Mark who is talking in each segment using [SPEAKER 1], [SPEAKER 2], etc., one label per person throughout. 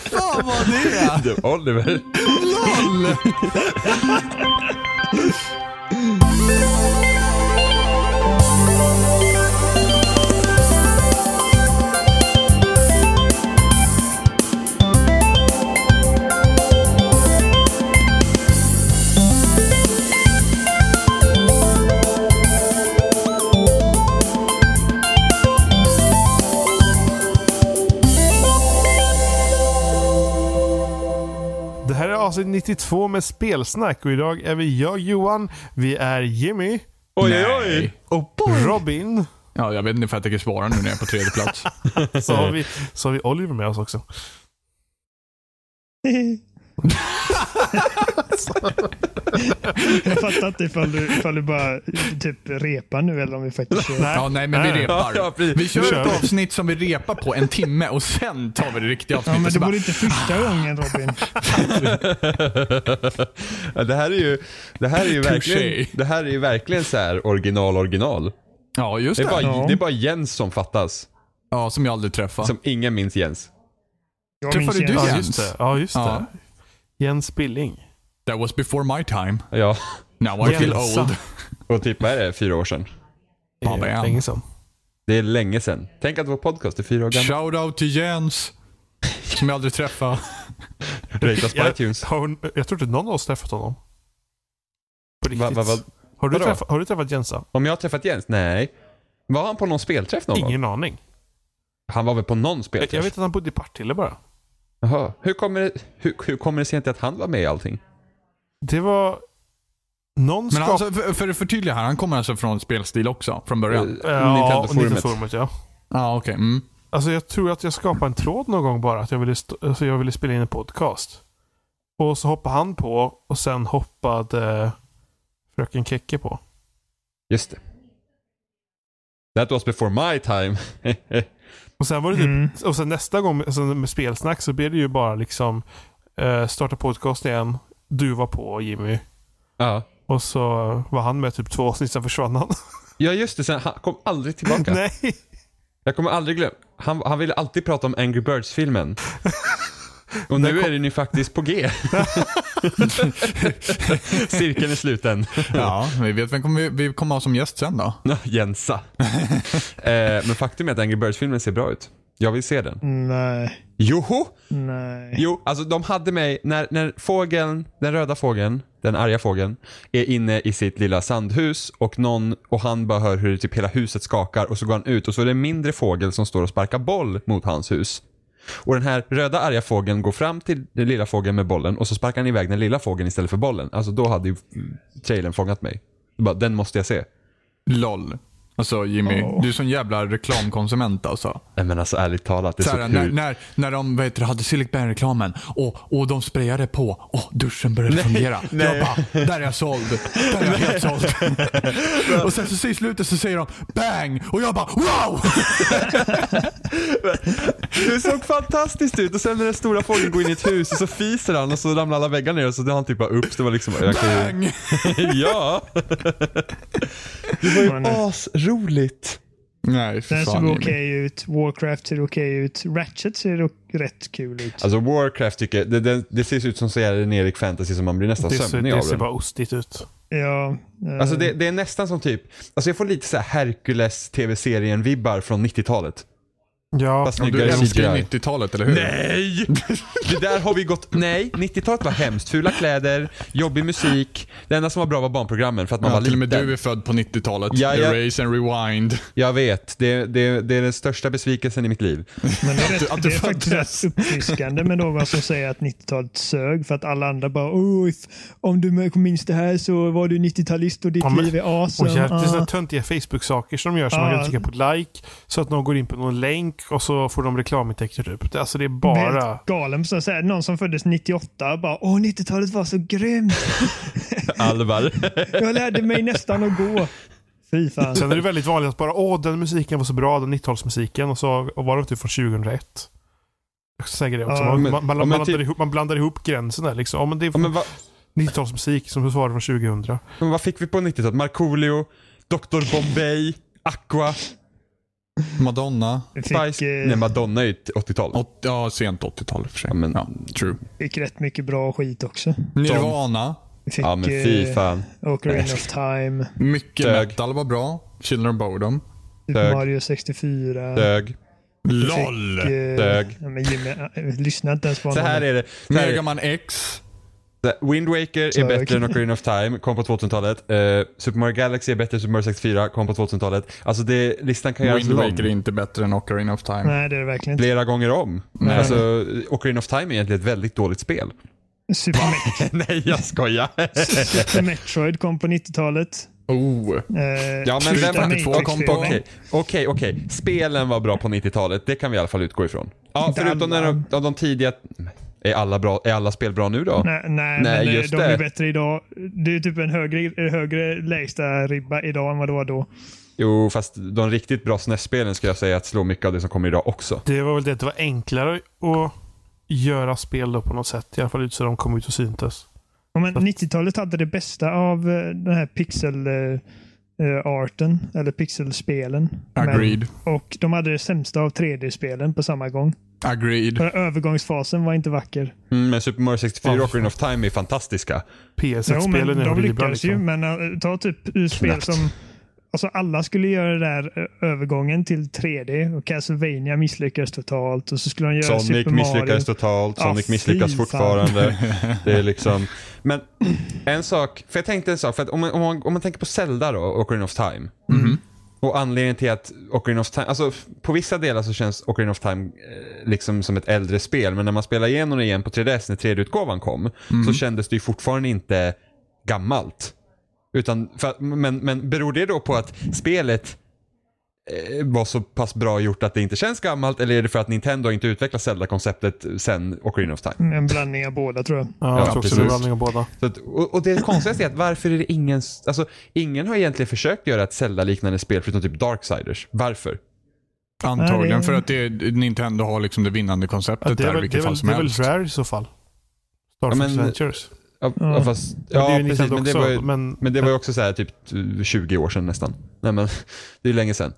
[SPEAKER 1] Fan vad det är!
[SPEAKER 2] Det var Oliver.
[SPEAKER 1] LOL!
[SPEAKER 3] Det här är avsnitt 92 med spelsnack och idag är vi jag Johan, vi är Jimmy,
[SPEAKER 2] Oj, oj, oj.
[SPEAKER 3] Robin,
[SPEAKER 4] Ja, jag vet inte för jag tänker svara nu när jag är på tredje plats.
[SPEAKER 3] så har vi, så har vi Oliver med oss också.
[SPEAKER 5] Jag fattar inte ifall du, ifall du bara typ repar nu eller om vi faktiskt kör.
[SPEAKER 4] Ja, nej, men vi
[SPEAKER 2] Ja, ja,
[SPEAKER 4] repar.
[SPEAKER 2] precis.
[SPEAKER 4] Vi
[SPEAKER 3] Nu
[SPEAKER 4] kör
[SPEAKER 3] kör vi.
[SPEAKER 4] ett avsnitt som vi repar på en timme och sen tar vi det riktiga
[SPEAKER 5] Ja, men
[SPEAKER 4] avsnittet.
[SPEAKER 5] det
[SPEAKER 4] Ja,
[SPEAKER 5] vore inte första gången Robin.
[SPEAKER 2] Ja, det här är ju, det här är ju
[SPEAKER 4] Touché.
[SPEAKER 2] verkligen, det här är ju verkligen så här original, original.
[SPEAKER 4] ja just
[SPEAKER 2] Det är,
[SPEAKER 4] det.
[SPEAKER 2] bara, det är bara Jens som fattas.
[SPEAKER 4] Ja, som jag aldrig träffar.
[SPEAKER 2] Som ingen minns Jens.
[SPEAKER 5] Jag
[SPEAKER 4] Träffade
[SPEAKER 5] minns
[SPEAKER 4] du
[SPEAKER 5] igen.
[SPEAKER 3] Ja,
[SPEAKER 4] Jens?
[SPEAKER 3] just det. Ja, just
[SPEAKER 4] Ja.
[SPEAKER 3] det. Jens Billing.
[SPEAKER 4] That was before my time.
[SPEAKER 2] Ja,
[SPEAKER 4] Now I feel
[SPEAKER 3] Jensa.
[SPEAKER 4] old.
[SPEAKER 2] och typ vad är det, fyra år sedan?
[SPEAKER 3] Det
[SPEAKER 4] Ja, det är
[SPEAKER 3] är
[SPEAKER 4] han.
[SPEAKER 3] länge sedan.
[SPEAKER 2] Det är länge sedan. Tänk att vår podcast är fyra år gammal.
[SPEAKER 4] Shout out till Jens. Som jag aldrig träffar.
[SPEAKER 2] Ratas på
[SPEAKER 3] Jag,
[SPEAKER 2] iTunes.
[SPEAKER 3] har, jag tror inte någon av oss träffat honom. På riktigt.
[SPEAKER 2] Va, va, va,
[SPEAKER 3] Har, du
[SPEAKER 2] vadå?
[SPEAKER 3] träffat, har du träffat Jensa?
[SPEAKER 2] om jag har träffat Jens? Nej. Var han på någon spelträff någon gång?
[SPEAKER 3] Ingen aning.
[SPEAKER 2] Han var väl på någon
[SPEAKER 3] Jag,
[SPEAKER 2] spelträff?
[SPEAKER 3] jag vet att han bodde i Partille bara.
[SPEAKER 2] Jaha. Hur kommer, det, hur, hur kommer det sig inte att han var med i allting?
[SPEAKER 3] Det var... Någon
[SPEAKER 4] Men
[SPEAKER 3] skap-
[SPEAKER 4] alltså, för, för att förtydliga här, han kommer alltså från spelstil också från
[SPEAKER 2] Eh,
[SPEAKER 4] början?
[SPEAKER 3] Ja,
[SPEAKER 2] Nintendo-forumet.
[SPEAKER 3] Nintendo-forumet ja.
[SPEAKER 4] Ja, okej. Mm.
[SPEAKER 3] Alltså jag tror att jag skapade en tråd någon gång bara. Att jag ville, st- alltså jag ville spela in en podcast. Och så hoppade han på och sen hoppade Fröken Keke på.
[SPEAKER 2] Just det. That was before my time.
[SPEAKER 3] Och sen var det typ,
[SPEAKER 5] Mm.
[SPEAKER 3] och sen nästa gång alltså med spelsnack så blev det ju bara liksom eh, starta podcast igen. Du var på Jimmy.
[SPEAKER 2] ja.
[SPEAKER 3] Och så var han med typ två avsnitt, sen försvann han.
[SPEAKER 2] ja, just det. Sen, han kom aldrig tillbaka.
[SPEAKER 3] Nej.
[SPEAKER 2] Jag kommer aldrig glömma. Han, han ville alltid prata om Angry Birds-filmen. Och nu är den ju faktiskt på G. Cirkeln är sluten.
[SPEAKER 4] Ja, vi vet vem kommer vi, vi kommer ha som gäst sen då.
[SPEAKER 2] Nå, Jensa. eh, men faktum är att Angry Birds-filmen ser bra ut. Jag vill se den.
[SPEAKER 5] Nej,
[SPEAKER 2] Joho!
[SPEAKER 5] nej.
[SPEAKER 2] Jo, alltså de hade mig, när, när fågeln, den röda fågeln, den arga fågeln, är inne i sitt lilla sandhus och någon, och han bara hör hur typ hela huset skakar och så går han ut och så är det en mindre fågel som står och sparkar boll mot hans hus. Och den här röda arga fågeln går fram till den lilla fågeln med bollen och så sparkar han iväg den lilla fågeln istället för bollen. Alltså då hade ju mm, trailern fångat mig. Jag Bara, den måste jag se.
[SPEAKER 4] LOL. Alltså Jimmy, du är sån jävla reklamkonsument alltså.
[SPEAKER 2] Nej men alltså ärligt talat, det är så,
[SPEAKER 4] Såhär, när,
[SPEAKER 2] kul.
[SPEAKER 4] när, när de vad heter, det, hade Silk reklamen och, och de sprayade på och duschen började fungera. Jag bara, där är jag såld. Där är jag helt såld. och sen så i slutet så säger de bang och jag bara wow!
[SPEAKER 2] Det såg fantastiskt ut och sen när den stora fågeln går in i ett hus och så fiser han och så ramlar alla väggar ner och så drar han typ bara upp. Så det var liksom... Jag kan
[SPEAKER 4] Bang!
[SPEAKER 2] ju, ja! Det var
[SPEAKER 5] Men,
[SPEAKER 2] ju
[SPEAKER 5] eh,
[SPEAKER 2] asroligt.
[SPEAKER 4] Nej, för
[SPEAKER 5] Den såg
[SPEAKER 4] fan
[SPEAKER 5] okej
[SPEAKER 4] Jimmy.
[SPEAKER 5] ut. Warcraft ser okej ut. Ratchet ser o- rätt kul ut.
[SPEAKER 2] Alltså Warcraft tycker jag, det, det, det ser ut som så jävla generic fantasy som man blir nästan
[SPEAKER 3] Det ser,
[SPEAKER 2] sömnig
[SPEAKER 3] det
[SPEAKER 2] av
[SPEAKER 3] ser
[SPEAKER 2] den.
[SPEAKER 3] bara ostigt ut.
[SPEAKER 5] Ja. eh,
[SPEAKER 2] Alltså det, det är nästan som typ, alltså jag får lite så här Hercules tv-serien vibbar från 90-talet.
[SPEAKER 3] Ja.
[SPEAKER 2] Fast
[SPEAKER 4] Och du
[SPEAKER 2] snyggare
[SPEAKER 4] älskar ju
[SPEAKER 2] CGI.
[SPEAKER 4] 90-talet, eller hur?
[SPEAKER 2] Nej! Det där har vi gått... Nej, 90-talet var hemskt. Fula kläder, jobbig musik. Det enda som var bra var barnprogrammen för att man
[SPEAKER 4] Ja,
[SPEAKER 2] var
[SPEAKER 4] till och
[SPEAKER 2] liten.
[SPEAKER 4] med du är född på 90-talet.
[SPEAKER 2] Ja, ja.
[SPEAKER 4] Erase and rewind.
[SPEAKER 2] Jag vet, det, det, det är den största besvikelsen i mitt liv.
[SPEAKER 5] Men det är,
[SPEAKER 4] du-
[SPEAKER 5] rätt,
[SPEAKER 4] att du
[SPEAKER 5] det är faktiskt
[SPEAKER 4] föddes.
[SPEAKER 5] rätt uppfriskande med någon som säger att 90-talet sög för att alla andra bara oh, if, om du minns det här så var du 90-talist och ditt
[SPEAKER 3] Ja, men-
[SPEAKER 5] liv är
[SPEAKER 3] Och
[SPEAKER 5] awesome.
[SPEAKER 3] jävligt, det är såna
[SPEAKER 5] Ah.
[SPEAKER 3] töntiga Facebook-saker som de gör som
[SPEAKER 5] Ja.
[SPEAKER 3] man kan trycka på like. Så att någon går in på någon länk och så får de reklamintäkter typ. Det- Alltså det är
[SPEAKER 5] Blir
[SPEAKER 3] bara...
[SPEAKER 5] helt galen. Så att säga, någon som föddes 98 bara åh 90-talet var så grymt.
[SPEAKER 2] Alvar.
[SPEAKER 5] Jag lärde mig nästan att gå. Fy fan.
[SPEAKER 3] Sen är det väldigt vanligt att bara åh, den musiken var så bra, den 90-talsmusiken. Och så och var det typ från 2001. Jag säger det också.
[SPEAKER 5] Ja,
[SPEAKER 3] man,
[SPEAKER 2] men-
[SPEAKER 3] man, man,
[SPEAKER 2] ja, men
[SPEAKER 3] blandar
[SPEAKER 2] typ-
[SPEAKER 3] ihop, man blandar ihop gränsen där liksom. Ja, men det är
[SPEAKER 2] Ja, men, va,
[SPEAKER 3] 90-talsmusik som svarar från 2000.
[SPEAKER 2] men vad fick vi på 90-talet? Markoolio, Dr Bombay, Aqua,
[SPEAKER 4] Madonna.
[SPEAKER 5] Vi fick,
[SPEAKER 2] Spice.
[SPEAKER 5] eh,
[SPEAKER 2] Nej, Madonna är ju ett 80-tal.
[SPEAKER 4] Åt, ja, sent 80-tal i och för sig.
[SPEAKER 2] Ja, men-
[SPEAKER 4] ja, true.
[SPEAKER 5] fick rätt mycket bra skit också.
[SPEAKER 4] Nirvana.
[SPEAKER 5] Vi fick
[SPEAKER 2] Ja men fy
[SPEAKER 5] eh,
[SPEAKER 2] fan.
[SPEAKER 5] Ocarina
[SPEAKER 2] Nej.
[SPEAKER 5] of Time,
[SPEAKER 4] Mycket
[SPEAKER 2] Dög.
[SPEAKER 4] metal var bra. Children of Bodom.
[SPEAKER 5] Super
[SPEAKER 2] Dög.
[SPEAKER 5] Mario 64.
[SPEAKER 2] Dög.
[SPEAKER 4] LOL!
[SPEAKER 5] eh,
[SPEAKER 2] Dög.
[SPEAKER 5] Ja, men Jimmy, eh, lyssna inte ens på
[SPEAKER 2] Så
[SPEAKER 5] honom.
[SPEAKER 2] här är det. Så här är det.
[SPEAKER 4] Megaman X.
[SPEAKER 2] Wind Waker är
[SPEAKER 5] Tack.
[SPEAKER 2] bättre än Ocarina of Time, kom på 2000-talet. Eh, Super Mario Galaxy är bättre än Super Mario 64, kom på 2000-talet. Alltså det, listan kan göras
[SPEAKER 4] Wind
[SPEAKER 2] lång.
[SPEAKER 4] Waker är inte bättre än Ocarina of Time.
[SPEAKER 5] Nej, det är det verkligen inte.
[SPEAKER 2] Flera gånger om.
[SPEAKER 4] Nej.
[SPEAKER 2] Alltså, Ocarina of Time är egentligen ett väldigt dåligt spel.
[SPEAKER 5] Super, Me-
[SPEAKER 2] Nej, jag skojar.
[SPEAKER 5] Super Metroid kom på 90-talet.
[SPEAKER 4] Oh.
[SPEAKER 5] Eh,
[SPEAKER 2] ja, men
[SPEAKER 5] Super
[SPEAKER 4] var
[SPEAKER 2] vem
[SPEAKER 4] det?
[SPEAKER 5] Matrix
[SPEAKER 4] Två kom på-
[SPEAKER 5] filmen.
[SPEAKER 2] Okej, okej, okej. Spelen var bra på 90-talet, det kan vi i alla fall utgå ifrån. Ja,
[SPEAKER 5] Inte
[SPEAKER 2] förutom när
[SPEAKER 5] alla.
[SPEAKER 2] de, av de tidiga... Är alla, bra, är alla spel bra nu då?
[SPEAKER 5] Nej, nej,
[SPEAKER 2] Nej,
[SPEAKER 5] men eh,
[SPEAKER 2] just
[SPEAKER 5] de
[SPEAKER 2] det.
[SPEAKER 5] är bättre idag. Det är typ en högre, högre lägsta ribba idag än vad det var då.
[SPEAKER 2] Jo, fast de riktigt bra SNES-spelen skulle jag säga att slå mycket av det som kommer idag också.
[SPEAKER 3] Det var väl det att det var enklare att göra spel då på något sätt. I alla fall ut så de kom ut och syntes.
[SPEAKER 5] Ja, men 90-talet hade det bästa av eh, den här pixel-arten, eller pixelspelen. Men-
[SPEAKER 4] Agreed.
[SPEAKER 5] Och de hade det sämsta av 3D-spelen på samma gång.
[SPEAKER 4] Agreed.
[SPEAKER 5] För övergångsfasen var inte vacker.
[SPEAKER 2] Mm, men Super Mario 64
[SPEAKER 3] Ja,
[SPEAKER 2] och Ocarina of Time är fantastiska.
[SPEAKER 5] Jo, men
[SPEAKER 3] PS1-spelen är
[SPEAKER 5] de
[SPEAKER 3] väl ibland
[SPEAKER 5] lyckades ju,
[SPEAKER 3] liksom.
[SPEAKER 5] men eh, ta typ eh, spel
[SPEAKER 2] Knappt.
[SPEAKER 5] som... Alltså alla skulle göra den där eh, övergången till 3D och Castlevania misslyckades totalt och så skulle de göra
[SPEAKER 2] Sonic
[SPEAKER 5] Super Mario.
[SPEAKER 2] misslyckades totalt,
[SPEAKER 5] Ja,
[SPEAKER 2] Sonic
[SPEAKER 5] fy
[SPEAKER 2] misslyckas
[SPEAKER 5] fan.
[SPEAKER 2] fortfarande. Det är liksom... Men en sak, för jag tänkte en sak, för att om man, om man, om man tänker på Zelda då, och Ocarina of Time. Och anledningen till att Ocarina of Time, alltså f- på vissa delar så känns Ocarina of Time eh, liksom som ett äldre spel, men när man spelar igenom det igen på 3DS när 3D-utgåvan kom, så kändes det ju fortfarande inte gammalt. Utan, för, att- men, men beror det då på att spelet eh, var så pass bra gjort att det inte känns gammalt eller är det för att Nintendo inte utvecklat Zelda-konceptet sen Ocarina of Time?
[SPEAKER 5] Mm, En blandning av båda tror jag.
[SPEAKER 3] Ja,
[SPEAKER 2] Ja,
[SPEAKER 3] jag tror också
[SPEAKER 2] precis.
[SPEAKER 3] det är en blandning av båda.
[SPEAKER 2] Så att, och, och det konstigaste är att varför är det ingen, alltså ingen har egentligen försökt göra ett Zelda-liknande spel förutom typ Darksiders. Varför?
[SPEAKER 4] Antagligen
[SPEAKER 5] Nej, det-
[SPEAKER 4] för att det, Nintendo har liksom det vinnande konceptet
[SPEAKER 3] Ja, det är
[SPEAKER 4] där i
[SPEAKER 3] väl, det
[SPEAKER 4] vilket
[SPEAKER 3] är väl,
[SPEAKER 4] fall som
[SPEAKER 3] det är väl
[SPEAKER 4] helst.
[SPEAKER 3] Rare i så fall. Star Fox
[SPEAKER 2] men-
[SPEAKER 3] Adventures.
[SPEAKER 2] Ja,
[SPEAKER 5] Ja.
[SPEAKER 2] ja, fast,
[SPEAKER 3] Mm. Ja, det är
[SPEAKER 2] ja
[SPEAKER 3] ju
[SPEAKER 2] precis,
[SPEAKER 3] Nintendo
[SPEAKER 2] men det,
[SPEAKER 3] också.
[SPEAKER 2] var ju,
[SPEAKER 3] men,
[SPEAKER 2] men det var ju också så här typ 20 år sedan nästan. Nej men, det är ju länge sedan.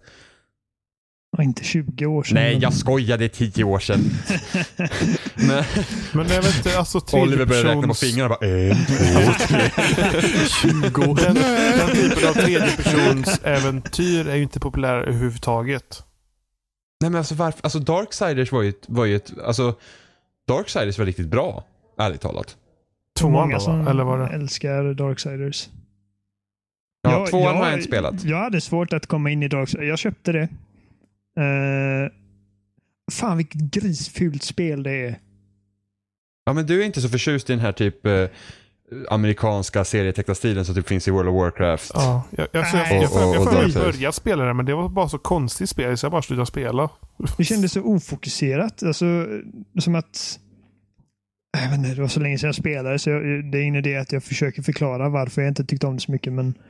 [SPEAKER 5] Ja, inte 20 år sedan.
[SPEAKER 2] Nej,
[SPEAKER 5] men-
[SPEAKER 2] jag skojar, det är 10 år sedan. men,
[SPEAKER 3] men jag vet inte, alltså
[SPEAKER 2] Oliver började räkna på
[SPEAKER 3] tredjepersons-
[SPEAKER 2] fingrarna bara en, två, tre.
[SPEAKER 4] 20
[SPEAKER 3] Den, den typen av tredjepersonsäventyr är ju inte populära överhuvudtaget.
[SPEAKER 2] Nej men alltså varför? Alltså Darksiders var ju ett, var ju ett alltså Darksiders var riktigt bra. Ärligt talat.
[SPEAKER 5] Så
[SPEAKER 3] Tvåan
[SPEAKER 5] många
[SPEAKER 3] då,
[SPEAKER 5] som
[SPEAKER 3] va? eller var det?
[SPEAKER 5] älskar Darksiders.
[SPEAKER 2] Ja,
[SPEAKER 5] Jag-
[SPEAKER 2] tvåan har jag inte spelat.
[SPEAKER 5] Jag hade svårt att komma in i Darksiders. Jag köpte det. Eh, fan vilket grisfult spel det är.
[SPEAKER 2] Ja men du är inte så förtjust i den här typ eh, amerikanska serietecknarstilen som typ finns i World of Warcraft.
[SPEAKER 3] Ja, jag, jag, alltså, jag,
[SPEAKER 5] Nej.
[SPEAKER 3] jag, jag, jag,
[SPEAKER 2] Och- och-
[SPEAKER 3] jag,
[SPEAKER 2] och-
[SPEAKER 3] började spela det, men det var bara så konstigt spel så jag bara slutade spela.
[SPEAKER 5] Det kändes så ofokuserat. Alltså, som att... äh, Jag vet inte, det var så länge sedan jag spelade så jag, det är ingen idé att jag försöker förklara varför jag inte tyckte om det så mycket. Men
[SPEAKER 2] alltså,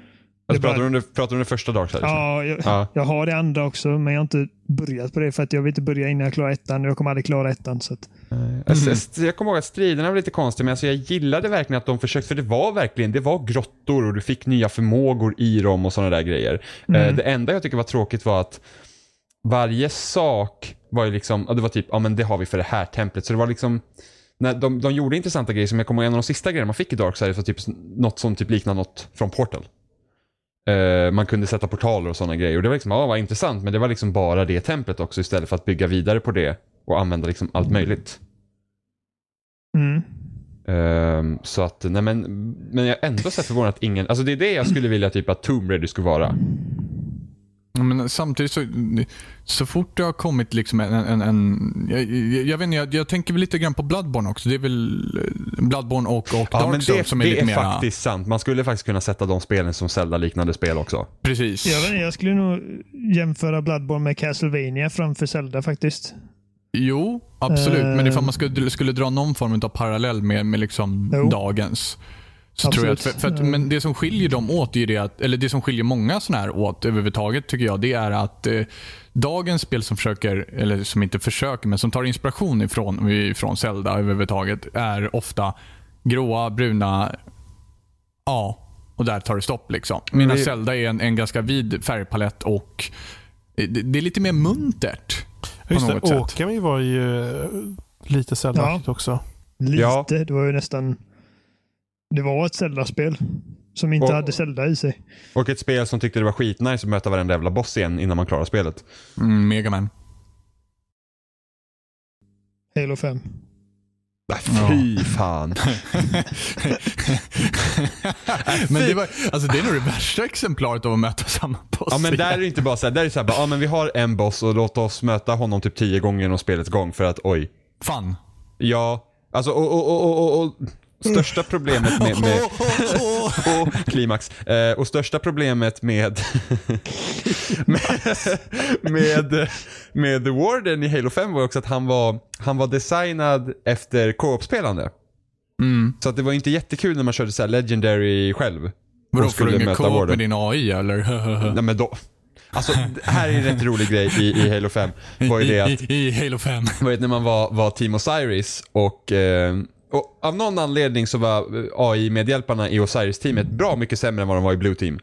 [SPEAKER 5] det är
[SPEAKER 2] pratar, du om det, pratar du om det första Darksiders?
[SPEAKER 5] ja, jag,
[SPEAKER 2] Ja.
[SPEAKER 5] jag har det andra också men jag har inte börjat på det för att jag vill inte börja innan jag klarar ettan och jag kommer aldrig klara ettan. Så att,
[SPEAKER 2] Alltså, Jag, jag kommer ihåg att striderna var lite konstiga, men alltså jag gillade verkligen att de försökte, för det var verkligen, det var grottor och du fick nya förmågor i dem och sådana där grejer. Eh, Det enda jag tycker var tråkigt var att varje sak var ju liksom, ja, det var typ, ja men det har vi för det här templet, så det var liksom när de, de gjorde intressanta grejer som jag kommer ihåg en av de sista grejerna man fick i Darksiders var typ s- något som typ liknade något från Portal. Eh, man kunde sätta portaler och sådana grejer. Och det var liksom, ja vad intressant, men det var liksom bara det templet också istället för att bygga vidare på det och använda liksom allt möjligt.
[SPEAKER 5] mm.
[SPEAKER 2] Ehm, så att, nej men, men jag är ändå så här förvånad att ingen, alltså det är det jag skulle vilja typ att Tomb Raider skulle vara.
[SPEAKER 4] Ja, Men samtidigt så, så fort det har kommit liksom en... en, en jag, jag, jag, vet inte, jag, jag tänker väl lite grann på Bloodborne också. Det är väl eh, Bloodborne och, och
[SPEAKER 2] Ja
[SPEAKER 4] Dark
[SPEAKER 2] men
[SPEAKER 4] Souls
[SPEAKER 2] det,
[SPEAKER 4] som är
[SPEAKER 2] det
[SPEAKER 4] lite
[SPEAKER 2] är
[SPEAKER 4] mera...
[SPEAKER 2] faktiskt sant. Man skulle faktiskt kunna sätta de spelen som Zelda-liknande spel också.
[SPEAKER 4] Precis.
[SPEAKER 5] jag, vet inte, jag skulle nog jämföra Bloodborne med Castlevania framför Zelda faktiskt.
[SPEAKER 4] Jo, absolut. Men ifall
[SPEAKER 5] Eh.
[SPEAKER 4] man skulle, skulle dra någon form av parallell med, med liksom
[SPEAKER 5] Jo.
[SPEAKER 4] dagens. Så tror jag att, för,
[SPEAKER 5] Absolut. Mm.
[SPEAKER 4] för att, men det som skiljer dem åt, är ju det att, eller det som skiljer många sådana här åt överhuvudtaget tycker jag, det är att eh, dagens spel som försöker, eller som inte försöker, men som tar inspiration ifrån, ifrån Zelda överhuvudtaget, är ofta gråa, bruna, ja, och där tar det stopp. liksom. Medan
[SPEAKER 2] det-
[SPEAKER 4] Zelda är en, en ganska vid färgpalett och eh, det, det är lite mer muntert. På
[SPEAKER 3] Just
[SPEAKER 4] något
[SPEAKER 3] det,
[SPEAKER 4] sätt.
[SPEAKER 3] Åkami var ju eh, lite Zelda också.
[SPEAKER 5] Lite.
[SPEAKER 2] Ja.
[SPEAKER 5] Det var ju nästan... Det var ett Zelda-spel. Som inte
[SPEAKER 2] Och-
[SPEAKER 5] hade Zelda i sig.
[SPEAKER 2] Och ett spel som tyckte det var skitnice att möta varenda jävla boss igen innan man klarar spelet.
[SPEAKER 4] Mm, Mega Man.
[SPEAKER 5] Halo 5.
[SPEAKER 2] Nej, fy fan.
[SPEAKER 4] men det, var, alltså det är nog det värsta exemplaret av att möta samma boss.
[SPEAKER 2] Ja men där är
[SPEAKER 4] igen.
[SPEAKER 2] det inte bara såhär, där är det såhär bara, ja men vi har en boss och låt oss möta honom typ tio gånger genom spelets gång för att oj.
[SPEAKER 4] Fan.
[SPEAKER 2] Ja, alltså och, och, och, och, och, och största problemet med, med och klimax. Eh, och största problemet med, med, med, med The Warden i Halo 5 var också att han var, han var designad efter co-op-spelande.
[SPEAKER 4] Mm.
[SPEAKER 2] Så att det var inte jättekul när man körde så här Legendary själv.
[SPEAKER 4] Vadå,
[SPEAKER 2] och
[SPEAKER 4] får du
[SPEAKER 2] skulle
[SPEAKER 4] ingen
[SPEAKER 2] möta
[SPEAKER 4] co-op
[SPEAKER 2] Warden.
[SPEAKER 4] med din AI eller?
[SPEAKER 2] Nej men då. Alltså, det här är en rätt rolig grej i, i Halo 5. Var ju det att
[SPEAKER 4] I, i, I Halo 5.
[SPEAKER 2] var det när man var, var Team Osiris och, eh, och av någon anledning så var AI-medhjälparna i Osiris-teamet bra mycket sämre än vad de var i Blue Team. Eh,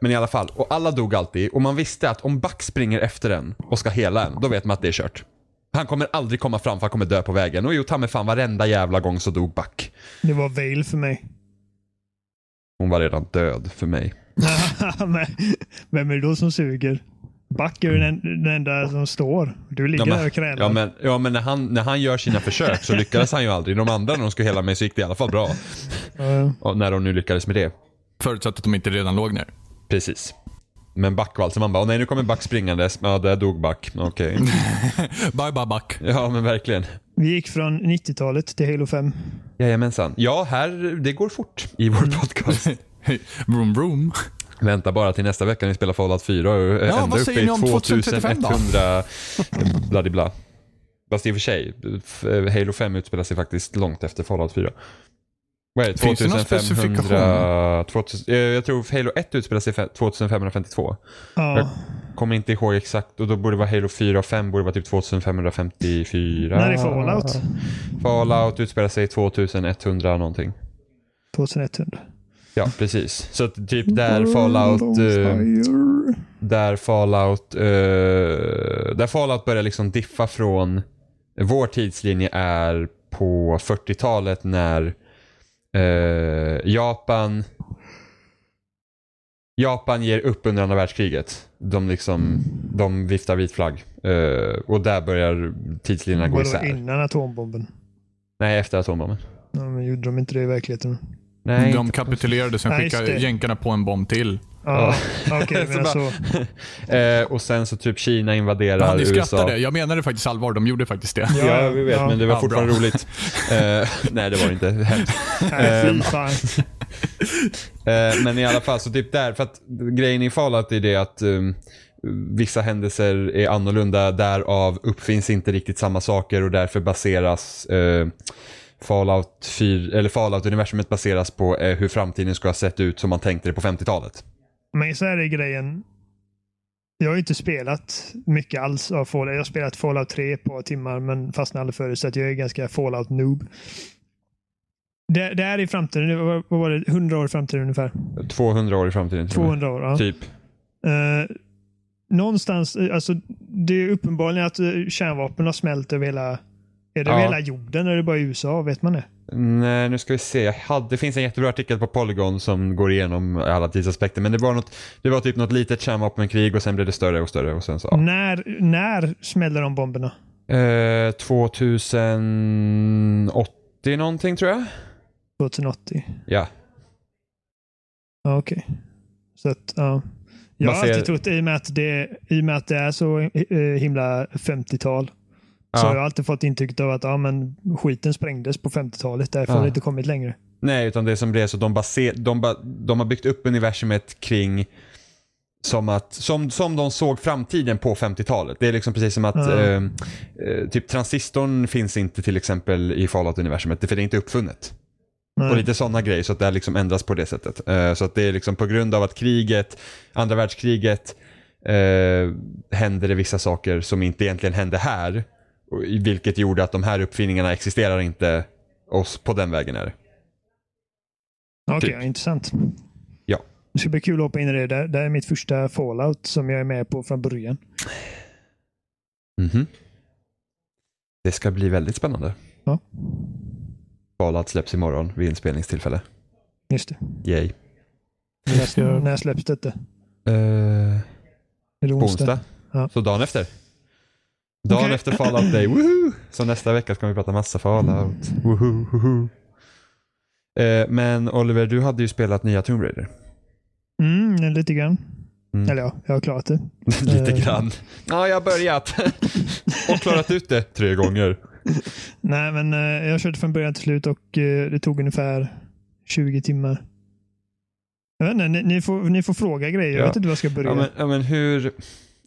[SPEAKER 2] men i alla fall, och alla dog alltid och man visste att om Buck springer efter en och ska hela en, då vet man att det är kört. Han kommer aldrig komma fram för han kommer dö på vägen. Och jo, ta mig fan varenda jävla gång så dog Buck.
[SPEAKER 5] Det var Vale för mig.
[SPEAKER 2] Hon var redan död för mig.
[SPEAKER 5] Men Vem är det då som suger? Back är ju den, den enda som står. Du ligger där och krälar.
[SPEAKER 2] ja, men, ja, men när, han, när han gör sina försök så lyckades han ju aldrig. De andra när de skulle hela mig så gick det i alla fall bra.
[SPEAKER 5] Eh,
[SPEAKER 2] Och när de nu lyckades med det.
[SPEAKER 4] Förutsatt att de inte redan låg ner.
[SPEAKER 2] Precis. Men Back var alltså, man bara, "Åh, nej nu kommer Back springandes. Ja, där dog Back. Okej.
[SPEAKER 4] Bye bye back.
[SPEAKER 2] Ja, men verkligen.
[SPEAKER 5] vi gick från 90-talet till Halo 5.
[SPEAKER 2] Jajamensan. Ja, här, det går fort i
[SPEAKER 4] Mm.
[SPEAKER 2] vår podcast.
[SPEAKER 4] Vroom vroom.
[SPEAKER 2] Vänta bara till nästa vecka när vi spelar Fallout 4 och eh,
[SPEAKER 4] Ja,
[SPEAKER 2] ända
[SPEAKER 4] vad
[SPEAKER 2] upp
[SPEAKER 4] säger
[SPEAKER 2] i
[SPEAKER 4] ni om 2035 då?
[SPEAKER 2] 2100 bladibla. Fast i och för sig, f- eh, Halo 5 utspelar sig faktiskt långt efter Fallout 4. Vad är det?
[SPEAKER 4] Finns det någon
[SPEAKER 2] 2500... 2000, eh, jag tror Halo 1 utspelar sig fe- 2552. Jag
[SPEAKER 5] Ja.
[SPEAKER 2] kommer inte ihåg exakt och då borde det vara Halo 4 och 5 borde vara typ 2554.
[SPEAKER 5] När är Fallout?
[SPEAKER 2] Fallout utspelar sig 2100 någonting.
[SPEAKER 5] 2100.
[SPEAKER 2] Ja, precis. Så att typ där Fallout... eh, där Fallout... eh, där Fallout börjar liksom diffa från... Vår tidslinje är på 40-talet när eh, Japan... Japan ger upp under andra världskriget. De liksom, de viftar vit flagg. Eh, och där börjar tidslinjerna gå
[SPEAKER 5] Vadå,
[SPEAKER 2] isär.
[SPEAKER 5] innan atombomben?
[SPEAKER 2] Nej, efter atombomben.
[SPEAKER 5] Ja, men gjorde de inte det i verkligheten?
[SPEAKER 2] Nej,
[SPEAKER 4] de kapitulerade, sen
[SPEAKER 5] Nej, just
[SPEAKER 4] skickade
[SPEAKER 5] det.
[SPEAKER 4] jänkarna på en bomb till.
[SPEAKER 5] Ja, okej.
[SPEAKER 2] Så
[SPEAKER 5] men alltså,
[SPEAKER 2] Eh, och sen så typ Kina invaderar
[SPEAKER 4] Ja, ni
[SPEAKER 2] USA.
[SPEAKER 4] skrattade. Jag menade faktiskt allvar. De gjorde faktiskt det.
[SPEAKER 2] Ja, vi vet, men det var
[SPEAKER 4] Ja,
[SPEAKER 2] fortfarande
[SPEAKER 4] bra.
[SPEAKER 2] roligt. Eh, nej, det var det inte. Hemskt.
[SPEAKER 5] nej,
[SPEAKER 2] Ehm.
[SPEAKER 5] fy fan.
[SPEAKER 2] Eh, men i alla fall, så typ där. För att grejen i Fallout är det att um, vissa händelser är annorlunda. Därav uppfinns inte riktigt samma saker och därför baseras eh, Fallout 4, eller Fallout-universumet baseras på eh, hur framtiden ska ha sett ut som man tänkte det på 50-talet.
[SPEAKER 5] Men så här är grejen. Jag har ju inte spelat mycket alls av Fallout. Jag har spelat Fallout 3 ett par timmar men fastnade aldrig för det så att jag är ganska Fallout-noob. Det, det här är i framtiden, det var- vad var det, 100 år i framtiden ungefär?
[SPEAKER 2] 200 år i framtiden. till och med.
[SPEAKER 5] 200 år, ja.
[SPEAKER 2] Typ.
[SPEAKER 5] Eh, någonstans, eh, alltså det är uppenbarligen att eh, kärnvapen har smält över hela, är det över
[SPEAKER 2] Ja.
[SPEAKER 5] hela jorden eller är det bara i USA? Vet man det?
[SPEAKER 2] Nej, nu ska vi se. Jag hade, det finns en jättebra artikel på Polygon som går igenom alla tidsaspekter. Men det var, något, det var typ något litet kärnvapenkrig och sen blev det större och större. Och sen så, ja.
[SPEAKER 5] När, när smäller de bomberna?
[SPEAKER 2] eh, 2080 någonting tror jag.
[SPEAKER 5] 2080?
[SPEAKER 2] Ja.
[SPEAKER 5] Ja, okej. Så att, ja. Jag
[SPEAKER 2] Man
[SPEAKER 5] har
[SPEAKER 2] ser-
[SPEAKER 5] alltid trott, i och med att det, i och med att det är så eh, himla 50-tal, så
[SPEAKER 2] Ja.
[SPEAKER 5] har jag alltid fått intrycket av att ja, men skiten sprängdes på 50-talet. Därför
[SPEAKER 2] Ja.
[SPEAKER 5] har det inte kommit längre.
[SPEAKER 2] Nej, utan det som blev så de, baser, de, ba, de har byggt upp universumet kring som, att, som, som de såg framtiden på 50-talet. Det är liksom precis som att
[SPEAKER 5] Ja.
[SPEAKER 2] eh, eh, typ transistorn finns inte till exempel i Fallout-universumet. För det är inte uppfunnet. Och
[SPEAKER 5] Nej.
[SPEAKER 2] lite sådana grejer så att det här liksom ändras på det sättet. Eh, Så att det är liksom på grund av att kriget, andra världskriget, eh, hände det vissa saker som inte egentligen hände här. och- Vilket gjorde att de här uppfinningarna existerar inte oss på den vägen är det.
[SPEAKER 5] Okej,
[SPEAKER 2] Typ.
[SPEAKER 5] intressant.
[SPEAKER 2] Ja.
[SPEAKER 5] Det ska bli kul att hoppa in i det. Det det är mitt första fallout som jag är med på från början.
[SPEAKER 2] Mhm. Det ska bli väldigt spännande.
[SPEAKER 5] Ja,
[SPEAKER 2] Fallout släpps imorgon vid inspelningstillfälle.
[SPEAKER 5] just det.
[SPEAKER 2] Yay.
[SPEAKER 5] När, när släpps detta?
[SPEAKER 2] Eh,
[SPEAKER 5] Är det
[SPEAKER 2] på
[SPEAKER 5] onsdag?
[SPEAKER 2] onsdag.
[SPEAKER 5] Ja.
[SPEAKER 2] Så dagen efter. Dagen
[SPEAKER 5] Okej.
[SPEAKER 2] efter Fallout Day. Woohoo! Så nästa vecka ska vi prata massa Fallout. Woohoo, woohoo. Eh, men Oliver, du hade ju spelat nya Tomb Raider.
[SPEAKER 5] Mm, lite grann.
[SPEAKER 2] Mm.
[SPEAKER 5] Eller ja, jag har klarat det.
[SPEAKER 2] Lite
[SPEAKER 5] Eh.
[SPEAKER 2] grann. Ja, jag har börjat. Och klarat ut det tre gånger.
[SPEAKER 5] Nej, men eh, jag körde från början till slut och eh, det tog ungefär 20 timmar. Jag vet inte, ni, ni, får, ni får fråga grejer. Jag
[SPEAKER 2] Ja.
[SPEAKER 5] vet inte var jag ska börja.
[SPEAKER 2] Ja, men, ja, men hur...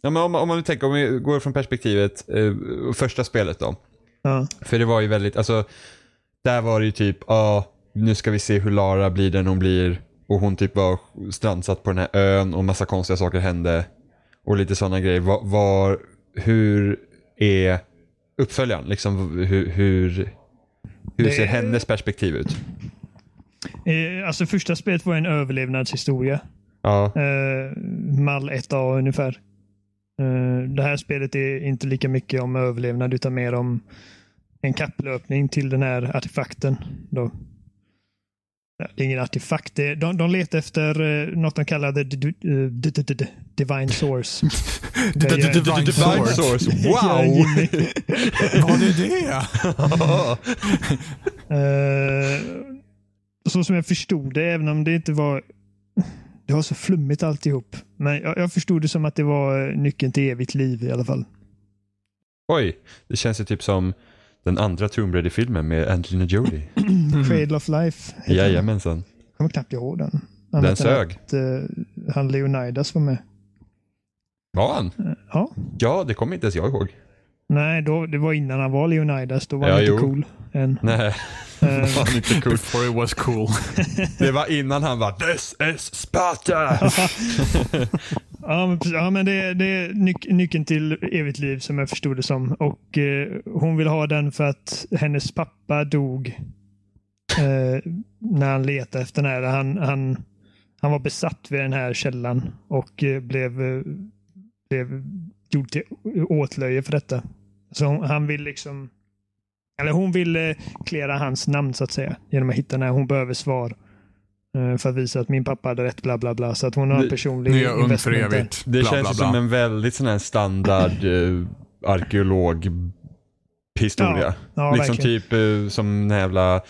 [SPEAKER 2] Ja, men om, om man nu tänker, om vi går från perspektivet, eh, första spelet då.
[SPEAKER 5] Ja.
[SPEAKER 2] För det var ju väldigt, alltså, där var det ju typ, ja, ah, nu ska vi se hur Lara blir den hon blir. Och hon typ var strandsatt på den här ön och massa konstiga saker hände. Och lite sådana grejer. Var, var, hur är uppföljaren? Liksom hur, hur, hur
[SPEAKER 5] Det-
[SPEAKER 2] ser hennes perspektiv ut?
[SPEAKER 5] Eh, Alltså första spelet var en överlevnadshistoria.
[SPEAKER 2] Ja,
[SPEAKER 5] Eh, mall 1A ungefär. Eh, det här spelet är inte lika mycket om överlevnad utan mer om en kapplöpning till den här artefakten. Då. Ja, Det är ingen artefakt. Det är, de, de letar efter eh, något de kallar the d- eh, d- d- d- d- divine source.
[SPEAKER 4] The- the- the
[SPEAKER 5] Jag-
[SPEAKER 4] divine
[SPEAKER 2] Divine
[SPEAKER 4] sword.
[SPEAKER 2] Source,
[SPEAKER 5] jag-
[SPEAKER 2] wow!
[SPEAKER 5] Jimmy.
[SPEAKER 4] Vad är det?
[SPEAKER 5] Eh, så som jag förstod det, även om det inte var... Det var så flummigt alltihop. Men jag, jag förstod det som att det var eh, nyckeln till evigt liv i alla fall.
[SPEAKER 2] Oj, det känns ju typ som den andra Tomb Raider-filmen med Angelina Jolie.
[SPEAKER 5] Cradle of Life. heter den.
[SPEAKER 2] Jajamensan.
[SPEAKER 5] Jag kommer knappt ihåg den. Annat än
[SPEAKER 2] sög.
[SPEAKER 5] Att, eh, han Leonidas var med.
[SPEAKER 2] Var han?
[SPEAKER 5] Ja.
[SPEAKER 2] Ja, det kommer inte ens jag ihåg.
[SPEAKER 5] Nej, då, det var innan han var Leonidas. Då var
[SPEAKER 2] Ja,
[SPEAKER 5] han inte
[SPEAKER 2] jo.
[SPEAKER 5] cool än.
[SPEAKER 2] Nej,
[SPEAKER 5] Eh,
[SPEAKER 2] fan inte coolt.
[SPEAKER 4] Before it was cool.
[SPEAKER 2] Det var innan han var This is Sparta!
[SPEAKER 5] Ja, men, precis. ja, men det, det är nyc- nyckeln till evigt liv som jag förstod det som. Och eh, Hon vill ha den för att hennes pappa dog eh, när han letade efter den här. Han, han, han var besatt vid den här källan och eh, blev, eh, blev gjord till åtlöje för detta. Så hon, han vill liksom eller hon vill eh, klära hans namn så att säga genom att hitta den här. Hon behöver svar eh, för att visa att min pappa hade rätt bla bla bla. Så att hon har en
[SPEAKER 2] Nu-
[SPEAKER 5] personlig
[SPEAKER 4] Nu är jag ung för
[SPEAKER 5] investment där.
[SPEAKER 4] evigt.
[SPEAKER 2] Det
[SPEAKER 4] Bla,
[SPEAKER 2] känns
[SPEAKER 4] bla, bla.
[SPEAKER 2] ju som en väldigt sån här standard eh, arkeolog-historia.
[SPEAKER 5] Ja,
[SPEAKER 2] liksom
[SPEAKER 5] verkligen.
[SPEAKER 2] typ eh, som den jävla,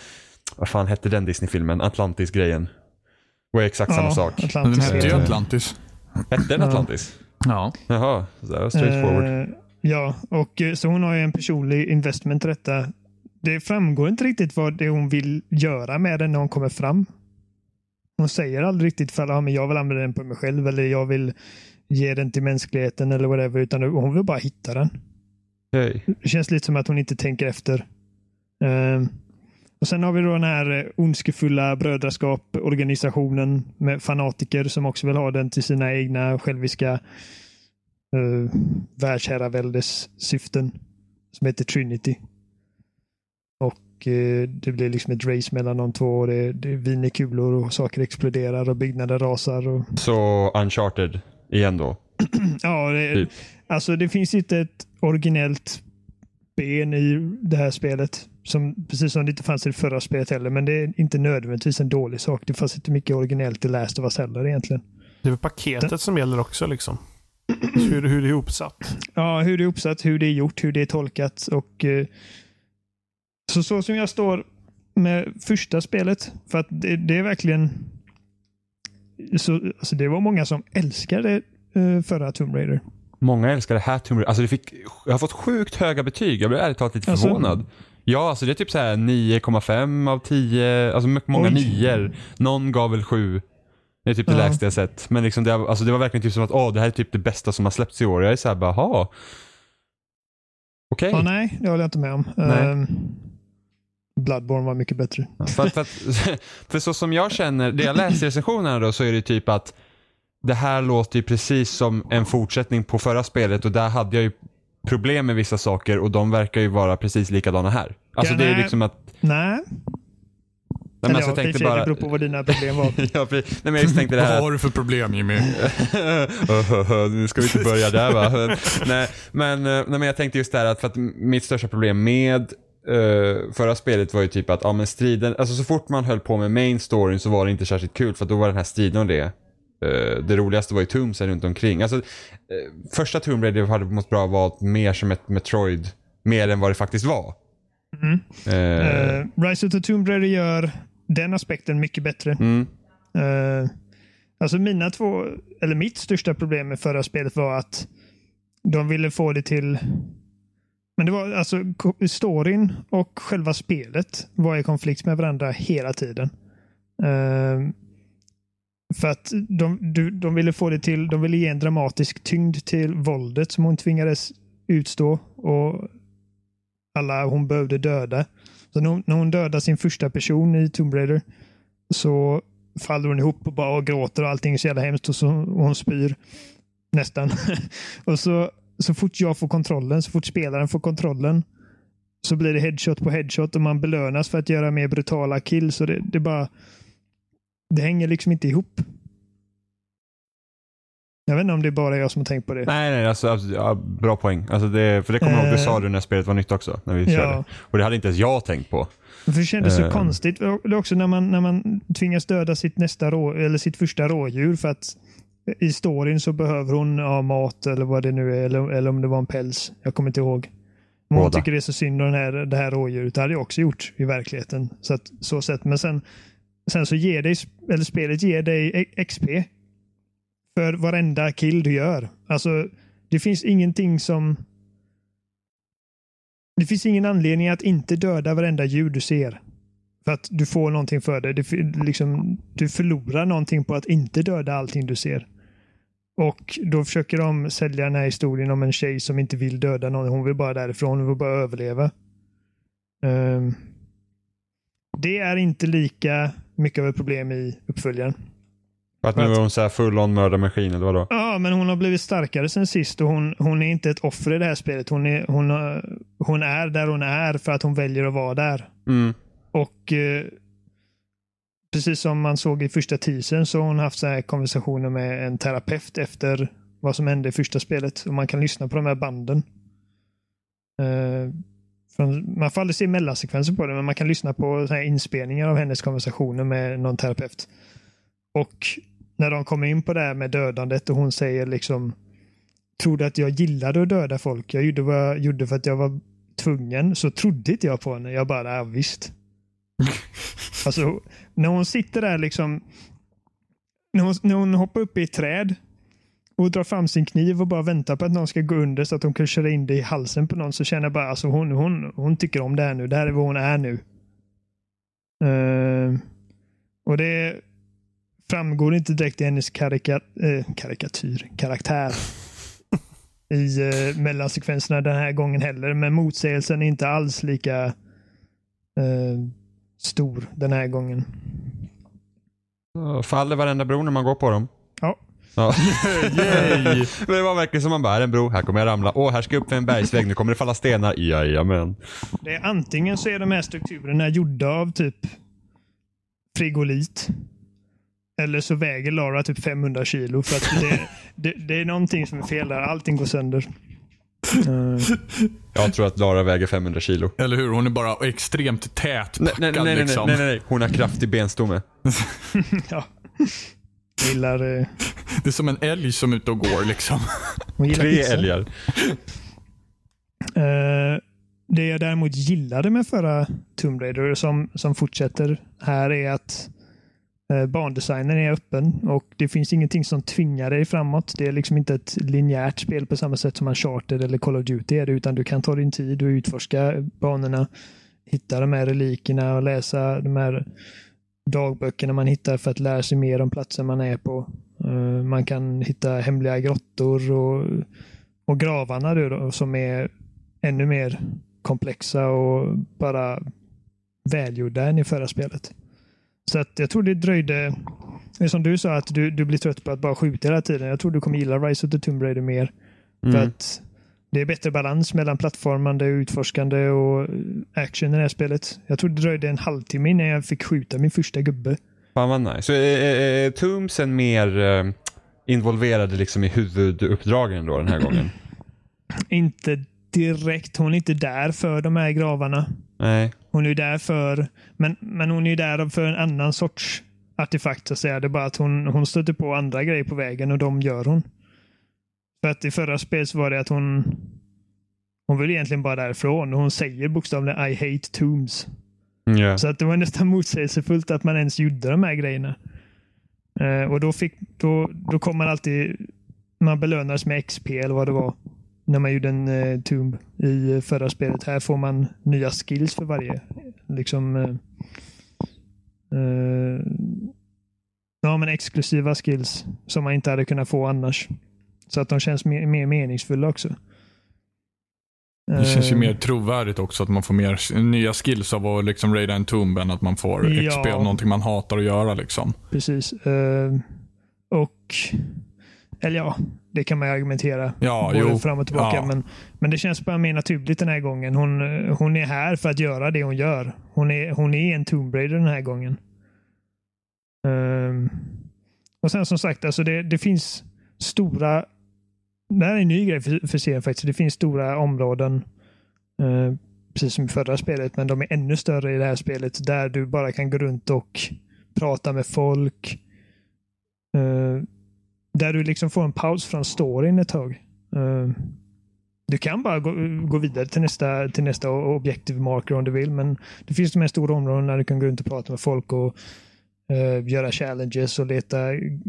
[SPEAKER 2] vad fan hette den Disney-filmen? Atlantis-grejen. Och exakt samma
[SPEAKER 5] ja,
[SPEAKER 2] sak.
[SPEAKER 4] Den
[SPEAKER 5] Atlantis
[SPEAKER 4] hette ju
[SPEAKER 5] är-
[SPEAKER 4] Atlantis.
[SPEAKER 2] Hette den
[SPEAKER 5] Ja.
[SPEAKER 2] Atlantis?
[SPEAKER 4] Ja.
[SPEAKER 2] Jaha, så där, straight forward.
[SPEAKER 5] Eh, ja, och eh, så hon har ju en personlig investment i detta. Det framgår inte riktigt vad det är hon vill göra med den när hon kommer fram. Hon säger aldrig riktigt för ja, men jag vill använda den på mig själv eller jag vill ge den till mänskligheten eller whatever. Utan hon vill bara hitta den.
[SPEAKER 2] Okej.
[SPEAKER 5] Det känns lite som att hon inte tänker efter. Ehm, och Sen har vi då den här eh, ondskefulla brödraskap-organisationen med fanatiker som också vill ha den till sina egna själviska eh, världsherraväldes syften som heter Trinity. Och eh, Det blir liksom ett race mellan de två. och Det, det viner kulor och saker exploderar och byggnader rasar. Och,
[SPEAKER 2] Så uncharted igen då.
[SPEAKER 5] ja, det,
[SPEAKER 2] Typ.
[SPEAKER 5] Alltså det finns inte ett originellt ben i det här spelet. Som, precis som det inte fanns i det förra spelet heller. Men det är inte nödvändigtvis en dålig sak. Det fanns inte mycket originellt i Last of Us heller egentligen.
[SPEAKER 3] Det är väl paketet som gäller också liksom. Hur, hur det är ihopsatt.
[SPEAKER 5] Ja, hur det är uppsatt, hur det är gjort, hur det är tolkat och eh, så, så som jag står med första spelet, för att det, det är verkligen så, alltså det var många som älskade eh, förra Tomb Raider.
[SPEAKER 2] Många älskar det här Tomb Raider. Alltså det fick, jag har fått sjukt höga betyg. Jag blev ärligt talat lite
[SPEAKER 5] Alltså?
[SPEAKER 2] förvånad. Ja, alltså det är typ så här 9,5 av 10. Alltså mycket många
[SPEAKER 5] Oj.
[SPEAKER 2] nior. Någon gav väl 7. Det är typ det
[SPEAKER 5] Ja.
[SPEAKER 2] lägsta jag sett. Men liksom det, alltså det var verkligen typ som att åh, det här är typ det bästa som har släppts i år. Jag är så här bara, ha. Okej.
[SPEAKER 5] Ja, nej, det håller jag inte med om.
[SPEAKER 2] Nej.
[SPEAKER 5] Ehm, Bloodborne var mycket bättre.
[SPEAKER 2] För, att, för, att, för så som jag känner, det jag läser i recensionerna då, så är det typ att det här låter ju precis som en fortsättning på förra spelet och där hade jag ju problem med vissa saker och de verkar ju vara precis likadana här. Alltså
[SPEAKER 5] Ja,
[SPEAKER 2] det är
[SPEAKER 5] nej.
[SPEAKER 2] liksom att...
[SPEAKER 5] Nej.
[SPEAKER 2] Nej, men
[SPEAKER 5] Eller ja,
[SPEAKER 2] alltså, jag
[SPEAKER 5] i och för
[SPEAKER 2] tänkte
[SPEAKER 5] sig, Det
[SPEAKER 2] bara...
[SPEAKER 5] beror på vad dina problem var.
[SPEAKER 2] Ja, precis. Nej, men jag just tänkte det här
[SPEAKER 4] Vad har du för problem Jimmy?
[SPEAKER 2] nu ska vi inte börja där va? nej, men, eh, nej, men jag tänkte just det här att, för att mitt största problem med eh, förra spelet var ju typ att ja, men striden, alltså så fort man höll på med main storyn så var det inte särskilt kul för att då var den här striden och det eh, det roligaste var ju tumsen runt omkring. Alltså, eh, första Tomb Raider hade mått bra vara mer som ett Metroid, mer än vad det faktiskt var. Eh,
[SPEAKER 5] Mm. Eh, Rise of the Tomb Raider gör den aspekten mycket bättre.
[SPEAKER 2] Mm.
[SPEAKER 5] Eh, alltså mina två, eller mitt största problem med förra spelet var att de ville få det till... Men det var alltså ko- storyn och själva spelet var i konflikt med varandra hela tiden. Eh, för att de, du, de ville få det till, de ville ge en dramatisk tyngd till våldet som hon tvingades utstå och alla hon behövde döda. Så när hon, när hon dödar sin första person i Tomb Raider så faller hon ihop och bara och gråter och allting är så jävla hemskt och, så, och hon spyr. Nästan. och så, så fort jag får kontrollen, så fort spelaren får kontrollen så blir det headshot på headshot och man belönas för att göra mer brutala kills. Så det, det bara... Det hänger liksom inte ihop. Jag vet inte om det är bara jag som har tänkt på det.
[SPEAKER 2] Nej, nej, alltså, absolut, ja, bra poäng. Alltså det, för det kommer jag ihåg, det
[SPEAKER 5] Eh.
[SPEAKER 2] sa du när spelet var nytt också. När vi
[SPEAKER 5] Ja.
[SPEAKER 2] körde. Och det hade inte ens jag tänkt på.
[SPEAKER 5] För det kändes så
[SPEAKER 2] Eh.
[SPEAKER 5] konstigt. Och Det är också när man, när man tvingas döda sitt, nästa rå, eller sitt första rådjur för att i storyn så behöver hon ja, mat eller vad det nu är. Eller, eller om det var en päls. Jag kommer inte ihåg. Men hon
[SPEAKER 2] Båda.
[SPEAKER 5] tycker det är så synd om den här, det här rådjuret. Det hade jag också gjort i verkligheten. Så, att, så sett. Men sen, sen så ger dig, eller spelet ger dig e- XP för varenda kill du gör. Alltså, det finns ingenting som... Det finns ingen anledning att inte döda varenda djur du ser. För att du får någonting för det. det fi- liksom, du förlorar någonting på att inte döda allting du ser. Och då försöker de sälja den här historien om en tjej som inte vill döda någon. Hon vill bara därifrån. Hon vill bara överleva. Ehm, det är inte lika mycket av ett problem i uppföljaren.
[SPEAKER 2] För att nu är hon så här full on mördarmaskin eller vadå?
[SPEAKER 5] Ja, men hon har blivit starkare sen sist och hon, hon är inte ett offer i det här spelet. Hon är, hon, har- hon är där hon är för att hon väljer att vara där.
[SPEAKER 2] Mm.
[SPEAKER 5] Och eh, precis som man såg i första teasern så har hon haft så här konversationer med en terapeut efter vad som hände i första spelet. Och man kan lyssna på de här banden. Eh, från, man får aldrig se mellansekvenser på det, men man kan lyssna på så här inspelningar av hennes konversationer med någon terapeut. Och när de kommer in på det här med dödandet och hon säger liksom Trodde att jag gillade att döda folk. Jag gjorde vad jag gjorde för att jag var tvungen. Så trodde inte jag på henne. Jag bara, ja visst. alltså, när hon sitter där liksom. När hon, när hon hoppar upp i ett träd och drar fram sin kniv och bara väntar på att någon ska gå under så att hon kan köra in det i halsen på någon så känner jag bara, alltså hon, hon, hon tycker om det här nu. Det här är vad hon är nu. Eh, och det framgår inte direkt i hennes karika, eh, karikatyr, karaktär i eh, mellansekvenserna den här gången heller. Men motsägelsen är inte alls lika eh, stor den här gången.
[SPEAKER 2] Faller varenda bro när man går på dem?
[SPEAKER 5] Ja.
[SPEAKER 2] Ja. Men det var verkligen som man bara, här är en bro, här kommer jag ramla. Åh, här ska jag upp för en bergsväg, nu kommer det falla stenar. Jajamän.
[SPEAKER 5] Det är, antingen så är de här strukturerna gjorda av typ frigolit. Eller så väger Lara typ 500 kilo. För att det, det, det är någonting som är fel där. Allting går sönder.
[SPEAKER 2] Jag tror att Lara väger 500 kilo.
[SPEAKER 4] Eller hur? Hon är bara extremt tätpackad
[SPEAKER 2] Nej, nej, nej, nej, nej,
[SPEAKER 4] liksom.
[SPEAKER 2] nej, nej. Hon har kraftig benstomme.
[SPEAKER 5] Ja. Hon gillar, eh,
[SPEAKER 4] Det är som en älg som är ute och går liksom.
[SPEAKER 5] hon gillar
[SPEAKER 2] Tre
[SPEAKER 5] pizza.
[SPEAKER 2] älgar.
[SPEAKER 5] Eh, det jag däremot gillade med förra Tomb Raider som, som fortsätter här är att eh, bandesignen är öppen och det finns ingenting som tvingar dig framåt. Det är liksom inte ett linjärt spel på samma sätt som Uncharted eller Call of Duty är det, utan du kan ta din tid och utforska banorna, hitta de här relikerna och läsa de här dagböckerna man hittar för att lära sig mer om platsen man är på. Eh, Man kan hitta hemliga grottor och, och gravarna då, då, som är ännu mer komplexa och bara välgjorda än i förra spelet. Så att jag tror det dröjde... det är Som du sa, att du, du blir trött på att bara skjuta hela tiden. Jag tror du kommer gilla Rise of the Tomb Raider mer. För
[SPEAKER 2] Mm.
[SPEAKER 5] att det är bättre balans mellan plattformande, utforskande och action i det här spelet. Jag tror det dröjde en halvtimme innan jag fick skjuta min första gubbe.
[SPEAKER 2] Fan vad nice. Så eh, är, är, är Tombsen mer eh, involverade liksom i huvuduppdragen då den här gången?
[SPEAKER 5] Inte direkt. Hon är inte där för de här gravarna.
[SPEAKER 2] Nej.
[SPEAKER 5] Hon är ju där för... Men, men hon är ju där för en annan sorts artefakt så att säga. Det är bara att hon, hon stöter på andra grejer på vägen och de gör hon. För att i förra spelet så var det att hon... Hon vill egentligen bara därifrån. Hon säger bokstavligen I hate tombs.
[SPEAKER 2] Mm, ja.
[SPEAKER 5] Så att det var nästan motsägelsefullt att man ens gjorde de här grejerna. Eh, och då, fick, då, då kom man alltid... Man belönades med XP eller vad det var. När man gjorde en eh, tomb i eh, förra spelet. Här får man nya skills för varje. Liksom... Eh, eh, ja, men exklusiva skills som man inte hade kunnat få annars. Så att de känns mer, mer meningsfulla också.
[SPEAKER 4] Det känns ju
[SPEAKER 5] Eh,
[SPEAKER 4] mer trovärdigt också att man får mer s- nya skills av att liksom raida en tomb än att man får
[SPEAKER 5] Ja.
[SPEAKER 4] XP av någonting man hatar att göra. Liksom.
[SPEAKER 5] Precis. Eh, och... Eller ja, det kan man ju argumentera
[SPEAKER 4] Ja,
[SPEAKER 5] både
[SPEAKER 4] jo.
[SPEAKER 5] fram och tillbaka.
[SPEAKER 4] Ja.
[SPEAKER 5] Men, men det känns bara mer naturligt den här gången. Hon, eh, hon är här för att göra det hon gör. Hon är, hon är en Tomb Raider den här gången. Ehm, och sen som sagt, alltså det, det finns stora... Det här är en ny grej för, för serien faktiskt. Det finns stora områden, eh, precis som i förra spelet, men de är ännu större i det här spelet. Där du bara kan gå runt och prata med folk. Eh, där du liksom får en paus från storyn ett tag. Eh, du kan bara gå, gå vidare till nästa, till nästa objektiv marker om du vill, men det finns de här stora områdena där du kan gå runt och prata med folk och eh, göra challenges och leta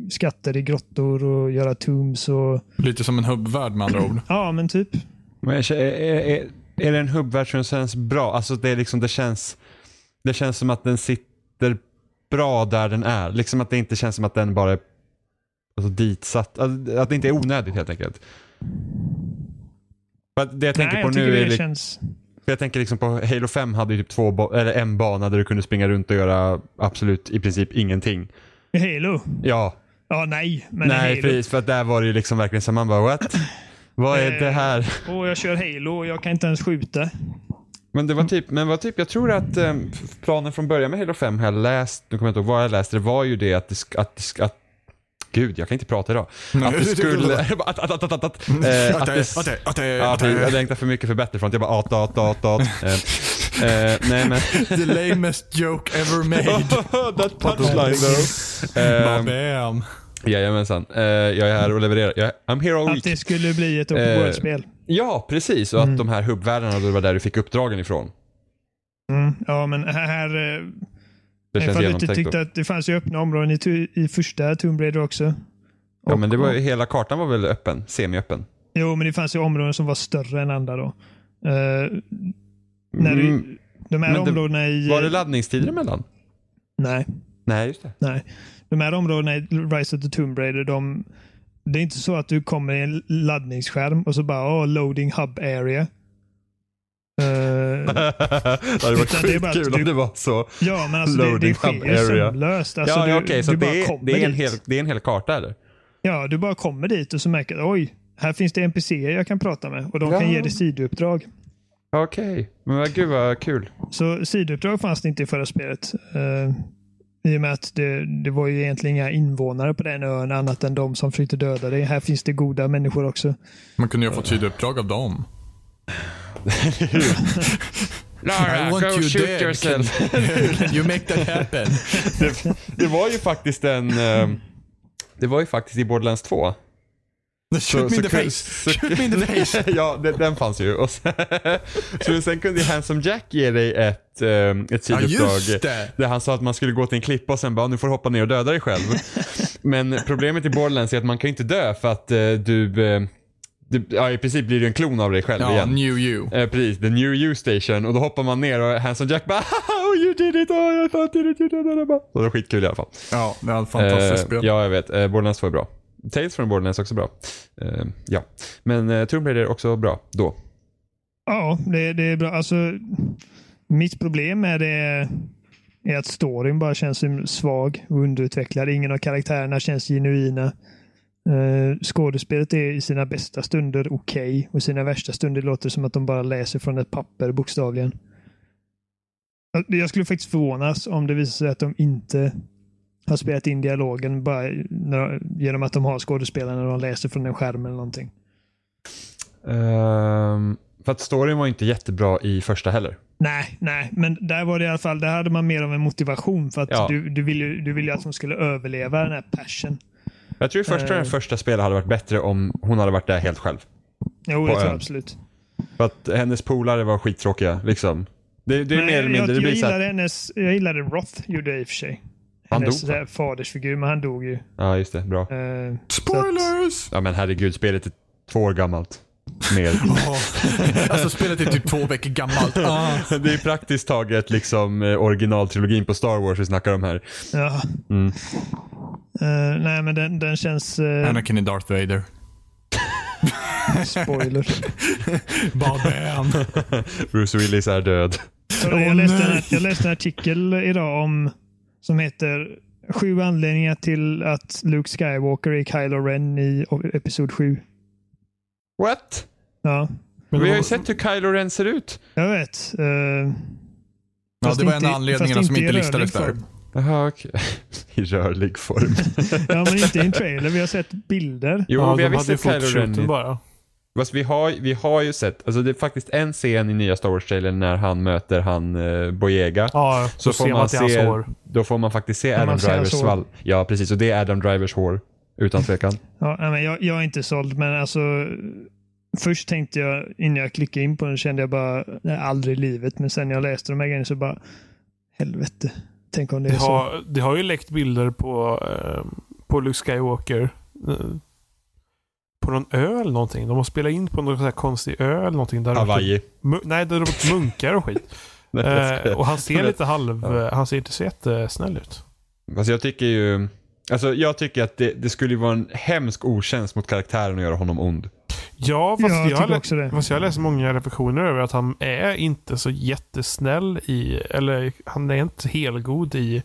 [SPEAKER 5] skatter i grottor och göra tombs och
[SPEAKER 4] Lite som en hubbvärld med andra ord.
[SPEAKER 5] ja, men typ.
[SPEAKER 2] Men jag känner- är, är, är, är det en hubbvärld som känns bra? Alltså det, är liksom, det, känns, det känns som att den sitter bra där den är. Liksom att det inte känns som att den bara är alltså, ditsatt. Att, att det inte är onödigt helt enkelt. För att det jag tänker
[SPEAKER 5] Nej,
[SPEAKER 2] på
[SPEAKER 5] jag
[SPEAKER 2] nu
[SPEAKER 5] tycker
[SPEAKER 2] är
[SPEAKER 5] det
[SPEAKER 2] li-
[SPEAKER 5] känns...
[SPEAKER 2] För jag tänker liksom på Halo 5 hade ju typ två ba- eller en bana där du kunde springa runt och göra absolut i princip ingenting.
[SPEAKER 5] Halo?
[SPEAKER 2] Ja,
[SPEAKER 5] Ja, nej. Men
[SPEAKER 2] nej
[SPEAKER 5] Halo.
[SPEAKER 2] precis för att där var det ju liksom verkligen så man bara what? Vad är
[SPEAKER 5] Eh.
[SPEAKER 2] det här?
[SPEAKER 5] Och jag kör Halo och jag kan inte ens skjuta.
[SPEAKER 2] Men det var
[SPEAKER 5] Mm.
[SPEAKER 2] typ, men var typ jag tror att eh, planen från början med Halo 5 har jag läst, nu kommer jag inte ihåg vad jag läste, det var ju det att det sk- att, det sk- att Gud, jag kan inte prata idag. Att det skulle... Att, att, att, att, att, att,
[SPEAKER 5] Mm.
[SPEAKER 2] eh, att, det,
[SPEAKER 4] Att det- att det-
[SPEAKER 2] Ja,
[SPEAKER 4] att det-
[SPEAKER 2] jag längtar för mycket för Battlefront. Jag bara at, at, at, at. Eh, eh, nej men...
[SPEAKER 4] The lamest joke ever made.
[SPEAKER 2] That punchline though. Ehm,
[SPEAKER 4] Bam.
[SPEAKER 2] Jajamensan. Eh, jag är här och levererar. Jag, I'm here all
[SPEAKER 5] Att det
[SPEAKER 2] week.
[SPEAKER 5] skulle bli ett
[SPEAKER 2] Eh,
[SPEAKER 5] open world-spel.
[SPEAKER 2] Ja, precis. Och att de här hubbvärldarna, det var där du fick uppdragen ifrån.
[SPEAKER 5] Mm, ja, men här... här eh,
[SPEAKER 2] Det känns
[SPEAKER 5] ifall du inte
[SPEAKER 2] genomtänkt.
[SPEAKER 5] tyckte
[SPEAKER 2] då.
[SPEAKER 5] att det fanns ju öppna områden i, tu- i första Tomb Raider också.
[SPEAKER 2] Ja, men det var,
[SPEAKER 5] och-
[SPEAKER 2] ju- hela kartan var väl öppen? Semiöppen?
[SPEAKER 5] Jo, men det fanns ju områden som var större än andra då. Eh, när
[SPEAKER 2] Mm,
[SPEAKER 5] du, de här
[SPEAKER 2] men det-
[SPEAKER 5] områdena i...
[SPEAKER 2] Var det laddningstider emellan?
[SPEAKER 5] nej,
[SPEAKER 2] Nej, just det.
[SPEAKER 5] nej. De här områdena i Rise of the Tomb Raider, de, det är inte så att du kommer i en laddningsskärm och så bara oh, loading hub area. Eh,
[SPEAKER 2] det hade varit
[SPEAKER 5] Utan det är bara
[SPEAKER 2] sjukt
[SPEAKER 5] att
[SPEAKER 2] kul om
[SPEAKER 5] du-
[SPEAKER 2] det var så.
[SPEAKER 5] ja, men alltså det,
[SPEAKER 2] Loading
[SPEAKER 5] det
[SPEAKER 2] hub
[SPEAKER 5] sker ju
[SPEAKER 2] area.
[SPEAKER 5] sömlöst. Alltså,
[SPEAKER 2] ja,
[SPEAKER 5] du,
[SPEAKER 2] ja, okej. Så
[SPEAKER 5] du bara
[SPEAKER 2] det är,
[SPEAKER 5] kommer
[SPEAKER 2] det, är en
[SPEAKER 5] dit.
[SPEAKER 2] hel, det är en hel karta eller?
[SPEAKER 5] Ja, du bara kommer dit och så märker du oj, här finns det NPCer jag kan prata med och de
[SPEAKER 2] Ja.
[SPEAKER 5] kan ge dig sidouppdrag.
[SPEAKER 2] Okej. Men vad- gud vad kul.
[SPEAKER 5] Så sidouppdrag fanns det inte i förra spelet. Eh, I och med att det, det var ju egentligen inga invånare på den ön annat än de som försökte döda dig. Här finns det goda människor också.
[SPEAKER 4] Man kunde ju ha fått sidouppdrag av dem.
[SPEAKER 2] Lara,
[SPEAKER 4] Can, can you make that happen?
[SPEAKER 2] det, det var ju faktiskt en... eh, Det var ju faktiskt i Borderlands 2.
[SPEAKER 4] Shoot me in the
[SPEAKER 2] kun-
[SPEAKER 4] face. Shoot me in the face.
[SPEAKER 2] ja, det, den fanns ju. Och sen, så sen kunde ju Handsome Jack ge dig ett, ehm, ett
[SPEAKER 4] Ja,
[SPEAKER 2] sidouppdrag.
[SPEAKER 4] just det.
[SPEAKER 2] Där han sa att man skulle gå till en klippa och sen bara, nu får du hoppa ner och döda dig själv. Men problemet i Borderlands är att man kan ju inte dö för att eh, du, eh, du, ja i princip blir du en klon av dig själv
[SPEAKER 4] Ja,
[SPEAKER 2] igen.
[SPEAKER 4] new you.
[SPEAKER 2] Eh, precis, the new you station. Och då hoppar man ner och Handsome Jack bara oh you did it, oh I thought you did it. bla, bla, bla." Så det var skitkul i alla fall.
[SPEAKER 4] Ja, det är ett fantastiskt
[SPEAKER 2] Eh,
[SPEAKER 4] spel.
[SPEAKER 2] Ja, jag vet. Eh, Borderlands 2 är bra. Tales from Borderlands är också bra. Eh, ja. Men eh, Tomb Raider är också bra då.
[SPEAKER 5] Ja, det, det är bra. Alltså, Mitt problem med det är att storyn bara känns som svag och underutvecklad. Ingen av karaktärerna känns genuina. Eh, Skådespelet är i sina bästa stunder okej och i sina värsta stunder låter det som att de bara läser från ett papper bokstavligen. Jag- Jag skulle faktiskt förvånas om det visar sig att de inte har spelat in dialogen bara när, genom att de har skådespelarna och de läser från en skärm eller någonting.
[SPEAKER 2] Ehm, för att storyn var inte jättebra i första heller.
[SPEAKER 5] Nej, nej, men där var det i alla fall, där hade man mer av en motivation för att
[SPEAKER 2] Ja.
[SPEAKER 5] du, du ville ju du vill ju att hon skulle överleva den här passion.
[SPEAKER 2] Jag tror i första,
[SPEAKER 5] Eh.
[SPEAKER 2] den första spelet hade varit bättre om hon hade varit där helt själv.
[SPEAKER 5] Jo, det tror jag
[SPEAKER 2] ön.
[SPEAKER 5] absolut.
[SPEAKER 2] För att hennes polare var skittråkiga liksom. Det, det är
[SPEAKER 5] Men
[SPEAKER 2] mer eller mindre,
[SPEAKER 5] jag,
[SPEAKER 2] det
[SPEAKER 5] jag,
[SPEAKER 2] blir så
[SPEAKER 5] gillade
[SPEAKER 2] här,
[SPEAKER 5] hennes, jag gillade Roth, gjorde jag i och för sig.
[SPEAKER 2] Han
[SPEAKER 5] Hennes
[SPEAKER 2] dog,
[SPEAKER 5] så här fadersfigur, men han dog ju.
[SPEAKER 2] Ja just det, bra.
[SPEAKER 5] Eh,
[SPEAKER 4] Spoilers!
[SPEAKER 2] Ja men herregud, spelet är två år gammalt. Mer.
[SPEAKER 4] Åh, alltså spelet är typ två veckor gammalt. Ah.
[SPEAKER 2] det är praktiskt taget liksom eh, originaltrilogin på Star Wars vi snackar om här.
[SPEAKER 5] ja.
[SPEAKER 2] Mm.
[SPEAKER 5] Eh, nej, men den, den känns... eh,
[SPEAKER 4] Anakin är Darth Vader.
[SPEAKER 5] spoiler.
[SPEAKER 4] Babben.
[SPEAKER 2] Bruce Willis är död.
[SPEAKER 5] Så
[SPEAKER 4] Åh,
[SPEAKER 5] jag, läste en,
[SPEAKER 4] nej.
[SPEAKER 5] jag läste en artikel idag om som heter Sju anledningar till att Luke Skywalker är Kylo Ren i Episod 7.
[SPEAKER 2] What?
[SPEAKER 5] Ja,
[SPEAKER 3] Men det
[SPEAKER 2] Vi har
[SPEAKER 3] var-
[SPEAKER 2] ju sett hur Kylo Ren ser ut.
[SPEAKER 5] jag vet. Eh,
[SPEAKER 4] Ja,
[SPEAKER 5] fast
[SPEAKER 4] det var en
[SPEAKER 5] inte- liksom.
[SPEAKER 4] av anledningarna
[SPEAKER 5] fast
[SPEAKER 4] som inte
[SPEAKER 5] i
[SPEAKER 4] listades
[SPEAKER 5] rörlig
[SPEAKER 4] där.
[SPEAKER 5] form.
[SPEAKER 2] Jaha, okej. I rörlig form.
[SPEAKER 5] Ja, men inte i en trailer. Vi har sett bilder.
[SPEAKER 2] Jo,
[SPEAKER 3] ja,
[SPEAKER 2] vi har
[SPEAKER 3] de
[SPEAKER 2] visst
[SPEAKER 3] hade ju
[SPEAKER 2] sett Kylo Ren.
[SPEAKER 3] fotoshooten
[SPEAKER 2] i-
[SPEAKER 3] bara.
[SPEAKER 2] Fast vi har, vi har ju sett, alltså det är faktiskt en scen i nya Star Wars-trailern när han möter han eh, Boyega.
[SPEAKER 3] Ja,
[SPEAKER 2] Så
[SPEAKER 3] så
[SPEAKER 2] får
[SPEAKER 3] ser
[SPEAKER 2] man
[SPEAKER 3] man att det är hans
[SPEAKER 2] se-
[SPEAKER 3] hår.
[SPEAKER 2] Då får man faktiskt se
[SPEAKER 5] Kan man
[SPEAKER 2] Adam
[SPEAKER 5] se hans
[SPEAKER 2] Drivers
[SPEAKER 5] hår?
[SPEAKER 2] svall. Ja, precis. Och det är Adam Drivers hår. Utan tvekan.
[SPEAKER 5] Ja, nej, men jag, jag är inte såld, men alltså. Först tänkte jag, innan jag klickade in på den, kände jag bara, nej, aldrig i livet. Men sen när jag läste de här grejerna så bara, helvete. Tänk om det är
[SPEAKER 3] Det
[SPEAKER 5] så.
[SPEAKER 3] har, det har ju läckt bilder på, eh, på Luke Skywalker. eh, På någon ö eller någonting. De har spelat in på någon sån här konstig ö eller någonting. Där det har varit
[SPEAKER 2] Hawaii.
[SPEAKER 3] mu- nej, där det har varit munkar och skit.
[SPEAKER 2] Nej, jag
[SPEAKER 3] Eh,
[SPEAKER 2] skojar.
[SPEAKER 3] och han ser lite halv...
[SPEAKER 2] Ja.
[SPEAKER 3] Han ser inte så jättesnäll ut.
[SPEAKER 2] Fast jag tycker ju... Alltså jag tycker att det, det skulle ju vara en hemsk otjänst mot karaktären att göra honom ond.
[SPEAKER 3] Ja, fast
[SPEAKER 5] jag
[SPEAKER 3] jag, har
[SPEAKER 5] tycker
[SPEAKER 3] lä-
[SPEAKER 5] också det.
[SPEAKER 3] fast jag har läst många reflektioner över att han är inte så jättesnäll i... Eller han är inte helgod i,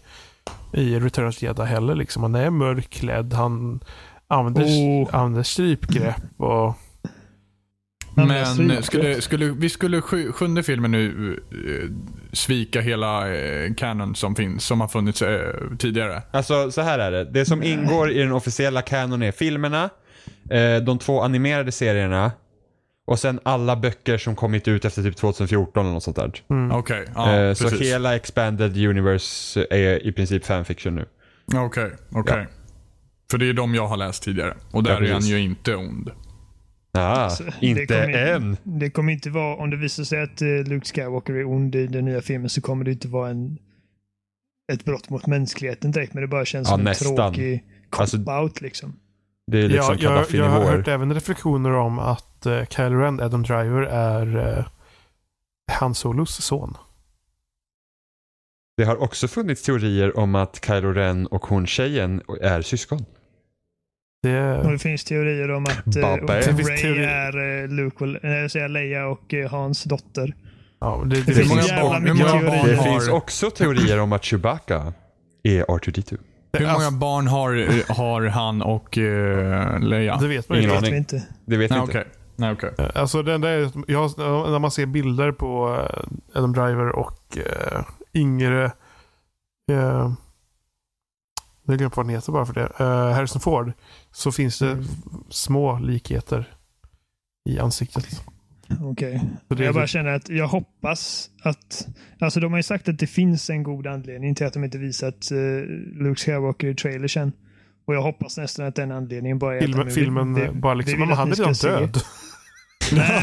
[SPEAKER 3] i Return of the Jedi heller. Liksom. Han är mörkklädd. Han använder,
[SPEAKER 5] Oh.
[SPEAKER 3] använder strypgrepp och...
[SPEAKER 5] Han är strypt.
[SPEAKER 4] Men eh, skulle, skulle, vi skulle sju, sjunde filmen nu eh, svika hela eh, canon som finns, som har funnits eh, tidigare.
[SPEAKER 2] Alltså så här är det. Det som ingår i den officiella canon är filmerna, eh, de två animerade serierna och sen alla böcker som kommit ut efter typ 2014 eller något sånt där.
[SPEAKER 3] Mm.
[SPEAKER 5] Mm.
[SPEAKER 4] Okej, ja,
[SPEAKER 2] eh, så
[SPEAKER 4] precis.
[SPEAKER 2] hela expanded universe är i princip fanfiction nu.
[SPEAKER 4] Okej, okej. För det är de jag har läst tidigare. Och där är han
[SPEAKER 2] precis.
[SPEAKER 4] ju inte ond.
[SPEAKER 2] Ah,
[SPEAKER 5] Alltså, det
[SPEAKER 2] inte
[SPEAKER 5] kommer ju-
[SPEAKER 2] än.
[SPEAKER 5] Det kommer inte vara, om det visar sig att eh, Luke Skywalker är ond i den nya filmen så kommer det inte vara en, ett brott mot mänskligheten direkt. Men det bara känns
[SPEAKER 2] Ja,
[SPEAKER 5] som en
[SPEAKER 2] nästan.
[SPEAKER 5] tråkig
[SPEAKER 2] Alltså-
[SPEAKER 5] cop-out liksom.
[SPEAKER 2] Det är liksom
[SPEAKER 3] ja, jag, jag har
[SPEAKER 2] Gaddafi-nivåer.
[SPEAKER 3] hört även reflektioner om att uh, Kylo Ren, Adam Driver, är uh, Han Solos son.
[SPEAKER 2] Det har också funnits teorier om att Kylo Ren och hon tjejen är syskon.
[SPEAKER 3] Det,
[SPEAKER 5] Och det finns teorier om att eh,
[SPEAKER 2] Babbe.
[SPEAKER 5] att
[SPEAKER 3] Det finns
[SPEAKER 5] Rey
[SPEAKER 3] teori-
[SPEAKER 5] är eh, Luke och, nej, jag säger Leia och eh, Hans dotter.
[SPEAKER 3] ja, det, det,
[SPEAKER 5] Det
[SPEAKER 4] Hur
[SPEAKER 5] finns
[SPEAKER 4] många
[SPEAKER 5] jävla
[SPEAKER 4] barn, hur
[SPEAKER 5] mycket
[SPEAKER 4] många
[SPEAKER 5] teorier.
[SPEAKER 4] barn
[SPEAKER 2] Det
[SPEAKER 4] har,
[SPEAKER 2] finns också teorier om att Chewbacca är R2D2.
[SPEAKER 4] hur många
[SPEAKER 3] Alltså,
[SPEAKER 4] barn har, har han och eh, Leia?
[SPEAKER 3] det vet man
[SPEAKER 2] Ingen
[SPEAKER 3] inte.
[SPEAKER 5] Det vet
[SPEAKER 2] aning.
[SPEAKER 5] vi inte.
[SPEAKER 2] Det vet vi
[SPEAKER 4] Nej,
[SPEAKER 2] inte.
[SPEAKER 4] okej. Nej, okej.
[SPEAKER 3] Alltså, den där, jag, eh, när man ser bilder på eh, Adam Driver och uh, yngre... Uh, jag glömde vad han heter bara för det. Eh, Harrison Ford. Så finns det
[SPEAKER 5] Mm.
[SPEAKER 3] små likheter i ansiktet.
[SPEAKER 5] Okej.
[SPEAKER 3] Så det, typ
[SPEAKER 5] Jag bara känner att jag hoppas att... Alltså de har ju sagt att det finns en god anledning till att de inte visat eh, Luke Skywalker i trailersen. Och jag hoppas nästan att den anledningen bara är att de
[SPEAKER 3] filmen,
[SPEAKER 5] vill-
[SPEAKER 3] filmen
[SPEAKER 5] vi-
[SPEAKER 3] eh, bara
[SPEAKER 5] vi
[SPEAKER 3] liksom,
[SPEAKER 5] vill
[SPEAKER 3] men
[SPEAKER 5] att
[SPEAKER 3] han
[SPEAKER 5] ni
[SPEAKER 3] är
[SPEAKER 5] ska
[SPEAKER 3] redan
[SPEAKER 5] se-
[SPEAKER 3] död.
[SPEAKER 5] Nej,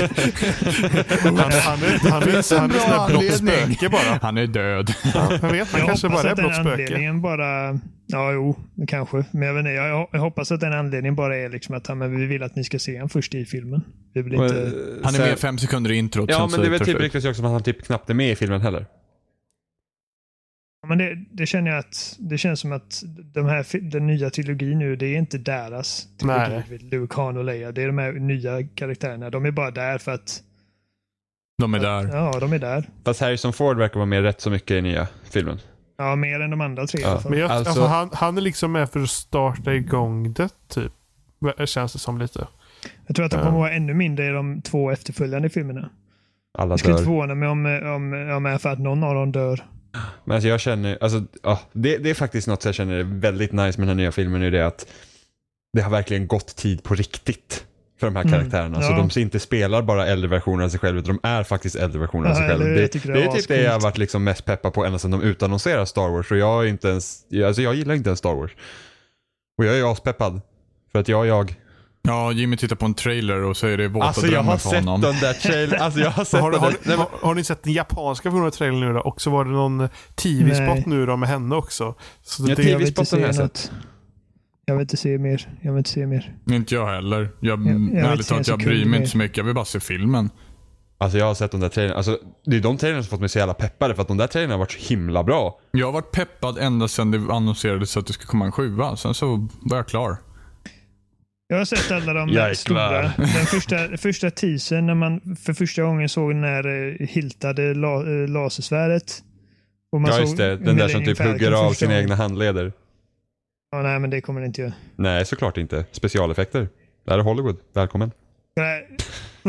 [SPEAKER 3] Han, han, är- han, är-
[SPEAKER 4] en
[SPEAKER 3] han är han är
[SPEAKER 4] bra
[SPEAKER 3] sån här blått
[SPEAKER 4] anledning.
[SPEAKER 3] spöke bara.
[SPEAKER 4] Han är död.
[SPEAKER 3] Jag vet, han
[SPEAKER 5] jag
[SPEAKER 3] kanske bara
[SPEAKER 5] hoppas
[SPEAKER 3] är
[SPEAKER 5] att den
[SPEAKER 3] blått spöke.
[SPEAKER 5] anledningen bara... Ja, jo, kanske. Men jag, vet inte, jag, jag hoppas att den anledningen bara är liksom att ja, men vi vill att ni ska se honom först i filmen. Vi vill inte...
[SPEAKER 2] Men,
[SPEAKER 4] Han är
[SPEAKER 2] sen-
[SPEAKER 4] med fem sekunder i introt.
[SPEAKER 2] Ja,
[SPEAKER 4] sen
[SPEAKER 2] men
[SPEAKER 4] så
[SPEAKER 2] det är väl
[SPEAKER 4] tar
[SPEAKER 2] typ
[SPEAKER 4] slut.
[SPEAKER 2] ryktas ju också om att han typ knappt är med i filmen heller.
[SPEAKER 5] Ja, Men det, det känner jag att det känns som att de här, fi- den nya trilogin nu, det är inte deras trilogi.
[SPEAKER 3] Nej.
[SPEAKER 5] med Luke, Han och Leia. Det är de här nya karaktärerna. De är bara där för att
[SPEAKER 4] De är där.
[SPEAKER 5] Ja, de är där.
[SPEAKER 2] Fast Harrison Ford verkar vara med rätt så mycket i nya filmen.
[SPEAKER 5] Ja, mer än de andra tre i
[SPEAKER 2] Ja.
[SPEAKER 5] alla fall.
[SPEAKER 3] Men jag, alltså,
[SPEAKER 2] Alltså-
[SPEAKER 3] han, han är liksom med för att starta igång det, typ. Känns det som lite.
[SPEAKER 5] Jag tror att de kommer vara ännu mindre i de två efterföljande filmerna.
[SPEAKER 2] Alla
[SPEAKER 5] Jag skulle inte
[SPEAKER 2] dör.
[SPEAKER 5] förvåna mig om, om, om jag är för att någon av dem dör.
[SPEAKER 2] Men alltså jag känner, alltså, ja, det, det är faktiskt något som jag känner är väldigt nice med den här nya filmen. Är det att det har verkligen gått tid på riktigt för de här
[SPEAKER 5] Mm,
[SPEAKER 2] karaktärerna. Så
[SPEAKER 5] ja.
[SPEAKER 2] de inte spelar bara äldre versioner av sig själva, utan de är faktiskt äldre versioner av
[SPEAKER 5] Ja,
[SPEAKER 2] sig själva.
[SPEAKER 5] eller hur?
[SPEAKER 2] Det,
[SPEAKER 5] Jag
[SPEAKER 2] det,
[SPEAKER 5] tycker
[SPEAKER 2] är
[SPEAKER 5] det var
[SPEAKER 2] typ det jag har
[SPEAKER 5] ascoolt.
[SPEAKER 2] varit liksom mest peppad på ända sedan de utannonserade Star Wars. Och jag, är inte ens, alltså jag gillar inte ens Star Wars. Och jag är ju aspeppad. För att jag är jag.
[SPEAKER 4] Ja, Jimmy tittar på en trailer och så är det våta
[SPEAKER 2] Alltså jag har
[SPEAKER 4] drömmar för
[SPEAKER 2] sett den
[SPEAKER 4] honom.
[SPEAKER 2] där trailern. Alltså jag har sett
[SPEAKER 3] Har,
[SPEAKER 2] den
[SPEAKER 3] har,
[SPEAKER 2] där. Nej,
[SPEAKER 3] har, har ni sett den japanska versionen av trailern nu då? Och så var det någon
[SPEAKER 5] Nej.
[SPEAKER 3] TV-spot nu då med henne också. Så
[SPEAKER 2] Ja,
[SPEAKER 3] det,
[SPEAKER 2] TV
[SPEAKER 5] Jag vill inte
[SPEAKER 2] TV-spotten har
[SPEAKER 5] se
[SPEAKER 2] jag
[SPEAKER 5] något. Jag vill inte se mer. Jag vill inte se mer.
[SPEAKER 4] Inte jag heller. Jag,
[SPEAKER 5] jag vet
[SPEAKER 4] ärligt
[SPEAKER 5] inte
[SPEAKER 4] talat,
[SPEAKER 5] en
[SPEAKER 4] jag bryr
[SPEAKER 5] sekund
[SPEAKER 4] mig
[SPEAKER 5] mer.
[SPEAKER 4] inte så mycket. Jag vill bara se filmen.
[SPEAKER 2] Alltså jag har sett de där trailerna. Alltså, det är de trailerna som fått mig så jävla peppade för att de där trailerna har varit så himla bra.
[SPEAKER 4] Jag har varit peppad ända sedan det annonserades att det skulle komma en sjua. Sen så var jag klar.
[SPEAKER 5] Jag har sett alla de
[SPEAKER 2] Jag är
[SPEAKER 5] stora.
[SPEAKER 2] klar.
[SPEAKER 5] Den första, första teasern när man för första gången såg den här eh, hiltade la, eh, lasersvärdet. Och man
[SPEAKER 2] Ja
[SPEAKER 5] såg
[SPEAKER 2] just det, den där som
[SPEAKER 5] Millennium
[SPEAKER 2] typ
[SPEAKER 5] Falcon
[SPEAKER 2] hugger av
[SPEAKER 5] första
[SPEAKER 2] sina
[SPEAKER 5] gången.
[SPEAKER 2] egna handleder.
[SPEAKER 5] Ja, nej, men det kommer det inte göra.
[SPEAKER 2] Nej, såklart inte. Specialeffekter. Där är Hollywood. Välkommen.
[SPEAKER 5] Nej,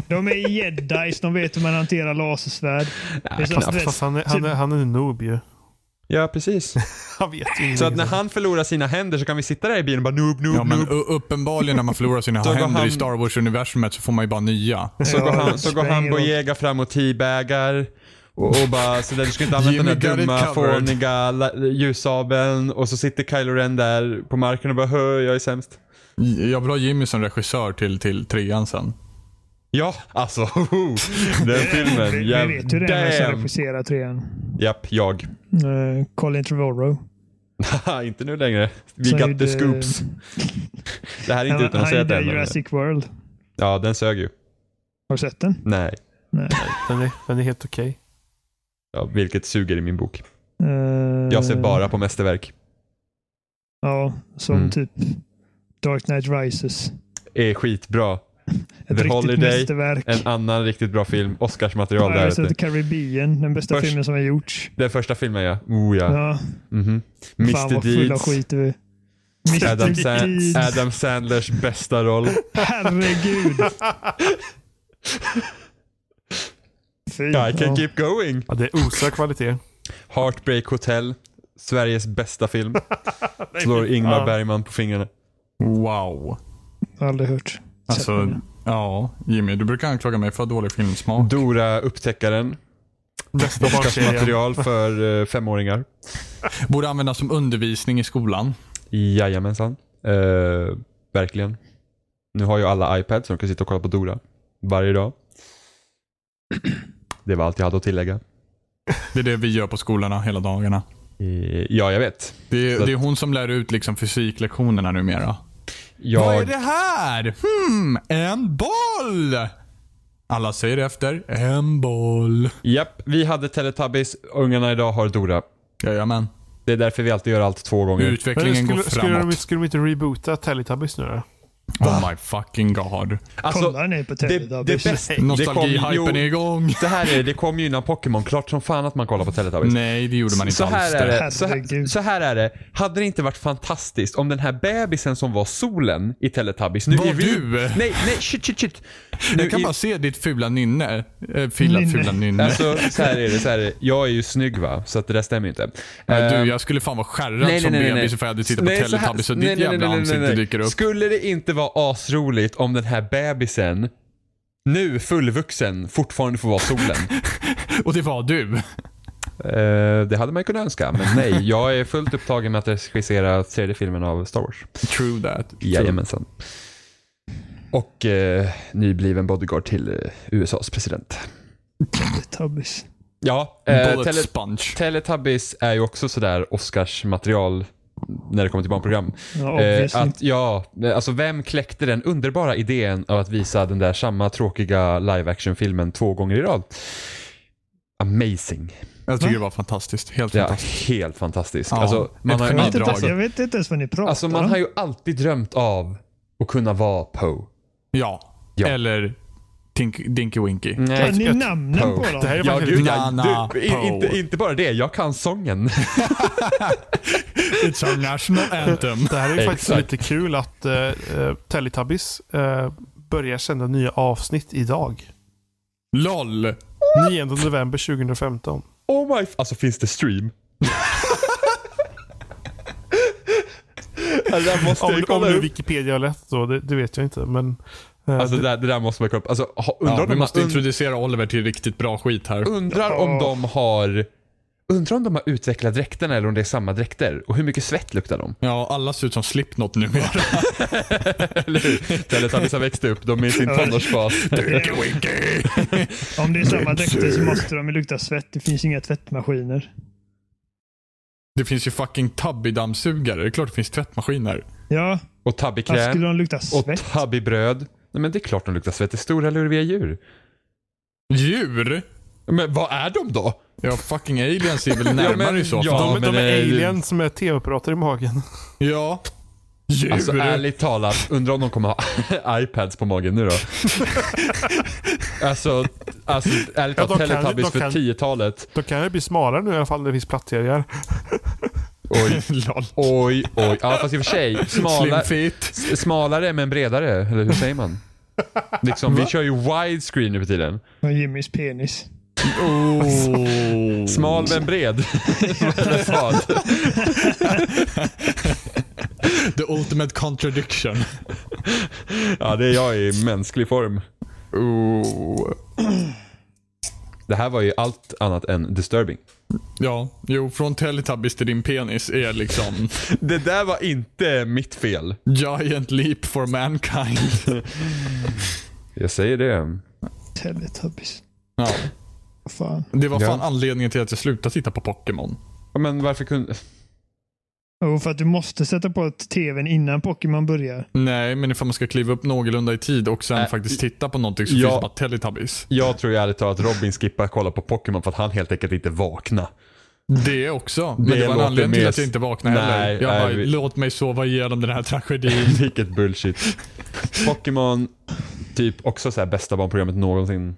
[SPEAKER 5] De är jedis, de vet hur man hanterar lasersvärd. Det är så- du vet,
[SPEAKER 3] Fast han är, han, är, han är en noob ju.
[SPEAKER 2] Ja, precis.
[SPEAKER 3] Han vet ju
[SPEAKER 2] Så att när
[SPEAKER 3] ingenting.
[SPEAKER 2] han förlorar sina händer så kan vi sitta där i bilen och bara noob, noob,
[SPEAKER 4] Ja, men
[SPEAKER 2] noob.
[SPEAKER 4] u- uppenbarligen när man förlorar sina
[SPEAKER 2] Så går
[SPEAKER 4] händer i
[SPEAKER 2] han-
[SPEAKER 4] Star Wars-universumet så får man ju bara nya.
[SPEAKER 2] Så går
[SPEAKER 5] Ja,
[SPEAKER 2] han,
[SPEAKER 5] det
[SPEAKER 2] så går
[SPEAKER 5] spelar
[SPEAKER 2] han
[SPEAKER 5] ingen roll.
[SPEAKER 2] Bojega fram och teabagar. Och, och bara sådär, du ska inte använda den
[SPEAKER 4] Jimmy
[SPEAKER 2] där
[SPEAKER 4] got it
[SPEAKER 2] dumma
[SPEAKER 4] covered.
[SPEAKER 2] fåniga la- ljussabeln. Och så sitter Kylo Ren där på marken och bara hö, jag är sämst.
[SPEAKER 4] Jag vill ha Jimmy som regissör till, till trean sen.
[SPEAKER 2] Ja, alltså. Den
[SPEAKER 5] vi,
[SPEAKER 2] filmen.
[SPEAKER 5] vi vet hur det är med som
[SPEAKER 2] Damn.
[SPEAKER 5] regisserar trean.
[SPEAKER 2] Japp, jag.
[SPEAKER 5] Eh, Colin Trevorrow.
[SPEAKER 2] Haha, inte nu längre. We
[SPEAKER 5] Som
[SPEAKER 2] got
[SPEAKER 5] gjorde-
[SPEAKER 2] the scoops. Det här är inte
[SPEAKER 5] Han- Han
[SPEAKER 2] utannonserat
[SPEAKER 5] gjorde
[SPEAKER 2] än. men-
[SPEAKER 5] Jurassic World.
[SPEAKER 2] Ja, den sög ju.
[SPEAKER 5] Har du sett den?
[SPEAKER 2] Nej.
[SPEAKER 5] Nej.
[SPEAKER 3] Den är, den är helt okej.
[SPEAKER 2] Ja, vilket suger i min bok.
[SPEAKER 5] Eh,
[SPEAKER 2] Jag ser bara på mästerverk.
[SPEAKER 5] Ja, som
[SPEAKER 2] Mm.
[SPEAKER 5] typ Dark Knight Rises.
[SPEAKER 2] Är skitbra.
[SPEAKER 5] Ett
[SPEAKER 2] The
[SPEAKER 5] riktigt
[SPEAKER 2] Holiday,
[SPEAKER 5] mästerverk.
[SPEAKER 2] En annan riktigt bra film. Oscarsmaterial där
[SPEAKER 5] Pirates of
[SPEAKER 2] ute.
[SPEAKER 5] the Caribbean, den bästa
[SPEAKER 2] Först-
[SPEAKER 5] filmen som har gjorts.
[SPEAKER 2] Den första filmen ja. Oh ja.
[SPEAKER 5] Ja,
[SPEAKER 2] Mhm.
[SPEAKER 5] fan
[SPEAKER 2] Mr
[SPEAKER 5] vad full av
[SPEAKER 2] Deeds.
[SPEAKER 5] skit du är.
[SPEAKER 2] Adam,
[SPEAKER 5] Mr
[SPEAKER 2] Sand-
[SPEAKER 5] Deeds.
[SPEAKER 2] Adam Sandlers bästa roll.
[SPEAKER 5] Herregud. Fy,
[SPEAKER 2] I
[SPEAKER 5] ja.
[SPEAKER 2] can keep going.
[SPEAKER 3] Ja, det är osökt kvalitet.
[SPEAKER 2] Heartbreak Hotel. Sveriges bästa film. Slår Ingmar Bergman på fingrarna.
[SPEAKER 4] Wow.
[SPEAKER 5] Jag har aldrig hört. Sett
[SPEAKER 4] Alltså,
[SPEAKER 5] den.
[SPEAKER 4] ja. Jimmy, du brukar anklaga mig för att ha dålig filmsmak.
[SPEAKER 2] Dora Upptäckaren.
[SPEAKER 3] Bästa barnserien.
[SPEAKER 2] Oscarsmaterial för eh, femåringar.
[SPEAKER 4] Borde användas som undervisning i skolan.
[SPEAKER 2] Jajamensan. Eh, verkligen. Nu har ju alla iPads så de kan sitta och kolla på Dora. Varje dag. Det var allt jag hade att tillägga.
[SPEAKER 4] Det är det vi gör på skolorna hela dagarna.
[SPEAKER 2] Eh, ja, jag vet.
[SPEAKER 4] Det
[SPEAKER 2] Så
[SPEAKER 4] är,
[SPEAKER 2] att-
[SPEAKER 4] det är hon som lär ut liksom fysiklektionerna numera. Vad är
[SPEAKER 2] Jag,
[SPEAKER 4] det här? Hmm, en boll! Alla säger efter. En boll.
[SPEAKER 2] japp, vi hade Teletubbies. Ungarna idag har Dora.
[SPEAKER 4] Jajamän.
[SPEAKER 2] Det är därför vi alltid gör allt två gånger.
[SPEAKER 4] Utvecklingen
[SPEAKER 3] Men
[SPEAKER 4] går
[SPEAKER 3] Skulle, skulle, de,
[SPEAKER 4] framåt.
[SPEAKER 3] skulle de inte reboota Teletubbies nu då?
[SPEAKER 4] Oh my fucking god.
[SPEAKER 5] Kollar ni på
[SPEAKER 2] Alltså, det,
[SPEAKER 5] Teletubbies?
[SPEAKER 2] det bästa... Det kom, jo,
[SPEAKER 4] Nostalgihypen är igång.
[SPEAKER 2] det här är det. kom ju innan Pokémon. Klart som fan att man kollar på Teletubbies.
[SPEAKER 4] Nej, det gjorde man inte
[SPEAKER 2] så
[SPEAKER 4] alls.
[SPEAKER 2] här,
[SPEAKER 4] det.
[SPEAKER 2] är det. Så, här,
[SPEAKER 5] Herregud.
[SPEAKER 2] så här är det. Hade det inte varit fantastiskt om den här bebisen som var solen i Teletubbies nu
[SPEAKER 4] Var
[SPEAKER 2] i re-
[SPEAKER 4] du?
[SPEAKER 2] Nej, nej, shit, shit, shit. Nu
[SPEAKER 4] Jag kan
[SPEAKER 2] i-
[SPEAKER 4] bara se ditt fula nynne. Eh, Fula,
[SPEAKER 5] Nynne.
[SPEAKER 4] fula nynne.
[SPEAKER 2] Alltså, så här är det. Så här är det. Jag är ju snygg va, så att det där stämmer ju inte.
[SPEAKER 4] Nej,
[SPEAKER 2] Eh,
[SPEAKER 4] du, jag skulle fan vara skärrad som bebis ifall jag hade tittat på
[SPEAKER 2] Nej, så här-
[SPEAKER 4] Teletubbies och
[SPEAKER 2] nej,
[SPEAKER 4] ditt
[SPEAKER 2] nej, nej,
[SPEAKER 4] jävla
[SPEAKER 2] nej, nej,
[SPEAKER 4] ansikte
[SPEAKER 2] nej.
[SPEAKER 4] dyker upp.
[SPEAKER 2] Skulle det inte vara asroligt om den här bebisen, nu fullvuxen, fortfarande får vara solen?
[SPEAKER 4] Och det var du.
[SPEAKER 2] Eh, det hade man ju kunnat önska, men nej. Jag är fullt upptagen med att regissera tredje filmen av Star Wars.
[SPEAKER 4] True that. True.
[SPEAKER 2] Jajamensan. Och eh, nybliven bodyguard till eh, USAs president.
[SPEAKER 5] Teletubbies.
[SPEAKER 2] Ja, eh,
[SPEAKER 4] Bullet
[SPEAKER 2] tele
[SPEAKER 4] sponge.
[SPEAKER 2] Teletubbies är ju också sådär Oscarsmaterial när det kommer till barnprogram.
[SPEAKER 5] Ja,
[SPEAKER 2] Eh,
[SPEAKER 5] obviously.
[SPEAKER 2] att, ja, eh, alltså vem kläckte den underbara idén av att visa den där samma tråkiga live action-filmen två gånger i rad? Amazing.
[SPEAKER 4] Jag tycker det var fantastiskt. Helt
[SPEAKER 2] Ja,
[SPEAKER 4] fantastiskt.
[SPEAKER 2] helt fantastisk.
[SPEAKER 4] Ja,
[SPEAKER 2] alltså, man
[SPEAKER 4] ett
[SPEAKER 2] har ju
[SPEAKER 5] jag, vet
[SPEAKER 2] alltid,
[SPEAKER 4] genidrag.
[SPEAKER 5] inte, ens-
[SPEAKER 2] alltså,
[SPEAKER 5] jag vet inte ens vad ni pratar
[SPEAKER 2] alltså, man
[SPEAKER 5] om.
[SPEAKER 2] har ju alltid drömt av att kunna vara Poe.
[SPEAKER 4] Ja.
[SPEAKER 2] Ja. Mm.
[SPEAKER 4] Eller Kink, Dinky Winky.
[SPEAKER 5] Kan ni
[SPEAKER 2] jag-
[SPEAKER 5] namnen på
[SPEAKER 2] Poe.
[SPEAKER 5] dem?
[SPEAKER 3] Det här är
[SPEAKER 2] Ja,
[SPEAKER 3] faktiskt
[SPEAKER 2] gud
[SPEAKER 3] lite-
[SPEAKER 2] ja.
[SPEAKER 4] Nana
[SPEAKER 2] Du, i-
[SPEAKER 4] Poe.
[SPEAKER 2] inte, inte bara det, jag kan sången.
[SPEAKER 4] It's our national anthem.
[SPEAKER 3] Det här är ju faktiskt
[SPEAKER 2] Exakt.
[SPEAKER 3] lite kul att eh, eh, Teletubbies eh, börjar sända nya avsnitt idag.
[SPEAKER 4] LOL.
[SPEAKER 3] 9 november 2015.
[SPEAKER 2] Oh my... f- Alltså finns det stream? alltså, det där måste jag
[SPEAKER 3] Om,
[SPEAKER 2] ju
[SPEAKER 3] om
[SPEAKER 2] kolla
[SPEAKER 3] nu
[SPEAKER 2] upp.
[SPEAKER 3] Wikipedia är lätt då, det, det vet jag inte. Men, eh,
[SPEAKER 2] Alltså det
[SPEAKER 3] det,
[SPEAKER 2] där, det där måste man kolla upp. Alltså, ha- undrar,
[SPEAKER 4] Ja,
[SPEAKER 2] om,
[SPEAKER 4] vi
[SPEAKER 2] de,
[SPEAKER 4] måste
[SPEAKER 2] und,
[SPEAKER 4] introducera Oliver till riktigt bra skit här.
[SPEAKER 2] undrar om de har... Undrar om de har utvecklat dräkterna eller om det är samma dräkter. Och hur mycket svett luktar de?
[SPEAKER 4] Ja, alla ser ut som Slipknot numera.
[SPEAKER 2] Eller hur? Teletubbies har växt upp, de är i sin tonårsfas.
[SPEAKER 4] Dinky Winky.
[SPEAKER 5] Om det är samma dräkter så måste de ju lukta svett. Det finns inga tvättmaskiner.
[SPEAKER 4] Det finns ju fucking Tubby-dammsugare. Det är klart det finns tvättmaskiner.
[SPEAKER 5] Ja,
[SPEAKER 2] Och
[SPEAKER 5] varför skulle
[SPEAKER 2] tabbikräm.
[SPEAKER 5] de lukta
[SPEAKER 2] Och
[SPEAKER 5] svett?
[SPEAKER 2] tabbibröd. Nej men det är klart de luktar svett. Det är stora luriga djur.
[SPEAKER 4] Djur?
[SPEAKER 2] Men vad är de då?
[SPEAKER 4] Ja, fucking aliens är väl
[SPEAKER 2] Ja,
[SPEAKER 4] närmare
[SPEAKER 2] men-
[SPEAKER 4] i så fall.
[SPEAKER 2] ja,
[SPEAKER 3] de,
[SPEAKER 2] men
[SPEAKER 3] de
[SPEAKER 2] det
[SPEAKER 3] är
[SPEAKER 2] är ju-
[SPEAKER 3] aliens som är tv-apparater i magen.
[SPEAKER 4] Ja. Djur.
[SPEAKER 2] Alltså ärligt talat, undrar om de kommer ha iPads på magen nu då? alltså, alltså ärligt
[SPEAKER 3] Ja,
[SPEAKER 2] talat,
[SPEAKER 3] de kan-
[SPEAKER 2] Teletubbies
[SPEAKER 3] de
[SPEAKER 2] för
[SPEAKER 3] kan-
[SPEAKER 2] 10-talet.
[SPEAKER 3] De kan ju bli smalare nu i alla fall när det finns plattjärgar.
[SPEAKER 2] Oj,
[SPEAKER 4] Lol.
[SPEAKER 2] oj, oj. Ja fast i och för sig,
[SPEAKER 4] Slim
[SPEAKER 2] smala,
[SPEAKER 4] fit.
[SPEAKER 2] s- smalare men bredare, eller hur säger man? Liksom, vi kör ju widescreen nu för tiden.
[SPEAKER 5] Och Jimmys penis.
[SPEAKER 4] Oh.
[SPEAKER 2] Smal men bred. Eller vad?
[SPEAKER 4] The ultimate contradiction.
[SPEAKER 2] ja, det är jag i mänsklig form.
[SPEAKER 4] Oh.
[SPEAKER 2] Det här var ju allt annat än disturbing.
[SPEAKER 4] Ja, jo, från Teletubbies till din penis är liksom
[SPEAKER 2] Det där var inte mitt fel.
[SPEAKER 4] giant leap for mankind.
[SPEAKER 2] Jag säger det.
[SPEAKER 5] Teletubbies.
[SPEAKER 4] Ja.
[SPEAKER 5] Vad Fan.
[SPEAKER 4] Det var
[SPEAKER 2] Ja.
[SPEAKER 4] fan anledningen till att jag slutade titta på Pokémon.
[SPEAKER 2] Ja, Men varför kunde...
[SPEAKER 5] Jo, för att du måste sätta på tvn innan Pokémon börjar.
[SPEAKER 4] Nej, men ifall man ska kliva upp någorlunda i tid och sen
[SPEAKER 2] Äh,
[SPEAKER 4] faktiskt titta på någonting så
[SPEAKER 2] ja.
[SPEAKER 4] finns det bara Teletubbies.
[SPEAKER 2] Jag tror ju ärligt talat att Robin skippar kolla på Pokémon för att han helt enkelt inte vakna.
[SPEAKER 4] Det också. Men det, var en
[SPEAKER 2] låter
[SPEAKER 4] anledning till
[SPEAKER 2] mer-
[SPEAKER 4] att jag inte vaknade
[SPEAKER 2] Nej,
[SPEAKER 4] heller. Jag
[SPEAKER 2] nej,
[SPEAKER 4] bara,
[SPEAKER 2] vi-
[SPEAKER 4] låt mig sova igenom den här tragedin.
[SPEAKER 2] Vilket bullshit. Pokémon, typ också så här bästa barnprogrammet någonsin.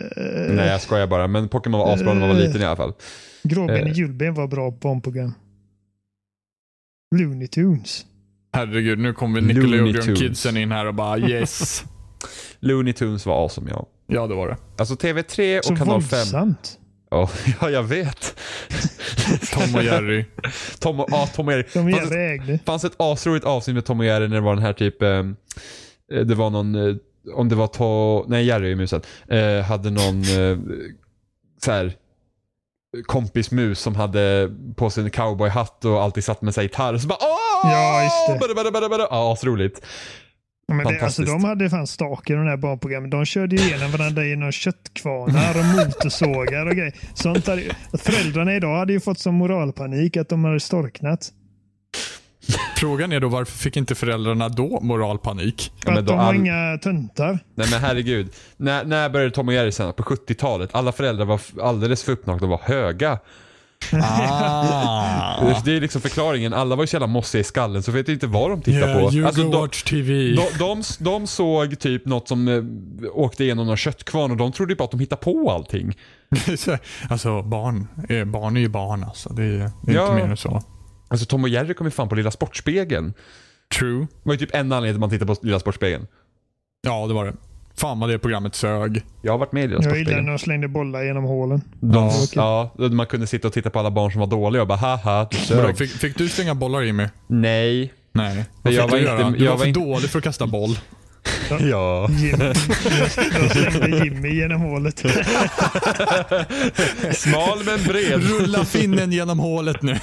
[SPEAKER 5] Uh,
[SPEAKER 2] Nej jag skojar bara, men Pokémon var asbra när man var liten i alla fall.
[SPEAKER 5] Gråben
[SPEAKER 2] eh.
[SPEAKER 5] och julben var bra barnprogram. Looney Tunes.
[SPEAKER 4] Herregud, nu kommer Nickelodeon
[SPEAKER 2] Looney Tunes.
[SPEAKER 4] kidsen in här och bara yes.
[SPEAKER 2] Looney Tunes var awesome ja.
[SPEAKER 4] ja, det var det.
[SPEAKER 2] Alltså TV3 och
[SPEAKER 5] Så
[SPEAKER 2] kanal 5.
[SPEAKER 5] våldsamt.
[SPEAKER 2] Ja, ja, jag vet.
[SPEAKER 4] Tom och Jerry.
[SPEAKER 2] Tom och, ah, Tom och Jerry.
[SPEAKER 5] De
[SPEAKER 2] Fanns,
[SPEAKER 5] jävla
[SPEAKER 2] ett-
[SPEAKER 5] ägde.
[SPEAKER 2] fanns ett asroligt avsnitt med Tom och Jerry när det var den här typ, eh, det var någon, eh, om det var to, nej Jerry är musen, eh, hade någon eh, så här kompismus som hade på sig en cowboyhatt och alltid satt med sig gitarr. Så bara åh!
[SPEAKER 5] Ja, just det.
[SPEAKER 2] Bada, bada, bada, bada. Ja, asroligt.
[SPEAKER 5] Ja, Men det, alltså,
[SPEAKER 2] Fantastiskt.
[SPEAKER 5] de hade fan stak i de här barnprogrammen. De körde ju igenom varandra genom köttkvarnar och motorsågar och grejer. Sånt hade, ju- föräldrarna idag hade ju fått som moralpanik att de hade storknat.
[SPEAKER 4] Frågan är då varför fick inte föräldrarna då moralpanik?
[SPEAKER 5] För
[SPEAKER 2] men
[SPEAKER 5] att
[SPEAKER 2] då
[SPEAKER 5] de var
[SPEAKER 2] all-
[SPEAKER 5] inga töntar.
[SPEAKER 2] Nej men herregud. När, när började Tom och Jerry sända? På 70-talet. Alla föräldrar var f- alldeles för uppnagda och var höga.
[SPEAKER 4] Ah.
[SPEAKER 2] Det är liksom förklaringen. Alla var ju så jävla mossiga i skallen så vet inte vad de tittar
[SPEAKER 4] Yeah,
[SPEAKER 2] på.
[SPEAKER 4] you
[SPEAKER 2] Alltså,
[SPEAKER 4] go
[SPEAKER 2] de,
[SPEAKER 4] watch TV.
[SPEAKER 2] de, de, de såg typ något som eh, åkte igenom någon köttkvarn och de trodde ju bara att de hittade på allting.
[SPEAKER 4] alltså barn, eh, barn är ju barn alltså. Det är, det är
[SPEAKER 2] Ja.
[SPEAKER 4] inte mer än så.
[SPEAKER 2] Alltså Tom och Jerry kom ju fan på Lilla Sportspegeln.
[SPEAKER 4] True.
[SPEAKER 2] Det var ju typ en anledning till att man tittar på Lilla Sportspegeln.
[SPEAKER 4] Ja, det var det. Fan vad det programmet sög.
[SPEAKER 2] Jag har varit med i Lilla
[SPEAKER 5] Jag gillade
[SPEAKER 2] Sportspegeln.
[SPEAKER 5] när de slängde bollar genom hålen.
[SPEAKER 2] De,
[SPEAKER 5] okej.
[SPEAKER 2] ja, man kunde sitta och titta på alla barn som var dåliga och bara haha, du
[SPEAKER 4] Bra,
[SPEAKER 2] sög.
[SPEAKER 4] fick, fick du slänga bollar Jimmy?
[SPEAKER 2] Nej.
[SPEAKER 4] Nej.
[SPEAKER 2] Men
[SPEAKER 4] Vad
[SPEAKER 2] jag
[SPEAKER 4] fick
[SPEAKER 2] var
[SPEAKER 4] du
[SPEAKER 2] inte-
[SPEAKER 4] göra? Du
[SPEAKER 2] jag
[SPEAKER 4] var
[SPEAKER 2] var
[SPEAKER 4] för
[SPEAKER 2] inte-
[SPEAKER 4] dålig för att kasta boll.
[SPEAKER 2] Ja.
[SPEAKER 5] Jimmy. De slängde Jimmy genom hålet.
[SPEAKER 2] Smal men bred.
[SPEAKER 4] Rulla finnen genom hålet nu.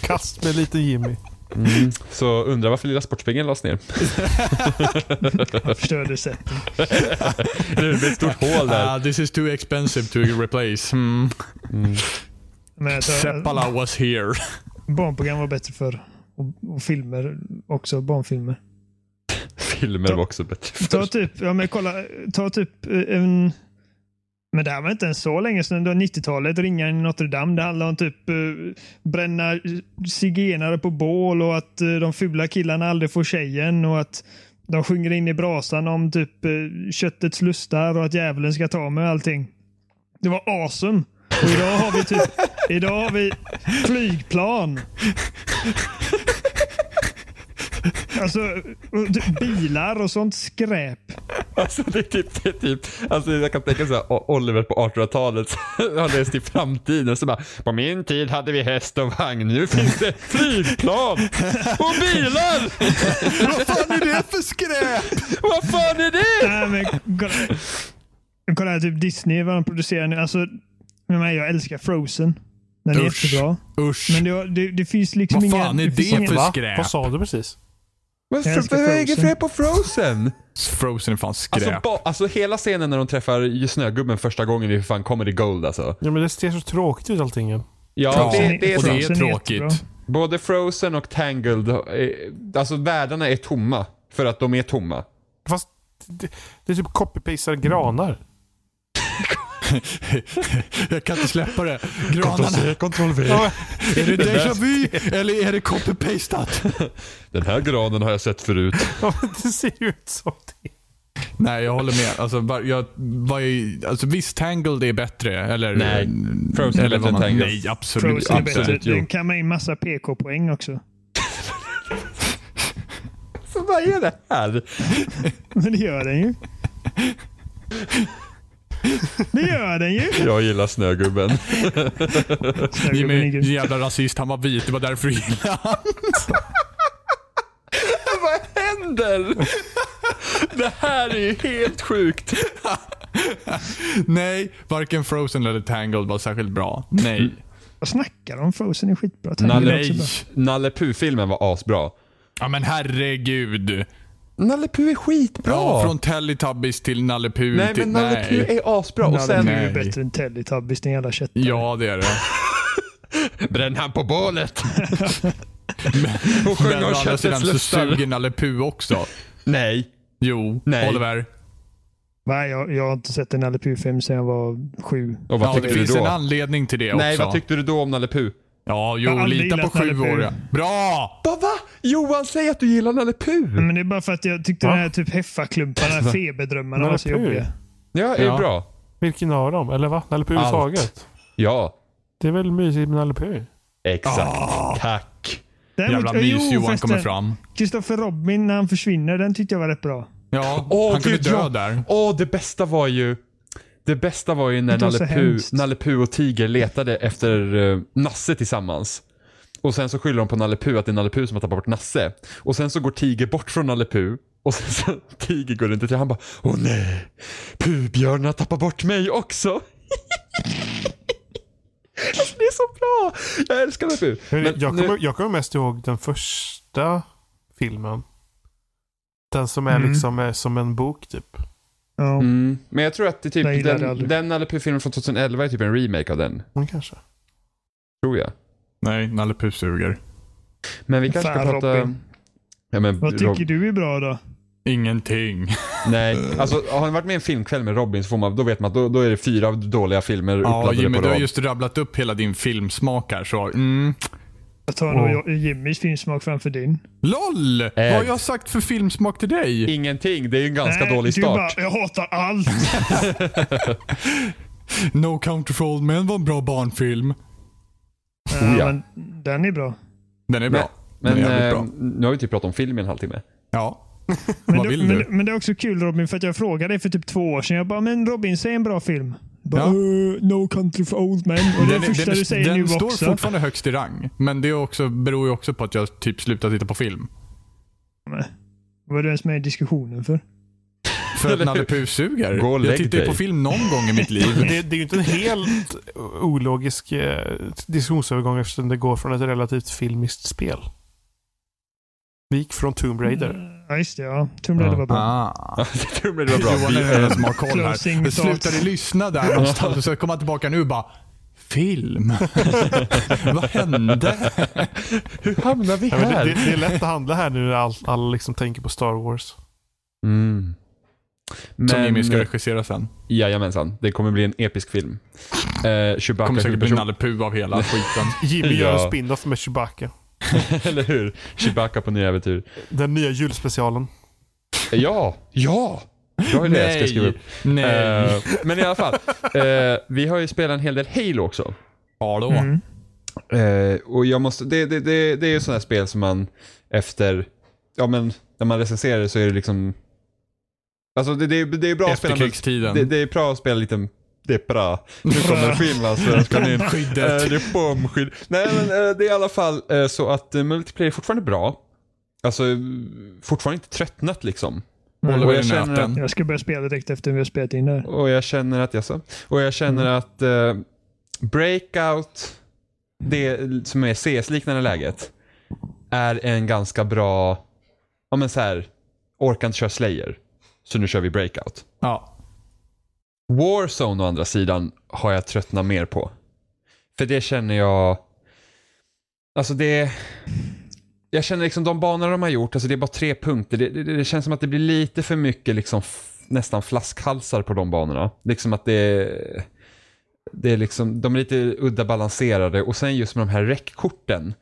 [SPEAKER 3] Kast med liten Jimmy.
[SPEAKER 2] Mm. Så undrar varför Lilla Sportspegeln lades ner.
[SPEAKER 5] Förstörde sättet.
[SPEAKER 2] Det blev ett stort hål där.
[SPEAKER 4] Ah, this is too expensive to replace. Hmm.
[SPEAKER 5] Men jag tror att
[SPEAKER 4] Seppala was here.
[SPEAKER 5] barnprogram var bättre förr. Och, och filmer också. Barnfilmer.
[SPEAKER 2] Filmer var också bättre
[SPEAKER 5] Ta
[SPEAKER 2] förr.
[SPEAKER 5] typ, ja men kolla, ta typ eh, en... Men det här var inte ens så länge sedan. Det var 90-talet, ringaren i Notre Dame. Det handlade om typ eh, bränna eh, zigenare på bål och att eh, de fula killarna aldrig får tjejen och att De sjunger in i brasan om typ eh, köttets lustar och att djävulen ska ta mig och allting. Det var awesome. Och idag har vi typ, idag har vi flygplan. Alltså, och typ bilar och sånt skräp.
[SPEAKER 2] Alltså det är typ, det är typ alltså jag kan tänka såhär O- Oliver på 1800-talet så har läst i framtiden så bara på min tid hade vi häst och vagn, nu finns det flygplan och bilar!
[SPEAKER 1] Vad fan är det för skräp?
[SPEAKER 2] Vad fan är det?
[SPEAKER 5] Nej, men kolla, kolla här, typ Disney, vad de producerar nu. Alltså, men jag älskar Frozen. Den är
[SPEAKER 4] Usch.
[SPEAKER 5] jättebra.
[SPEAKER 4] Usch.
[SPEAKER 5] Men det, det, det finns liksom
[SPEAKER 4] Vad
[SPEAKER 5] inga...
[SPEAKER 4] fan är
[SPEAKER 5] finns
[SPEAKER 4] det
[SPEAKER 5] inga-
[SPEAKER 4] för
[SPEAKER 3] Vad
[SPEAKER 4] skräp?
[SPEAKER 3] sa du precis?
[SPEAKER 2] Men
[SPEAKER 5] Jag älskar
[SPEAKER 2] för, vad är det
[SPEAKER 5] Frozen.
[SPEAKER 2] för på Frozen?
[SPEAKER 4] Frozen är fan skräp.
[SPEAKER 2] Alltså, ba, alltså hela scenen när de träffar ju snögubben första gången i fan Comedy Gold alltså.
[SPEAKER 3] Ja, men det ser så tråkigt ut allting. igen.
[SPEAKER 2] Ja,
[SPEAKER 4] Ja,
[SPEAKER 2] det, det är
[SPEAKER 4] och
[SPEAKER 2] sant.
[SPEAKER 4] det är
[SPEAKER 5] Frozen är jättebra.
[SPEAKER 4] tråkigt.
[SPEAKER 2] Både Frozen och Tangled, eh, alltså världarna är tomma för att de är tomma.
[SPEAKER 3] Fast det, det är typ copy-pastar
[SPEAKER 2] Mm.
[SPEAKER 3] granar.
[SPEAKER 4] Jag kan inte släppa det. Granarna.
[SPEAKER 2] Kontroll V.
[SPEAKER 4] Är det déjà vu eller är det copy-pastat?
[SPEAKER 2] Den här granen har jag sett förut.
[SPEAKER 3] Ja, men det ser ju ut som det.
[SPEAKER 4] Nej, jag håller med. Alltså, var, jag, var ju, alltså, visst, Tangled är bättre. Eller,
[SPEAKER 2] Nej, Frozen är
[SPEAKER 4] eller
[SPEAKER 2] bättre
[SPEAKER 4] vad
[SPEAKER 2] än
[SPEAKER 4] man-
[SPEAKER 2] Tangled.
[SPEAKER 4] Nej, absolut.
[SPEAKER 5] Frozen är bättre.
[SPEAKER 4] absolut.
[SPEAKER 5] Den kammar in massa PK-poäng också.
[SPEAKER 2] Så vad är det här?
[SPEAKER 5] Men det gör den ju. Det gör den ju.
[SPEAKER 2] Jag gillar snögubben.
[SPEAKER 4] Jimmy, jävla rasist. Han var vit. Det var därför du gillade han.
[SPEAKER 2] vad händer? Det här är ju helt sjukt.
[SPEAKER 4] Nej, varken Frozen eller Tangled var särskilt bra.
[SPEAKER 2] Mm.
[SPEAKER 4] Nej.
[SPEAKER 5] Vad snackar de om? Frozen är skitbra. Tangled är också
[SPEAKER 2] Nalle,
[SPEAKER 5] bra.
[SPEAKER 2] Nalle Puh-filmen var asbra.
[SPEAKER 4] Ja, men herregud.
[SPEAKER 2] Nalle Puh är skitbra.
[SPEAKER 4] Ja, från Teletubbies till Nalle Puh
[SPEAKER 2] Nej
[SPEAKER 4] till...
[SPEAKER 2] men Nalle Puh är asbra. Och sen...
[SPEAKER 5] Nalle Puh
[SPEAKER 4] Nej.
[SPEAKER 5] är bättre än Teletubbies, den jävla kätten.
[SPEAKER 4] Ja, det är det.
[SPEAKER 2] Bränn han på bålet. Och sjöng
[SPEAKER 4] Men å
[SPEAKER 2] om
[SPEAKER 4] andra sidan
[SPEAKER 2] köttets
[SPEAKER 4] så
[SPEAKER 2] lustar.
[SPEAKER 4] suger Nalle Puh också.
[SPEAKER 2] Nej.
[SPEAKER 4] Jo,
[SPEAKER 2] Nej.
[SPEAKER 4] Oliver.
[SPEAKER 5] Nej, jag, jag har inte sett en Nalle Puh-film sedan jag var sju.
[SPEAKER 2] Och vad
[SPEAKER 4] Ja, det
[SPEAKER 2] tyckte du
[SPEAKER 4] finns en
[SPEAKER 2] då?
[SPEAKER 4] anledning till det
[SPEAKER 2] Nej,
[SPEAKER 4] också.
[SPEAKER 2] vad tyckte du då om Nalle Puh?
[SPEAKER 4] ja,
[SPEAKER 5] Jag har
[SPEAKER 4] jo,
[SPEAKER 5] aldrig
[SPEAKER 4] lita på
[SPEAKER 5] gillat Nalle Puh.
[SPEAKER 4] sjuåriga. Bra!
[SPEAKER 2] Va, va? Johan, säg att du gillar Nalle Puh.
[SPEAKER 5] Men det är bara för att jag tyckte
[SPEAKER 3] Va?
[SPEAKER 5] den här typ heffaklumparna, feberdrömmarna
[SPEAKER 3] Nalle
[SPEAKER 5] var så
[SPEAKER 3] Puh?
[SPEAKER 5] jobbiga.
[SPEAKER 2] Ja, är
[SPEAKER 4] Ja.
[SPEAKER 2] bra.
[SPEAKER 3] Vilken av dem? Eller va? Nalle Puh
[SPEAKER 2] Allt.
[SPEAKER 3] överhuvudtaget?
[SPEAKER 2] Ja,
[SPEAKER 3] Det är väl mysigt med Nalle Puh?
[SPEAKER 2] exakt. Tack.
[SPEAKER 4] Jävla mys-Johan kommer fram.
[SPEAKER 5] Kristoffer Robin när han försvinner, den tyckte jag var rätt bra.
[SPEAKER 4] Ja,
[SPEAKER 2] Åh,
[SPEAKER 4] han kunde
[SPEAKER 2] gud,
[SPEAKER 4] dö
[SPEAKER 2] ja.
[SPEAKER 4] där.
[SPEAKER 2] Åh, det bästa var ju... Det bästa var ju när
[SPEAKER 5] Det var så
[SPEAKER 2] Nalle Puh,
[SPEAKER 5] hemskt.
[SPEAKER 2] Nalle Puh och Tiger letade efter eh, Nasse tillsammans. Och sen så skyller de på Nalle Puh att det är Nalle Puh som har tappat bort Nasse. Och sen så går Tiger bort från Nalle Puh. Och sen så Tiger går inte till han bara Åh nej, Puhbjörnen har tappat bort mig också. alltså, det är så bra. Jag älskar Nalle Puh.
[SPEAKER 3] Men
[SPEAKER 2] Men
[SPEAKER 3] jag,
[SPEAKER 2] nu-
[SPEAKER 3] kommer, jag kommer mest ihåg den första filmen. Den som är
[SPEAKER 5] Mm.
[SPEAKER 3] liksom eh, som en bok typ.
[SPEAKER 5] Ja.
[SPEAKER 2] Mm. Men jag tror att det är
[SPEAKER 5] Jag
[SPEAKER 2] typ
[SPEAKER 5] gillar det
[SPEAKER 2] den,
[SPEAKER 5] aldrig.
[SPEAKER 2] den Nalle Puh-filmen från 2011 är typ en remake av den.
[SPEAKER 3] Mm, kanske.
[SPEAKER 2] Tror jag.
[SPEAKER 4] Nej, Nalle Puh suger.
[SPEAKER 2] Men vi kanske
[SPEAKER 5] Fan,
[SPEAKER 2] ska prata...
[SPEAKER 5] Robin.
[SPEAKER 2] Ja, men,
[SPEAKER 5] Vad tycker
[SPEAKER 2] Rob...
[SPEAKER 5] du är bra då?
[SPEAKER 4] Ingenting.
[SPEAKER 2] Nej, alltså har man varit med i en filmkväll med Robin så får man, då vet man att då, då är det fyra dåliga filmer
[SPEAKER 4] Ja,
[SPEAKER 2] uppladdade
[SPEAKER 4] Jimmy,
[SPEAKER 2] på
[SPEAKER 4] du har
[SPEAKER 2] rad.
[SPEAKER 4] just rabblat upp hela din filmsmak här, så... Mm.
[SPEAKER 5] Jag tar nog jag- Jimmys filmsmak framför din.
[SPEAKER 4] LOL!
[SPEAKER 2] Eh.
[SPEAKER 4] Vad har jag sagt för filmsmak till dig?
[SPEAKER 2] Ingenting, det är ju en ganska
[SPEAKER 5] Nej,
[SPEAKER 2] dålig
[SPEAKER 5] du
[SPEAKER 2] start.
[SPEAKER 5] Bara, jag hatar allt.
[SPEAKER 4] No Country for Old Men var en bra barnfilm.
[SPEAKER 5] Oh, ja,
[SPEAKER 2] ja.
[SPEAKER 5] men den är bra.
[SPEAKER 4] Den är bra.
[SPEAKER 2] Men
[SPEAKER 4] den är jävligt
[SPEAKER 2] eh,
[SPEAKER 4] bra.
[SPEAKER 2] nu har vi typ pratat om film i en halvtimme.
[SPEAKER 4] Ja.
[SPEAKER 5] Men,
[SPEAKER 4] Vad
[SPEAKER 5] det,
[SPEAKER 4] vill
[SPEAKER 5] men,
[SPEAKER 4] du?
[SPEAKER 5] men det är också kul Robin, för att jag frågade dig för typ två år sedan. Jag bara, men Robin, säg en bra film. Bara,
[SPEAKER 4] Ja.
[SPEAKER 5] "Uh, no country for old men. Och det är det första du säger
[SPEAKER 4] den
[SPEAKER 5] nu
[SPEAKER 4] står
[SPEAKER 5] också.
[SPEAKER 4] fortfarande högst i rang. Men det är också, beror ju också på att jag typ slutar titta på film.
[SPEAKER 5] Vad är du ens med i diskussionen för?
[SPEAKER 4] För
[SPEAKER 2] Eller
[SPEAKER 4] att Nalle
[SPEAKER 2] hur?
[SPEAKER 4] Puh suger.
[SPEAKER 2] Gå och lägg
[SPEAKER 4] Jag tittar ju
[SPEAKER 2] dig.
[SPEAKER 4] på film någon gång i mitt
[SPEAKER 2] Mm.
[SPEAKER 3] Men
[SPEAKER 4] liv.
[SPEAKER 3] Det, det är ju inte en helt ologisk eh, diskussionsövergång eftersom det går från ett relativt filmiskt spel. Vi gick från Tomb
[SPEAKER 2] Mm.
[SPEAKER 3] Raider.
[SPEAKER 5] Ja, just det. Ja. Tomb Raider
[SPEAKER 2] Ja.
[SPEAKER 5] var bra.
[SPEAKER 4] Ah.
[SPEAKER 2] det tror jag det var bra.
[SPEAKER 4] Johan är
[SPEAKER 2] Vi-
[SPEAKER 4] den som har koll
[SPEAKER 5] Closing
[SPEAKER 4] här.
[SPEAKER 5] thoughts.
[SPEAKER 4] Slutade lyssna där någonstans och så kom han tillbaka nu och bara Film? Vad hände?
[SPEAKER 2] Hur hamnar vi
[SPEAKER 3] Ja, men det, det,
[SPEAKER 2] här?
[SPEAKER 3] det är lätt att handla här nu när all- alla liksom tänker på Star Wars.
[SPEAKER 2] Mm.
[SPEAKER 4] Som Jimmy
[SPEAKER 2] Men, eh,
[SPEAKER 4] ska regissera sen.
[SPEAKER 2] jajamensan, det kommer bli en episk film. Eh, Chewbacca
[SPEAKER 4] Kommer säkert bli
[SPEAKER 2] huvudperson-
[SPEAKER 4] Nalle Puh av hela skiten.
[SPEAKER 3] Jimmy gör
[SPEAKER 2] Ja.
[SPEAKER 3] en spin-off med Chewbacca.
[SPEAKER 2] Eller hur? Chewbacca på nya äventyr. Mm.
[SPEAKER 3] Den nya julspecialen.
[SPEAKER 2] Ja, ja! Jag har ju det jag ska skriva upp.
[SPEAKER 4] Nej.
[SPEAKER 2] Eh, men i alla fall. eh, vi har ju spelat en hel del Halo också.
[SPEAKER 4] ja då.
[SPEAKER 5] Mm.
[SPEAKER 2] Eh, och jag måste, det, det, det, det är ju sådana här spel som man efter, ja men när man recenserar det så är det liksom, alltså det, det, det är bra att spela, med,
[SPEAKER 4] Efterkrigstiden.
[SPEAKER 2] det, det är bra att spela lite, det är bra. Nu kommer finlandssvenskan in.
[SPEAKER 4] Skyddet.
[SPEAKER 2] Eh, det är bombskydd. Nej men eh, det är i alla fall eh, så att eh, multiplayer är fortfarande bra. Alltså eh, fortfarande inte tröttnat liksom.
[SPEAKER 4] Håller
[SPEAKER 2] Och
[SPEAKER 4] väl
[SPEAKER 2] jag
[SPEAKER 4] i
[SPEAKER 2] känner
[SPEAKER 4] näten.
[SPEAKER 5] Jag ska börja spela direkt efter vi har spelat in det här.
[SPEAKER 2] Och jag känner att, jaså? Och jag känner att eh, Breakout, det som är CS-liknande läget, är en ganska bra, ja men så här, orkar inte köra Slayer, så nu kör vi Breakout.
[SPEAKER 4] Ja.
[SPEAKER 2] Warzone å andra sidan har jag tröttnat mer på. För det känner jag, alltså det, jag känner liksom de banor de har gjort, alltså det är bara tre punkter. Det, det, det känns som att det blir lite för mycket liksom f- nästan flaskhalsar på de banorna. Liksom att det, det är liksom, de är lite udda balanserade och sen just med de här räckkorten.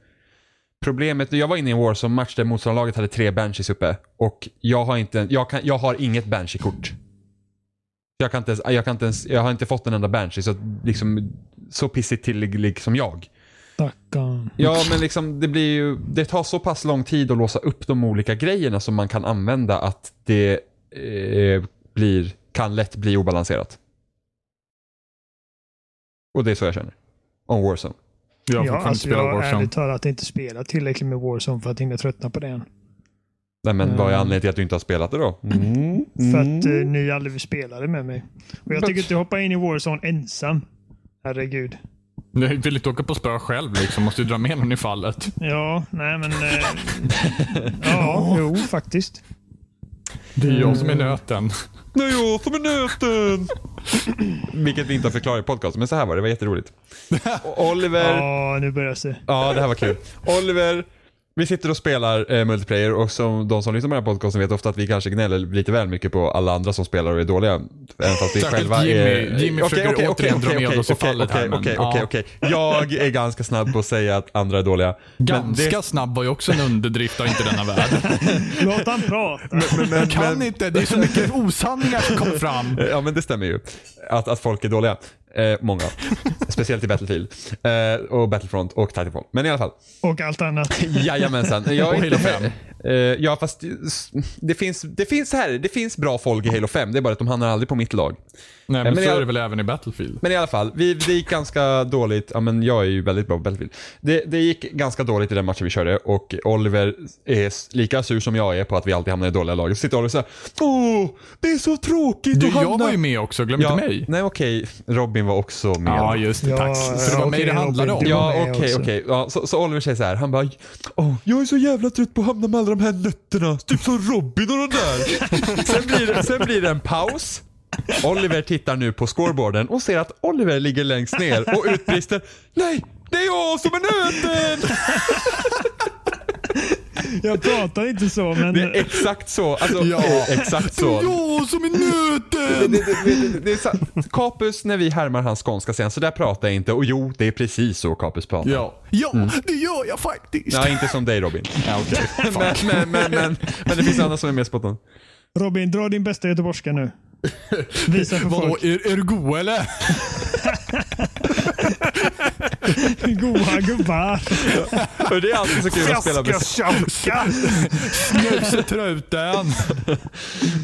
[SPEAKER 2] Problemet, jag var inne i en Warzone-match där motståndarlaget hade tre Banshees uppe och jag har, inte, jag kan, jag har inget Banshee-kort. Jag, kan inte ens, jag, kan inte ens, jag har inte fått en enda Banshee så, att liksom, så pissigt till liksom jag.
[SPEAKER 5] Stackarn.
[SPEAKER 2] Ja, men liksom det blir ju, det tar så pass lång tid att låsa upp de olika grejerna som man kan använda att det eh, blir, kan lätt bli obalanserat. Och det är så jag känner. Om Warzone.
[SPEAKER 4] Jag har
[SPEAKER 5] Ja,
[SPEAKER 4] fortfarande
[SPEAKER 5] alltså,
[SPEAKER 4] spelat
[SPEAKER 5] jag har
[SPEAKER 4] Warzone.
[SPEAKER 5] ärligt talat inte spelat tillräckligt med Warzone för att hinna tröttna på det än.
[SPEAKER 2] Nej men vad är
[SPEAKER 5] Mm.
[SPEAKER 2] anledningen till att du inte har spelat det då?
[SPEAKER 5] För att eh,
[SPEAKER 4] Mm.
[SPEAKER 5] ni aldrig spelade med mig. Och jag tänker inte hoppa in i Warzone ensam. Herregud.
[SPEAKER 4] Jag vill inte åka på spö själv liksom. Måste ju dra med någon i fallet.
[SPEAKER 5] Ja, nej men... Eh, ja, jo faktiskt.
[SPEAKER 4] Det är jag som är nöten.
[SPEAKER 2] Det är jag som är nöten! Vilket vi inte har förklarat i podcasten, men så här var det. Det var jätteroligt. Och Oliver
[SPEAKER 5] Ja, nu börjar det.
[SPEAKER 2] Ja, det här var kul. Oliver, vi sitter och spelar eh, multiplayer och som de som lyssnar på den här podcasten vet ofta att vi kanske gnäller lite väl mycket på alla andra som spelar och är dåliga. Även fast vi
[SPEAKER 4] Särskilt
[SPEAKER 2] själva
[SPEAKER 4] Jimmy.
[SPEAKER 2] är...
[SPEAKER 4] Jimmy
[SPEAKER 2] Okej,
[SPEAKER 4] försöker
[SPEAKER 2] okej,
[SPEAKER 4] återigen
[SPEAKER 2] okej,
[SPEAKER 4] dra med
[SPEAKER 2] okej,
[SPEAKER 4] oss i
[SPEAKER 2] okej,
[SPEAKER 4] fallet här,
[SPEAKER 2] Okej,
[SPEAKER 4] men,
[SPEAKER 2] okej,
[SPEAKER 4] ja.
[SPEAKER 2] okej, okej. Jag är ganska snabb på att säga att andra är dåliga. Men
[SPEAKER 4] Ganska
[SPEAKER 2] det-
[SPEAKER 4] snabb var ju också en underdrift av inte denna värld.
[SPEAKER 5] Låt han prata.
[SPEAKER 4] Jag kan inte. Det är så mycket osanningar som kommer fram.
[SPEAKER 2] Eh, Ja men det stämmer ju. Att, att folk är dåliga. Eh, många. Speciellt i Battlefield. Eh, och Battlefront och Titanfall. Men i alla fall.
[SPEAKER 5] Och allt annat.
[SPEAKER 2] Jajamensan. Jag
[SPEAKER 4] Och
[SPEAKER 2] är inte
[SPEAKER 4] Halo
[SPEAKER 2] fem. ja, fast det finns, det finns så här, det finns bra folk i Halo 5. Det är bara att de hamnar aldrig på mitt lag.
[SPEAKER 4] Nej, men,
[SPEAKER 2] men
[SPEAKER 4] så
[SPEAKER 2] jag-
[SPEAKER 4] är det väl även i Battlefield.
[SPEAKER 2] Men i alla fall, vi, det gick ganska dåligt. Ja, men jag är ju väldigt bra på Battlefield. Det, det gick ganska dåligt i den matchen vi körde och Oliver är s- lika sur som jag är på att vi alltid hamnar i dåliga lag. Så sitter Oliver och säger Åh, det är så tråkigt
[SPEAKER 4] Du,
[SPEAKER 2] att hamna...
[SPEAKER 4] jag var ju med också. Glöm
[SPEAKER 2] ja,
[SPEAKER 4] inte mig.
[SPEAKER 2] Nej okej, Robin var också med.
[SPEAKER 4] Ja, just det.
[SPEAKER 5] Ja,
[SPEAKER 4] Tack. Så det var mig
[SPEAKER 5] ja, okej,
[SPEAKER 4] det handlade om.
[SPEAKER 5] Robin, du var
[SPEAKER 2] Ja,
[SPEAKER 5] med
[SPEAKER 2] okej,
[SPEAKER 5] också.
[SPEAKER 2] okej. Ja, så, så Oliver säger så här, han bara Åh, Jag är så jävla trött på att hamna med alla de här nötterna. Typ som Robin och de där. sen, blir det, sen blir det en paus. Oliver tittar nu på scoreboarden och ser att Oliver ligger längst ner och utbrister Nej, det är jag som är nöten!
[SPEAKER 5] Jag pratar inte så, men...
[SPEAKER 2] Det är exakt så. Alltså,
[SPEAKER 4] Ja.
[SPEAKER 2] eh, exakt så.
[SPEAKER 4] Jag som är nöten!
[SPEAKER 2] Det, det, det, det, det är sant. Kapus, när vi härmar hans skånska scen, så där pratar jag inte. Och jo, det är precis så Kapus pratar.
[SPEAKER 4] Ja, ja det gör jag faktiskt.
[SPEAKER 2] Nej, inte som dig Robin.
[SPEAKER 4] Ja, okej.
[SPEAKER 2] Men, men, men, men, men det finns andra som är mer spot on.
[SPEAKER 5] Robin, dra din bästa göteborgska nu. Visa för
[SPEAKER 4] Vadå,
[SPEAKER 5] folk.
[SPEAKER 4] är, är du go eller?
[SPEAKER 5] Goa gubbar.
[SPEAKER 2] För det är alltid så kul att spela med
[SPEAKER 4] tjauka! Snusetruten!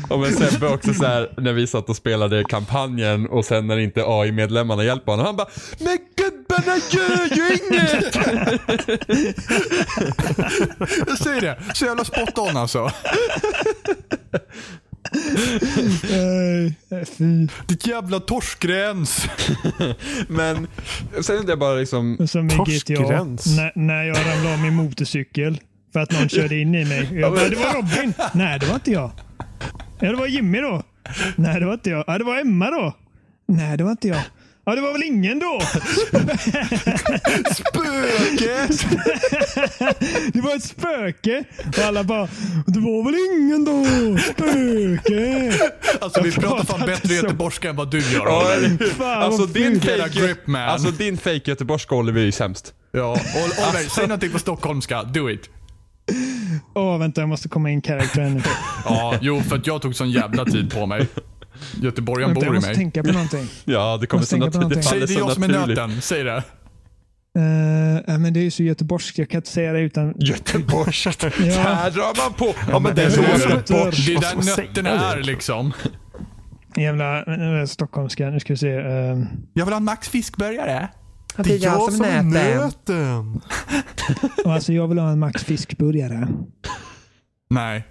[SPEAKER 2] och men Sebbe också så här när vi satt och spelade kampanjen och sen när inte AI-medlemmarna hjälper honom. Han bara “Men gubbarna gör ju inget!”
[SPEAKER 4] Jag säger det, så jävla spot on alltså.
[SPEAKER 5] Eh, Fy.
[SPEAKER 4] Ditt jävla torskgräns.
[SPEAKER 2] Men sen är det bara liksom...
[SPEAKER 5] Som i GTA.
[SPEAKER 3] Torskgräns.
[SPEAKER 5] När, när jag ramlade av min motorcykel för att någon körde in i mig. Jag bara, det var Robin. Nej, det var inte jag. Ja, det var Jimmy då. Nej, det var inte jag. Ja, det var Emma då. Nej, det var inte jag. Ja, det var väl ingen då.
[SPEAKER 4] Spöke!
[SPEAKER 5] Det var ett spöke. Och alla bara, det var väl ingen då. Spöke.
[SPEAKER 4] Alltså vi
[SPEAKER 5] Jag
[SPEAKER 4] pratar
[SPEAKER 5] pratar
[SPEAKER 4] fan
[SPEAKER 5] inte
[SPEAKER 4] bättre
[SPEAKER 5] så.
[SPEAKER 4] göteborgska än vad du gör
[SPEAKER 2] Ja,
[SPEAKER 4] Oliver.
[SPEAKER 2] eller hur?
[SPEAKER 5] Fan,
[SPEAKER 2] Alltså
[SPEAKER 5] vad
[SPEAKER 2] din
[SPEAKER 4] fult.
[SPEAKER 2] fake,
[SPEAKER 4] Jävla grip, man.
[SPEAKER 2] alltså din fake göteborgska Oliver är ju sämst.
[SPEAKER 4] Ja, Ol- Oliver, säg någonting på stockholmska. Do it.
[SPEAKER 5] Åh, vänta, jag måste komma in karaktären nu.
[SPEAKER 4] Ja, jo, för att jag tog sån jävla tid på mig. Göteborgaren
[SPEAKER 5] Vänta, jag
[SPEAKER 4] bor i
[SPEAKER 5] måste
[SPEAKER 4] mig.
[SPEAKER 5] tänka på någonting.
[SPEAKER 2] Ja, det kommer
[SPEAKER 5] Måste
[SPEAKER 2] så
[SPEAKER 5] tänka på
[SPEAKER 2] naturligt.
[SPEAKER 5] någonting.
[SPEAKER 2] Det
[SPEAKER 4] Säg det är
[SPEAKER 2] faller så
[SPEAKER 4] jag som är
[SPEAKER 2] naturligt.
[SPEAKER 4] nöten. Säg det.
[SPEAKER 5] Eh, nej, men det är ju så göteborgskt, jag kan inte säga det utan...
[SPEAKER 2] Göteborgskt.
[SPEAKER 5] Ja.
[SPEAKER 2] Här drar man på. Ja, men det är
[SPEAKER 3] det
[SPEAKER 2] så
[SPEAKER 3] är
[SPEAKER 2] det
[SPEAKER 5] nötter.
[SPEAKER 2] bort.
[SPEAKER 4] Det är
[SPEAKER 3] Vad
[SPEAKER 4] där
[SPEAKER 3] ska man säga
[SPEAKER 4] nötterna
[SPEAKER 3] det?
[SPEAKER 4] är liksom.
[SPEAKER 5] Jävla eh, stockholmska. Nu ska vi se. eh,
[SPEAKER 4] Jag vill ha en Max fiskburgare.
[SPEAKER 3] Det är jag som är nöten.
[SPEAKER 5] och alltså, jag vill ha en Max Fiskburgare.
[SPEAKER 4] Nej.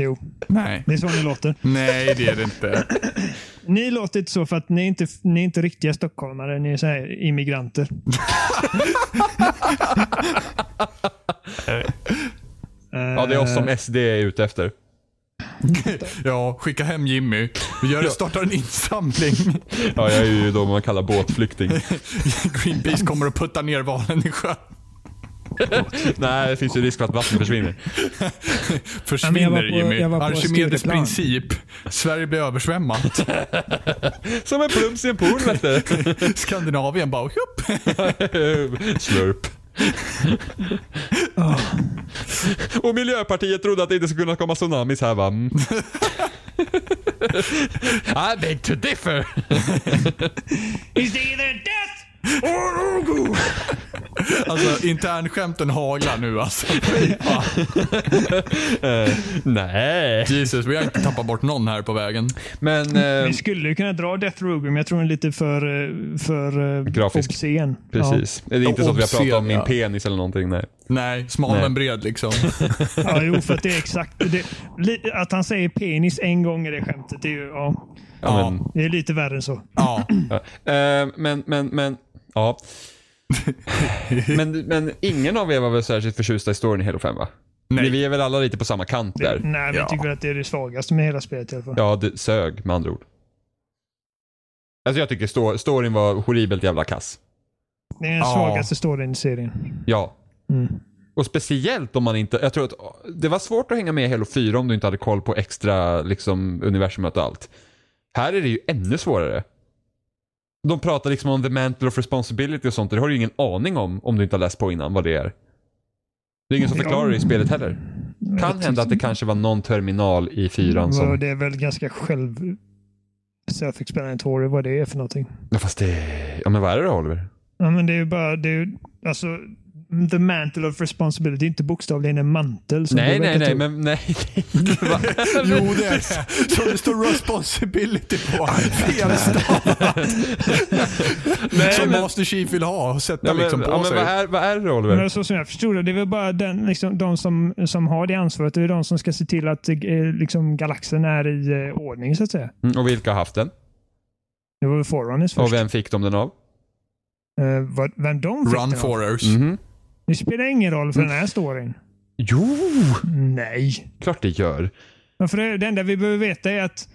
[SPEAKER 5] Jo,
[SPEAKER 4] Nej.
[SPEAKER 5] det är så ni låter.
[SPEAKER 4] Nej, det är det inte.
[SPEAKER 5] Ni låter inte så för att ni är inte ni är inte riktiga stockholmare. Ni är så här immigranter. Eh,
[SPEAKER 2] Ja, det är oss som SD är ute efter.
[SPEAKER 4] Ja, skicka hem Jimmy. Vi gör det, startar en insamling.
[SPEAKER 2] Ja, jag är ju då man kallar båtflykting.
[SPEAKER 4] Greenpeace kommer och puttar ner valen i sjön.
[SPEAKER 2] Nej, det finns ju risk för att vattnet försvinner.
[SPEAKER 5] men jag var
[SPEAKER 4] Försvinner
[SPEAKER 5] på-
[SPEAKER 4] Jimmy.
[SPEAKER 5] jag var på
[SPEAKER 4] Arkimedes
[SPEAKER 5] Stureplan.
[SPEAKER 4] princip. Sverige blir översvämmat.
[SPEAKER 2] Som en plums i en pool, vet du.
[SPEAKER 4] Skandinavien bara tjopp.
[SPEAKER 2] Slurp. Ah. Och Miljöpartiet trodde att det inte skulle kunna komma tsunamis här va? Mm. I beg to differ.
[SPEAKER 5] Is it either death?
[SPEAKER 4] Alltså internskämten haglar nu alltså.
[SPEAKER 2] Nej.
[SPEAKER 4] Jesus, vi har inte tappat bort någon här på vägen.
[SPEAKER 2] Men, eh,
[SPEAKER 5] Vi skulle ju kunna dra Death Row, men jag tror den är lite för, eh, för eh,
[SPEAKER 2] Grafisk.
[SPEAKER 5] obscen.
[SPEAKER 2] precis. Det är inte så att vi har pratat om min
[SPEAKER 4] Obscena.
[SPEAKER 2] penis eller någonting, nej.
[SPEAKER 4] Nej, smal
[SPEAKER 2] Nej.
[SPEAKER 4] men bred liksom.
[SPEAKER 5] Ja. ja, jo, för att det är exakt. Det, li- att han säger penis en gång i det skämtet, det är ju, ja,
[SPEAKER 2] Ja,
[SPEAKER 4] Ja.
[SPEAKER 2] men,
[SPEAKER 5] det är lite värre än så.
[SPEAKER 4] Ja.
[SPEAKER 2] ja. Eh, men, men, men, ja. men, men ingen av er var väl särskilt förtjusta i storyn i Halo 5 va? Nej. Vi är väl alla lite på samma kant där?
[SPEAKER 5] Nej, vi
[SPEAKER 4] Ja.
[SPEAKER 5] tycker att det är det svagaste med hela spelet i alla fall.
[SPEAKER 2] Ja, det sög med andra ord. Alltså jag tycker sto- storyn var horribelt jävla kass.
[SPEAKER 5] Det är den
[SPEAKER 4] Ja.
[SPEAKER 5] svagaste storyn i serien.
[SPEAKER 2] Ja.
[SPEAKER 5] Mm.
[SPEAKER 2] Och speciellt om man inte, jag tror att det var svårt att hänga med i Halo 4 om du inte hade koll på extra liksom, universumet och allt. Här är det ju ännu svårare. De pratar liksom om the mantle of responsibility och sånt och det har du ju ingen aning om om du inte har läst på innan vad det är. Det är ingen som förklarar det i spelet heller. Kan hända att det kanske var någon terminal i 4
[SPEAKER 5] Vadå,
[SPEAKER 2] som...
[SPEAKER 5] Det är väl ganska själv... Self-explanatory vad det är för någonting.
[SPEAKER 2] Ja, fast det... Ja men vad är det då Oliver?
[SPEAKER 5] Ja, men det är ju bara... Det är ju, alltså, the mantle of responsibility. Det är inte bokstavligen en mantel. Som
[SPEAKER 2] Nej,
[SPEAKER 5] du verkar
[SPEAKER 2] nej, nej,
[SPEAKER 5] tro.
[SPEAKER 2] men nej. Va?
[SPEAKER 4] Jo, det är det. Som det står responsibility på. Felstavat. Som
[SPEAKER 2] men-
[SPEAKER 4] Master Chief vill ha och sätta
[SPEAKER 2] Ja, men,
[SPEAKER 4] liksom på
[SPEAKER 2] ja, men
[SPEAKER 4] sig. Mm.
[SPEAKER 2] vad är, vad är det då, Oliver?
[SPEAKER 5] Men så som jag förstod det, det är väl bara den, liksom, de som, som har det ansvaret. Det är de som ska se till att eh, liksom, galaxen är i eh, ordning, så att säga.
[SPEAKER 2] Mm, och vilka har haft den?
[SPEAKER 5] Det var väl Forerunners först.
[SPEAKER 2] Och vem fick de den av?
[SPEAKER 5] Eh, vad, vem de fick
[SPEAKER 4] Run
[SPEAKER 5] den av.
[SPEAKER 4] forers.
[SPEAKER 2] Mhm.
[SPEAKER 5] Det spelar ingen roll för den här storyn.
[SPEAKER 2] Jo,
[SPEAKER 5] Nej.
[SPEAKER 2] klart det gör.
[SPEAKER 5] Men för det, det enda vi behöver veta är att...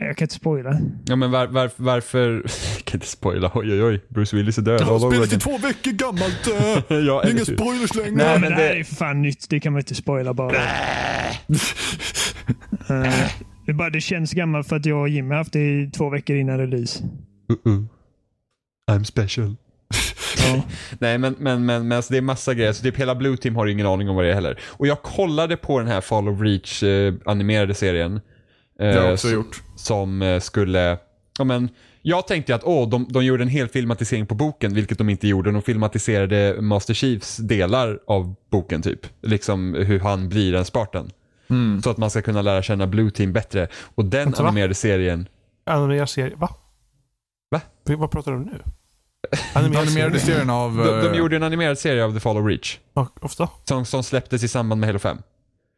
[SPEAKER 5] Nej, Jag kan inte spoila.
[SPEAKER 2] Ja, men var, var, varför... Jag kan inte spoila. Oj, oj, oj. Bruce Willis är död.
[SPEAKER 4] Han
[SPEAKER 2] All over
[SPEAKER 4] spelat i
[SPEAKER 2] again.
[SPEAKER 4] två veckor gammalt. eh.
[SPEAKER 2] Ja, eller
[SPEAKER 4] Inga
[SPEAKER 2] hur?
[SPEAKER 4] spoilers längre.
[SPEAKER 5] Nej,
[SPEAKER 2] Nej,
[SPEAKER 5] men,
[SPEAKER 2] men
[SPEAKER 5] det
[SPEAKER 2] det-
[SPEAKER 5] här är ju för fan nytt. Det kan man inte spoila bara. Eh, det, är bara det känns gammalt för att jag och Jimmy har haft det i två veckor innan release.
[SPEAKER 2] Uh-uh. I'm special. Nej, men, men, men, men alltså, det är massa grejer. Så typ hela Blue Team har ju ingen aning om vad det är heller. Och jag kollade på den här Fall of Reach eh, animerade serien. Eh,
[SPEAKER 4] Det har jag också
[SPEAKER 2] så-
[SPEAKER 4] gjort.
[SPEAKER 2] som eh, skulle... Ja, men, jag tänkte att åh, de, de gjorde en hel filmatisering på boken, vilket de inte gjorde. De filmatiserade Master Chiefs delar av boken, typ. Liksom hur han blir en Spartan. Så att man ska kunna lära känna Blue Team bättre. Och den
[SPEAKER 3] Vänta, va?
[SPEAKER 2] animerade serien...
[SPEAKER 3] Animerad serie. Va?
[SPEAKER 2] Va?
[SPEAKER 3] Vi- Vad pratar du om nu? Animerad
[SPEAKER 4] Animerade
[SPEAKER 3] serie.
[SPEAKER 4] serien av...
[SPEAKER 2] Alltså, De, de
[SPEAKER 4] eh,
[SPEAKER 2] gjorde en animerad serie av The Fall of Reach.
[SPEAKER 3] Ja, Ofta?
[SPEAKER 2] Som, som släpptes i samband med Halo 5.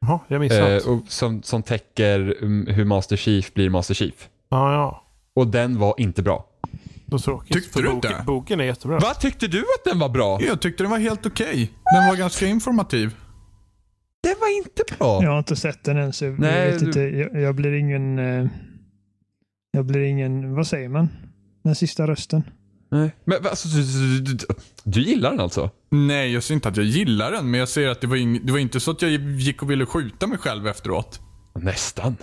[SPEAKER 3] Jaha, jag missade.
[SPEAKER 2] Eh, och som, som täcker mm, hur Master Chief blir Master Chief.
[SPEAKER 3] Ja, ja.
[SPEAKER 2] Och den var inte bra.
[SPEAKER 3] Då tråkigt.
[SPEAKER 4] Tyckte
[SPEAKER 3] för
[SPEAKER 4] du
[SPEAKER 3] boken,
[SPEAKER 4] inte?
[SPEAKER 3] Boken är jättebra.
[SPEAKER 2] Vad tyckte du att den var bra?
[SPEAKER 4] Jag tyckte den var helt okej. Den var ganska informativ.
[SPEAKER 2] Den var inte bra.
[SPEAKER 5] Jag har inte sett den än, så jag,
[SPEAKER 2] Nej,
[SPEAKER 5] vet
[SPEAKER 2] du-
[SPEAKER 5] inte, jag, jag blir ingen... eh, Jag blir ingen... Vad säger man? Den sista rösten.
[SPEAKER 2] Nej. Men va, alltså, du, du, du, du- du gillar den alltså?
[SPEAKER 4] Nej, jag ser inte att jag gillar den, men jag ser att det var, ing- det var inte så att jag gick och ville skjuta mig själv efteråt.
[SPEAKER 2] Nästan.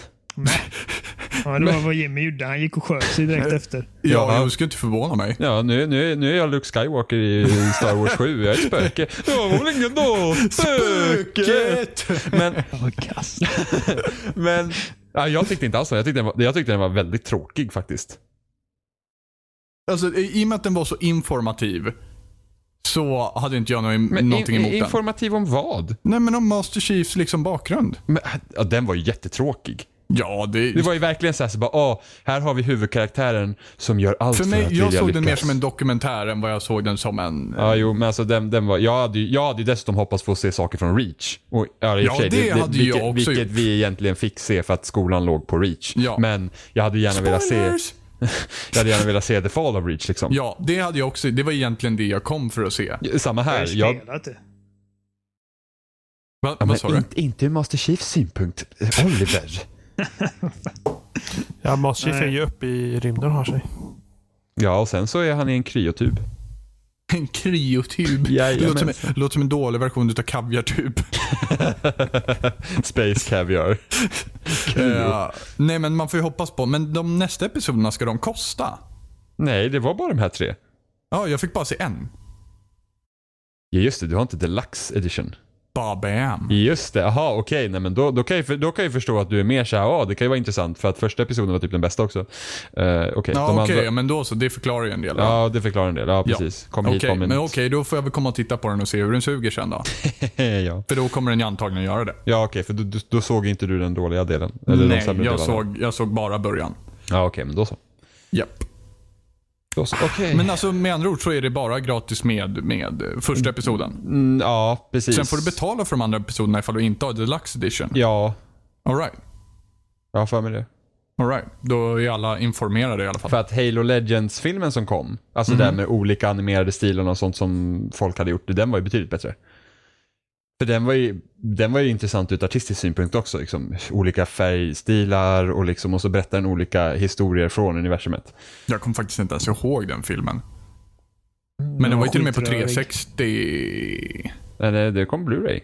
[SPEAKER 5] Ja, det var vad Jimmy gjorde. Han gick och sköt sig direkt efter.
[SPEAKER 4] Ja,
[SPEAKER 2] Ja.
[SPEAKER 4] jag skulle inte förvåna mig.
[SPEAKER 2] Ja, nu, nu, nu är jag Luke Skywalker i Star Wars 7. Jag är ett spöke. Det var väl ingen då? Men,
[SPEAKER 5] Jag var kass.
[SPEAKER 2] men ja, jag tyckte inte alls det. Jag tyckte, den var, jag tyckte den var väldigt tråkig faktiskt.
[SPEAKER 4] Alltså, i i och med att den var så informativ så hade inte jag någon,
[SPEAKER 2] Men
[SPEAKER 4] någonting
[SPEAKER 2] in,
[SPEAKER 4] emot den.
[SPEAKER 2] informativ om vad?
[SPEAKER 4] Nej, men om Master Chiefs liksom bakgrund.
[SPEAKER 2] Men, ja, den var ju jättetråkig.
[SPEAKER 4] Ja, det...
[SPEAKER 2] Det var ju verkligen så här, så bara, ah, här har vi huvudkaraktären som gör allt för,
[SPEAKER 4] för mig,
[SPEAKER 2] att
[SPEAKER 4] jag
[SPEAKER 2] vilja
[SPEAKER 4] såg
[SPEAKER 2] lyckas.
[SPEAKER 4] den mer som en dokumentär än vad jag såg den som en...
[SPEAKER 2] Ja, jo, men alltså den, den var, jag, hade, ju- jag hade ju dessutom hoppats få se saker från Reach. Och, ja, i och
[SPEAKER 4] Ja,
[SPEAKER 2] för sig,
[SPEAKER 4] det hade ju
[SPEAKER 2] vilket,
[SPEAKER 4] jag också
[SPEAKER 2] Vilket
[SPEAKER 4] gjort.
[SPEAKER 2] vi egentligen fick se för att skolan låg på Reach.
[SPEAKER 4] Ja.
[SPEAKER 2] Men jag hade gärna velat se,
[SPEAKER 4] Spoilers!
[SPEAKER 2] jag hade gärna velat se The Fall of Reach liksom.
[SPEAKER 4] Ja, det hade jag också. Det var egentligen det jag kom för att se.
[SPEAKER 2] Samma
[SPEAKER 5] Jag har
[SPEAKER 2] här.
[SPEAKER 5] ju
[SPEAKER 2] Jag,
[SPEAKER 5] spelat det.
[SPEAKER 4] Va,
[SPEAKER 2] ja,
[SPEAKER 4] vad sa
[SPEAKER 2] men
[SPEAKER 4] du?
[SPEAKER 2] inte, inte ur Master Chiefs synpunkt. eh, Oliver.
[SPEAKER 3] Ja, Master Chief är
[SPEAKER 5] Nej.
[SPEAKER 3] ju uppe i rymden och har sig.
[SPEAKER 2] ja, och sen så är han i en kryotub.
[SPEAKER 4] En kryotub. Det låter som,
[SPEAKER 2] Jajamän.
[SPEAKER 4] en- låter som en dålig version utav kaviartub.
[SPEAKER 2] Space Caviar.
[SPEAKER 4] Eh, nej, men man får ju hoppas på. Men de nästa episoderna, ska de kosta?
[SPEAKER 2] Nej, det var bara de här tre.
[SPEAKER 4] Ja, jag fick bara se en.
[SPEAKER 2] Ja, just det. Du har inte Deluxe Edition.
[SPEAKER 4] Babam.
[SPEAKER 2] Just det, jaha okej. nej men Då, då, kan jag ju- då kan jag ju förstå att du är mer såhär, ja det kan ju vara intressant för att första episoden var typ den bästa också. Uh, okej, de
[SPEAKER 4] Ja, okej,
[SPEAKER 2] andra-
[SPEAKER 4] ja, men då så. Det förklarar ju en del.
[SPEAKER 2] Ja, det förklarar en del. Ja, precis. Kom
[SPEAKER 4] Okej,
[SPEAKER 2] hit om en
[SPEAKER 4] men okej, då får jag väl komma och titta på den och se hur den suger sen då.
[SPEAKER 2] ja,
[SPEAKER 4] För då kommer den ju antagligen göra det.
[SPEAKER 2] ja okej, för då, då, då såg inte du den dåliga delen. Eller de
[SPEAKER 4] Nej,
[SPEAKER 2] sämre
[SPEAKER 4] jag
[SPEAKER 2] delarna.
[SPEAKER 4] såg, jag såg bara början.
[SPEAKER 2] Ja, okej, men då så.
[SPEAKER 4] Japp.
[SPEAKER 2] Då så. Okej.
[SPEAKER 4] Men alltså med andra ord så är det bara gratis med, med eh, första episoden.
[SPEAKER 2] Mm, ja, precis.
[SPEAKER 4] Sen får du betala för de andra episoderna ifall du inte har deluxe edition.
[SPEAKER 2] Ja,
[SPEAKER 4] Alright.
[SPEAKER 2] jag har för mig det.
[SPEAKER 4] Alright. Då är alla informerade i alla fall.
[SPEAKER 2] För att Halo Legends-filmen som kom,
[SPEAKER 4] Mhm.
[SPEAKER 2] alltså den med olika animerade stilarna och sånt som folk hade gjort, den var ju betydligt bättre. För den var ju, den var ju intressant ur artistisk synpunkt också. Liksom, olika färgstilar och, liksom, och så berättar den olika historier från universumet.
[SPEAKER 4] Jag kommer faktiskt inte ens ihåg den filmen. Men den var ju till och med på 360...
[SPEAKER 2] Men eh, det kom Blu-ray.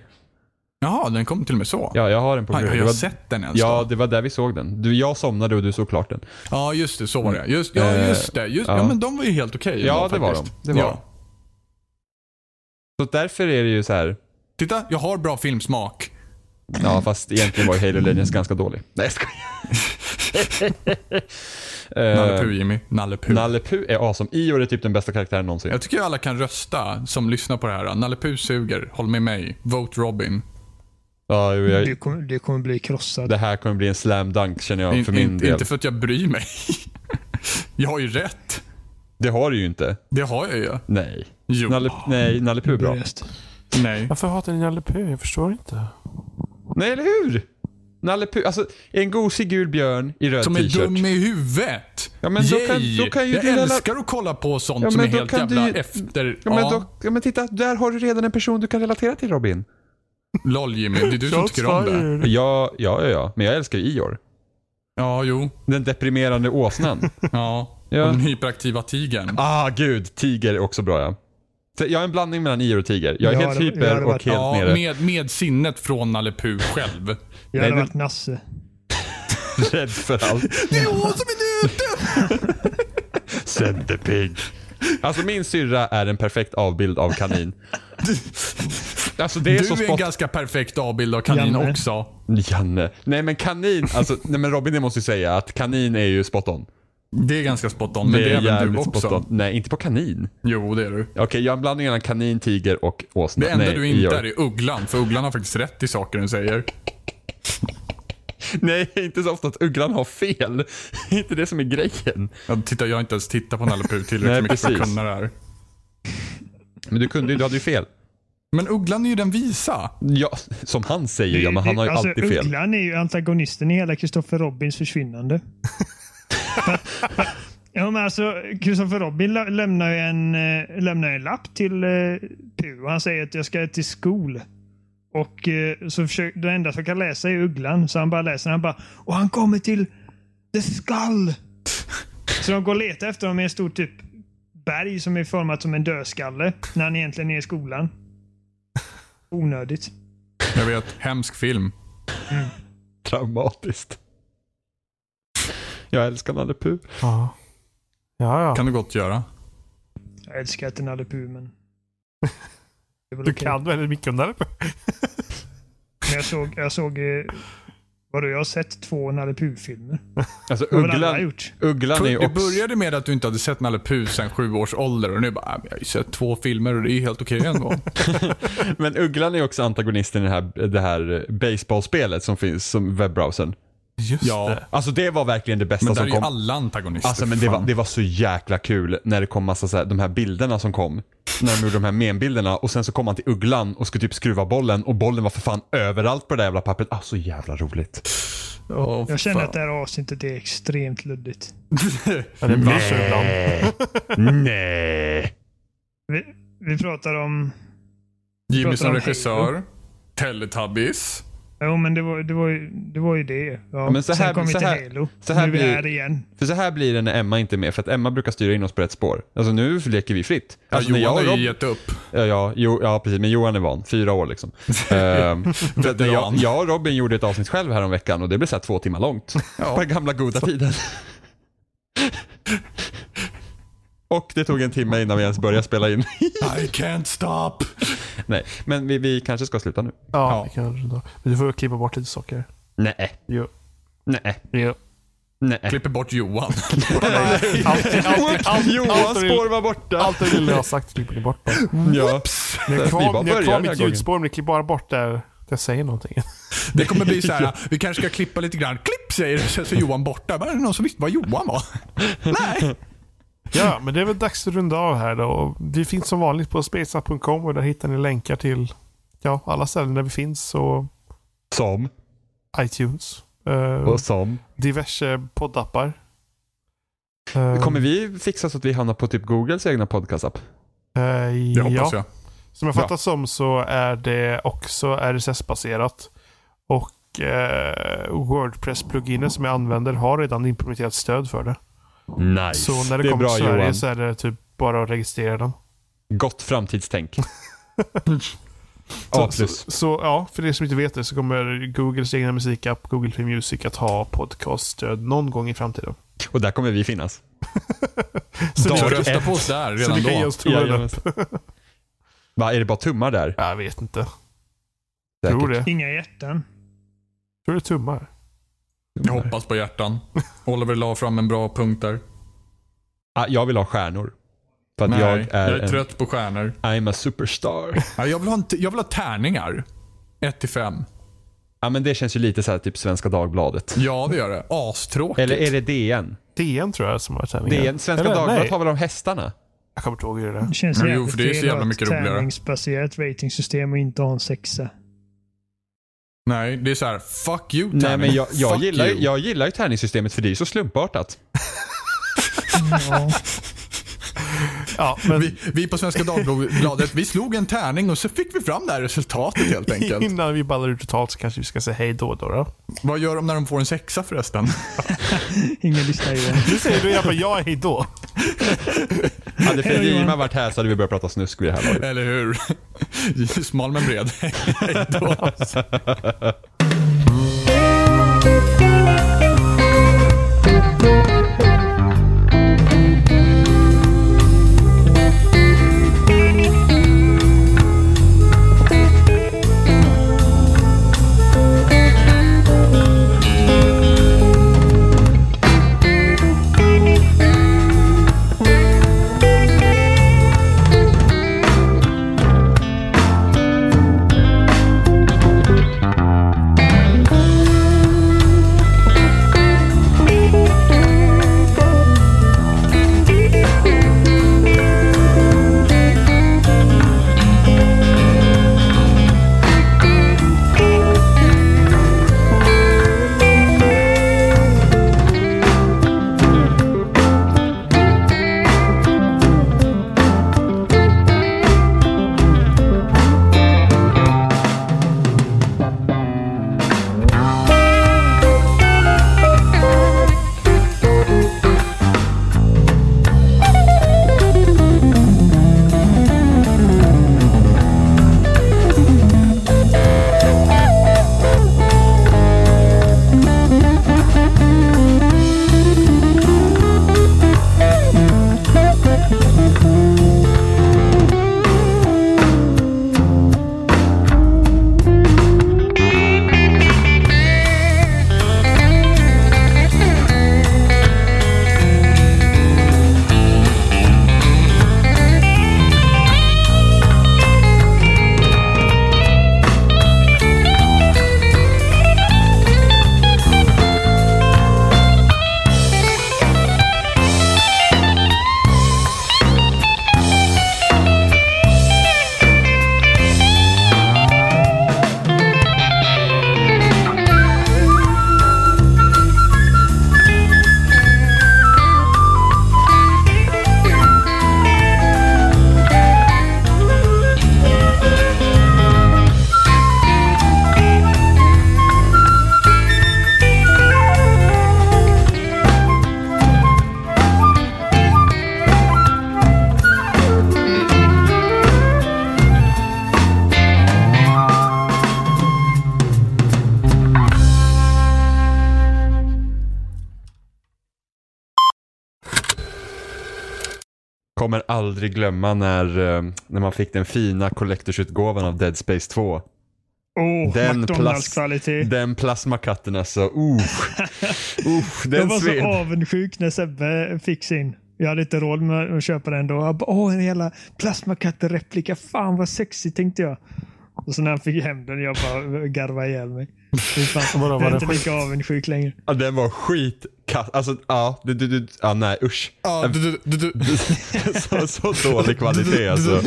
[SPEAKER 4] Jaha, den kom till och med så.
[SPEAKER 2] Ja, jag har den på
[SPEAKER 4] Fan,
[SPEAKER 2] Blu-ray.
[SPEAKER 4] har
[SPEAKER 2] Det
[SPEAKER 4] jag
[SPEAKER 2] var-
[SPEAKER 4] sett den ens
[SPEAKER 2] Ja,
[SPEAKER 4] då?
[SPEAKER 2] det var där vi såg den. Du, jag somnade och du såg klart den.
[SPEAKER 4] Ja, just det. Så var det. Just, ja,
[SPEAKER 2] Eh,
[SPEAKER 4] just det. Just, ja.
[SPEAKER 2] ja.
[SPEAKER 4] men de var ju helt okej.
[SPEAKER 2] Ja,
[SPEAKER 4] ändå
[SPEAKER 2] det var de.
[SPEAKER 4] faktiskt.
[SPEAKER 2] Det var
[SPEAKER 4] Ja.
[SPEAKER 2] de. Så därför är det ju så här,
[SPEAKER 4] Titta, jag har bra filmsmak.
[SPEAKER 2] Ja, fast egentligen var ju Halo Legends ganska dålig. Nej, jag skojar.
[SPEAKER 4] Nalle
[SPEAKER 2] uh,
[SPEAKER 4] Puh, Jimmy. Nalle Puh.
[SPEAKER 2] Nalle Puh är awesome. Ior är typ den bästa karaktären någonsin.
[SPEAKER 4] Jag tycker alla kan rösta som lyssnar på det här. Nalle Puh suger. Håll med mig. Vote Robin.
[SPEAKER 2] Ja, jo,
[SPEAKER 5] Du
[SPEAKER 2] jag,
[SPEAKER 5] kommer, du kommer bli krossad.
[SPEAKER 2] det här kommer bli en slam dunk känner jag för
[SPEAKER 4] In-
[SPEAKER 2] min
[SPEAKER 4] in-
[SPEAKER 2] del.
[SPEAKER 4] Inte för att jag bryr mig. jag har ju rätt.
[SPEAKER 2] Det har du ju inte.
[SPEAKER 4] Det har jag ju.
[SPEAKER 2] Nej.
[SPEAKER 4] Jo.
[SPEAKER 2] Nalle, nej, Nalle Puh är bra.
[SPEAKER 5] Börjast.
[SPEAKER 4] Nej.
[SPEAKER 3] Varför hatar ni Nalle Puh? Jag förstår inte.
[SPEAKER 2] Nej, eller hur? Nalle Puh, alltså en gosig gul björn i röd
[SPEAKER 4] Som är
[SPEAKER 2] t-shirt.
[SPEAKER 4] dum i huvudet.
[SPEAKER 2] Ja, men då kan-
[SPEAKER 4] Yay!
[SPEAKER 2] då kan ju
[SPEAKER 4] jag
[SPEAKER 2] du lalla-
[SPEAKER 4] älskar att kolla på sånt
[SPEAKER 2] Ja,
[SPEAKER 4] som är
[SPEAKER 2] men då
[SPEAKER 4] helt
[SPEAKER 2] kan du
[SPEAKER 4] jävla
[SPEAKER 2] ju-
[SPEAKER 4] efter...
[SPEAKER 2] Ja,
[SPEAKER 4] Ja,
[SPEAKER 2] men, då, ja, men titta, där har du redan en person du kan relatera till Robin.
[SPEAKER 4] LOL Jimmy, det är du som tycker om det.
[SPEAKER 3] fired.
[SPEAKER 2] Ja, ja, ja, ja. men jag älskar Ior.
[SPEAKER 4] Ja, jo.
[SPEAKER 2] Den deprimerande åsnan.
[SPEAKER 4] Ja.
[SPEAKER 2] Ja.
[SPEAKER 4] Och den hyperaktiva tigern.
[SPEAKER 2] Ah, gud. Tiger är också bra ja. Så Jag är en blandning mellan ior och tiger. Jag är
[SPEAKER 5] Jag
[SPEAKER 2] helt
[SPEAKER 5] hade- jag
[SPEAKER 2] hyper
[SPEAKER 5] hade
[SPEAKER 2] och
[SPEAKER 5] varit-
[SPEAKER 2] helt
[SPEAKER 4] Ja,
[SPEAKER 2] nere.
[SPEAKER 4] med, med sinnet från Nalle Puh själv.
[SPEAKER 5] Jag hade
[SPEAKER 2] Nej,
[SPEAKER 5] varit Nasse.
[SPEAKER 2] Rädd för allt.
[SPEAKER 4] det är hon som är nöten!
[SPEAKER 2] Centerpig. Alltså min syrra är en perfekt avbild av kanin. Alltså det är så
[SPEAKER 4] Du är en
[SPEAKER 2] spot...
[SPEAKER 4] ganska perfekt avbild av kanin
[SPEAKER 5] Janne.
[SPEAKER 4] också.
[SPEAKER 2] Janne. Nej men kanin, alltså nej men Robin jag måste ju säga att kanin är ju spot on.
[SPEAKER 4] Det är ganska spot on, men det är, även du
[SPEAKER 2] jävligt
[SPEAKER 4] också.
[SPEAKER 2] spot on. Nej, inte på kanin.
[SPEAKER 4] Jo, det är du.
[SPEAKER 2] Okej, jag är en blandning mellan kanin, tiger och åsna.
[SPEAKER 4] Det enda
[SPEAKER 2] nej,
[SPEAKER 4] du inte
[SPEAKER 2] Ior.
[SPEAKER 4] är är ugglan, för ugglan har faktiskt rätt i saker den säger.
[SPEAKER 2] Nej, inte så ofta att ugglan har fel. Det är inte det som är grejen.
[SPEAKER 4] Jag, titta, jag har inte ens tittat på Nalle Puh
[SPEAKER 2] Nej,
[SPEAKER 4] tillräckligt mycket för att
[SPEAKER 2] precis.
[SPEAKER 4] kunna det här.
[SPEAKER 2] Men du kunde ju, du hade ju fel.
[SPEAKER 4] Men ugglan är ju den visa.
[SPEAKER 2] Ja, som han säger ja, men han har ju
[SPEAKER 5] alltså,
[SPEAKER 2] alltid fel.
[SPEAKER 5] Ugglan är ju antagonisten i hela Kristoffer Robins försvinnande. ja, men alltså, Kristoffer Robin lä- lämnar ju en, eh, lämnar en lapp till eh, Puh och han säger att jag ska till skol. Och eh, så försöker, det enda som kan läsa är Ugglan. Så han bara läser han bara och han kommer till The Skull. Så de går och letar efter honom i en stor typ berg som är format som en dödskalle när han egentligen är i skolan. Onödigt.
[SPEAKER 4] Jag vet, hemsk film.
[SPEAKER 2] Traumatiskt. Jag älskar Nalle Puh.
[SPEAKER 3] Ja, ja. ja.
[SPEAKER 4] Kan du gott göra.
[SPEAKER 5] Jag älskar inte Nalle Puh, men... Det är väl
[SPEAKER 3] du
[SPEAKER 5] okej.
[SPEAKER 3] kan väldigt mycket om det.
[SPEAKER 5] Men jag såg... Jag såg eh, vadå, jag har sett två Nalle Puh-filmer.
[SPEAKER 2] Alltså
[SPEAKER 5] Det har väl alla
[SPEAKER 2] Ugglan,
[SPEAKER 5] gjort?
[SPEAKER 2] ugglan är ju
[SPEAKER 4] Det
[SPEAKER 2] också...
[SPEAKER 4] började med att du inte hade sett Nalle Puh sedan sju års ålder och nu bara, "Ah, men jag har ju sett två filmer och det är ju helt okej ändå.
[SPEAKER 2] Men Ugglan är ju också antagonisten i det här, det här eh, baseballspelet som finns som webbrowsern.
[SPEAKER 3] Just
[SPEAKER 4] Ja.
[SPEAKER 3] det.
[SPEAKER 2] Alltså det var verkligen det bästa
[SPEAKER 4] Men där är
[SPEAKER 2] som
[SPEAKER 4] ju
[SPEAKER 2] kom.
[SPEAKER 4] alla antagonister.
[SPEAKER 2] Alltså men det var,
[SPEAKER 4] fan.
[SPEAKER 2] det var så jäkla kul när det kom massa så här, de här bilderna som kom. När de gjorde de här membilderna och sen så kom han till Ugglan och skulle typ skruva bollen och bollen var för fan överallt på det där jävla pappret. Ah, så jävla roligt.
[SPEAKER 4] Åh,
[SPEAKER 5] Jag känner
[SPEAKER 4] fan.
[SPEAKER 5] att det här avsnittet är extremt luddigt.
[SPEAKER 3] Ja, det blir så ibland.
[SPEAKER 2] Nej.
[SPEAKER 5] Vi, vi pratar om...
[SPEAKER 4] Jimmy
[SPEAKER 5] pratar
[SPEAKER 4] som
[SPEAKER 5] om
[SPEAKER 4] regissör. Teletubbies.
[SPEAKER 5] Jo, men det var, det var, ju, det, var ju det. Ja.
[SPEAKER 2] men så här-
[SPEAKER 5] Sen kom vi
[SPEAKER 2] så
[SPEAKER 5] till
[SPEAKER 2] här-
[SPEAKER 5] Halo.
[SPEAKER 2] så
[SPEAKER 5] nu
[SPEAKER 2] här
[SPEAKER 5] är vi
[SPEAKER 2] blir-
[SPEAKER 5] här igen.
[SPEAKER 2] För så här blir det när Emma inte är med, för att Emma brukar styra in oss på rätt spår. Alltså nu leker vi fritt.
[SPEAKER 4] Ja,
[SPEAKER 2] Alltså, när
[SPEAKER 4] Johan
[SPEAKER 2] och
[SPEAKER 4] har
[SPEAKER 2] Rob-
[SPEAKER 4] ju gett upp.
[SPEAKER 2] Ja, ja, jo, ja, precis. Men Johan är van. Fyra år liksom. Ehm, för att när jag, jag och Robin gjorde ett avsnitt själv här om veckan och det blev så här två timmar långt. På den gamla goda tiden. och det tog en timme innan vi ens började spela in.
[SPEAKER 4] I can't stop.
[SPEAKER 2] Nej, men vi, vi kanske ska sluta nu.
[SPEAKER 3] Ja,
[SPEAKER 4] Ja.
[SPEAKER 3] det kanske då. Men du får klippa bort lite saker.
[SPEAKER 2] Nej,
[SPEAKER 3] Jo.
[SPEAKER 2] nej,
[SPEAKER 3] Jo.
[SPEAKER 2] nej.
[SPEAKER 4] Klipper bort Johan.
[SPEAKER 3] Allting, allting,
[SPEAKER 2] Johans
[SPEAKER 3] allting,
[SPEAKER 2] spår var borta.
[SPEAKER 3] allt det lilla jag har sagt klipper ni bort. bara.
[SPEAKER 2] Ja.
[SPEAKER 3] Ni har
[SPEAKER 2] Vi bara
[SPEAKER 3] kvar, ni har
[SPEAKER 2] börjar
[SPEAKER 3] kvar
[SPEAKER 2] den här
[SPEAKER 3] mitt
[SPEAKER 2] gången.
[SPEAKER 3] ljudspår, men ni klipper bara bort där jag säger någonting.
[SPEAKER 4] Det kommer bli så här. vi kanske ska klippa lite grann. Klipp säger det, sen så är Johan borta. Var det någon som visste vad Johan var? Nej.
[SPEAKER 3] Ja, men det är väl dags att runda av här då. Och Vi finns som vanligt på spaceup.com och där hittar ni länkar till ja, alla ställen där vi finns och
[SPEAKER 2] Som
[SPEAKER 3] iTunes. eh,
[SPEAKER 2] och som.
[SPEAKER 3] diverse poddappar. Eh,
[SPEAKER 2] Kommer vi fixa så att vi hamnar på typ Googles egna podcastapp?
[SPEAKER 3] eh,
[SPEAKER 4] Det hoppas
[SPEAKER 3] ja.
[SPEAKER 4] jag.
[SPEAKER 3] Som jag fattar som så är det också RSS-baserat. Och eh, Wordpress-pluginen som jag använder har redan implementerat stöd för det.
[SPEAKER 2] Nice.
[SPEAKER 3] Så när det,
[SPEAKER 2] det är
[SPEAKER 3] kommer
[SPEAKER 2] bra
[SPEAKER 3] till Sverige
[SPEAKER 2] Johan.
[SPEAKER 3] så är det typ bara att registrera den.
[SPEAKER 2] Gott framtidstänk. A
[SPEAKER 3] Så,
[SPEAKER 2] plus.
[SPEAKER 3] så, så ja, för er som inte vet det så kommer Googles egna musikapp, Google Play Music, att ha podcaststöd någon gång i framtiden.
[SPEAKER 2] Och där kommer vi finnas.
[SPEAKER 3] Så
[SPEAKER 2] Dag
[SPEAKER 3] ni,
[SPEAKER 4] Så
[SPEAKER 2] Dag
[SPEAKER 4] rösta
[SPEAKER 2] ett.
[SPEAKER 4] på oss där
[SPEAKER 3] så
[SPEAKER 4] redan
[SPEAKER 3] ni kan ge
[SPEAKER 4] då.
[SPEAKER 3] oss tummen upp.
[SPEAKER 2] Jajamensan. Va, är det bara tummar där?
[SPEAKER 3] Jag vet inte.
[SPEAKER 2] Säkert.
[SPEAKER 3] Tror det.
[SPEAKER 5] Inga hjärtan.
[SPEAKER 3] Tror det är tummar.
[SPEAKER 4] Jag hoppas på hjärtan. Oliver la fram en bra punkt där.
[SPEAKER 2] Ah, jag vill ha stjärnor. För att
[SPEAKER 4] Nej,
[SPEAKER 2] jag är,
[SPEAKER 4] jag är trött på stjärnor.
[SPEAKER 2] En, I'm a superstar.
[SPEAKER 4] Ja, jag, vill ha en t- jag vill ha tärningar. 1 till 5.
[SPEAKER 2] ja, men det känns ju lite så här typ Svenska Dagbladet.
[SPEAKER 4] Ja, det gör det. Astråkigt.
[SPEAKER 2] Eller är det DN?
[SPEAKER 3] DN tror jag som har sändningen.
[SPEAKER 2] DN Svenska
[SPEAKER 3] Eller,
[SPEAKER 2] Dagbladet
[SPEAKER 3] nej.
[SPEAKER 2] har väl om hästarna?
[SPEAKER 3] Jag kommer inte ihåg hur det är.
[SPEAKER 5] Det känns
[SPEAKER 4] Jo,
[SPEAKER 5] jävligt
[SPEAKER 4] för det är så
[SPEAKER 5] fel
[SPEAKER 4] jävla
[SPEAKER 5] att ha ett
[SPEAKER 4] mycket roligare.
[SPEAKER 5] tärningsbaserat ratingsystem och inte ha en sexa.
[SPEAKER 4] Nej, det är så här. Fuck you tärning.
[SPEAKER 2] Nej, men jag, jag,
[SPEAKER 4] Fuck
[SPEAKER 2] gillar, ju-
[SPEAKER 4] you.
[SPEAKER 2] jag gillar ju tärningssystemet för det är ju så slumpartat.
[SPEAKER 5] Ja.
[SPEAKER 3] Ja, men
[SPEAKER 4] Vi, vi på Svenska Dagbladet, vi slog en tärning och så fick vi fram det här resultatet helt enkelt.
[SPEAKER 3] innan vi ballar ut totalt så kanske vi ska säga hej då. då, då.
[SPEAKER 4] Vad gör de när de får en sexa förresten?
[SPEAKER 5] Ingen lyssnar ju.
[SPEAKER 3] Nu säger du i alla fall ja hej då.
[SPEAKER 2] Hade
[SPEAKER 5] Hej då,
[SPEAKER 2] Fredrima
[SPEAKER 5] Johan.
[SPEAKER 2] varit här så hade vi börjat prata snusk vid det här laget.
[SPEAKER 4] Eller hur? Smal men bred. Hej då.
[SPEAKER 2] kommer aldrig glömma när, eh, när man fick den fina collectorsutgåvan av Dead Space 2.
[SPEAKER 5] Oh,
[SPEAKER 2] Den
[SPEAKER 5] McDonalds-kvalitet.
[SPEAKER 4] Mm.
[SPEAKER 2] Den plasmakatten alltså. Uh, uh,
[SPEAKER 5] Jag
[SPEAKER 2] den
[SPEAKER 5] var
[SPEAKER 2] sved.
[SPEAKER 5] så avundsjuk när Sebbe fick sin. Jag hade inte råd med att köpa den då. Jag bara, Åh, en jävla plasmakatter-replika. Fan vad sexigt tänkte jag. Och så när han fick hem den, jag bara garvade ihjäl mig. Fy fan,
[SPEAKER 3] Vadå, var
[SPEAKER 5] jag är
[SPEAKER 3] den
[SPEAKER 5] inte lika avundsjuk längre.
[SPEAKER 2] Ja, den var skitkass. Alltså, ja. Du, du, du, ja, nej usch.
[SPEAKER 4] Ja, du, du, du, du.
[SPEAKER 2] så, så dålig kvalitet alltså.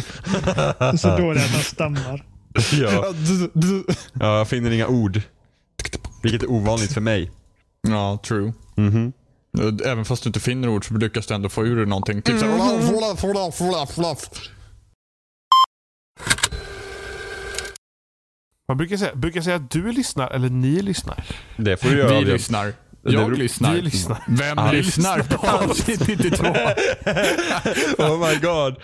[SPEAKER 5] Och Så dålig att han stammar.
[SPEAKER 2] Ja.
[SPEAKER 4] Ja, du, du, du.
[SPEAKER 2] ja, jag finner inga ord. Vilket är ovanligt för mig.
[SPEAKER 4] Ja, true.
[SPEAKER 2] Mm-hmm.
[SPEAKER 4] Även fast du inte finner ord så lyckas du ändå få ur dig någonting. Typ såhär... "Fluff, fluff, fluff, fluff."
[SPEAKER 3] Man brukar säga, brukar säga att du lyssnar eller ni lyssnar.
[SPEAKER 2] Det får du göra.
[SPEAKER 4] Vi
[SPEAKER 2] Adrian.
[SPEAKER 4] lyssnar.
[SPEAKER 2] Det beror-
[SPEAKER 4] Jag lyssnar.
[SPEAKER 3] Vi lyssnar.
[SPEAKER 4] Vem
[SPEAKER 2] Ja.
[SPEAKER 4] lyssnar på avsnitt 92?
[SPEAKER 2] Oh my god.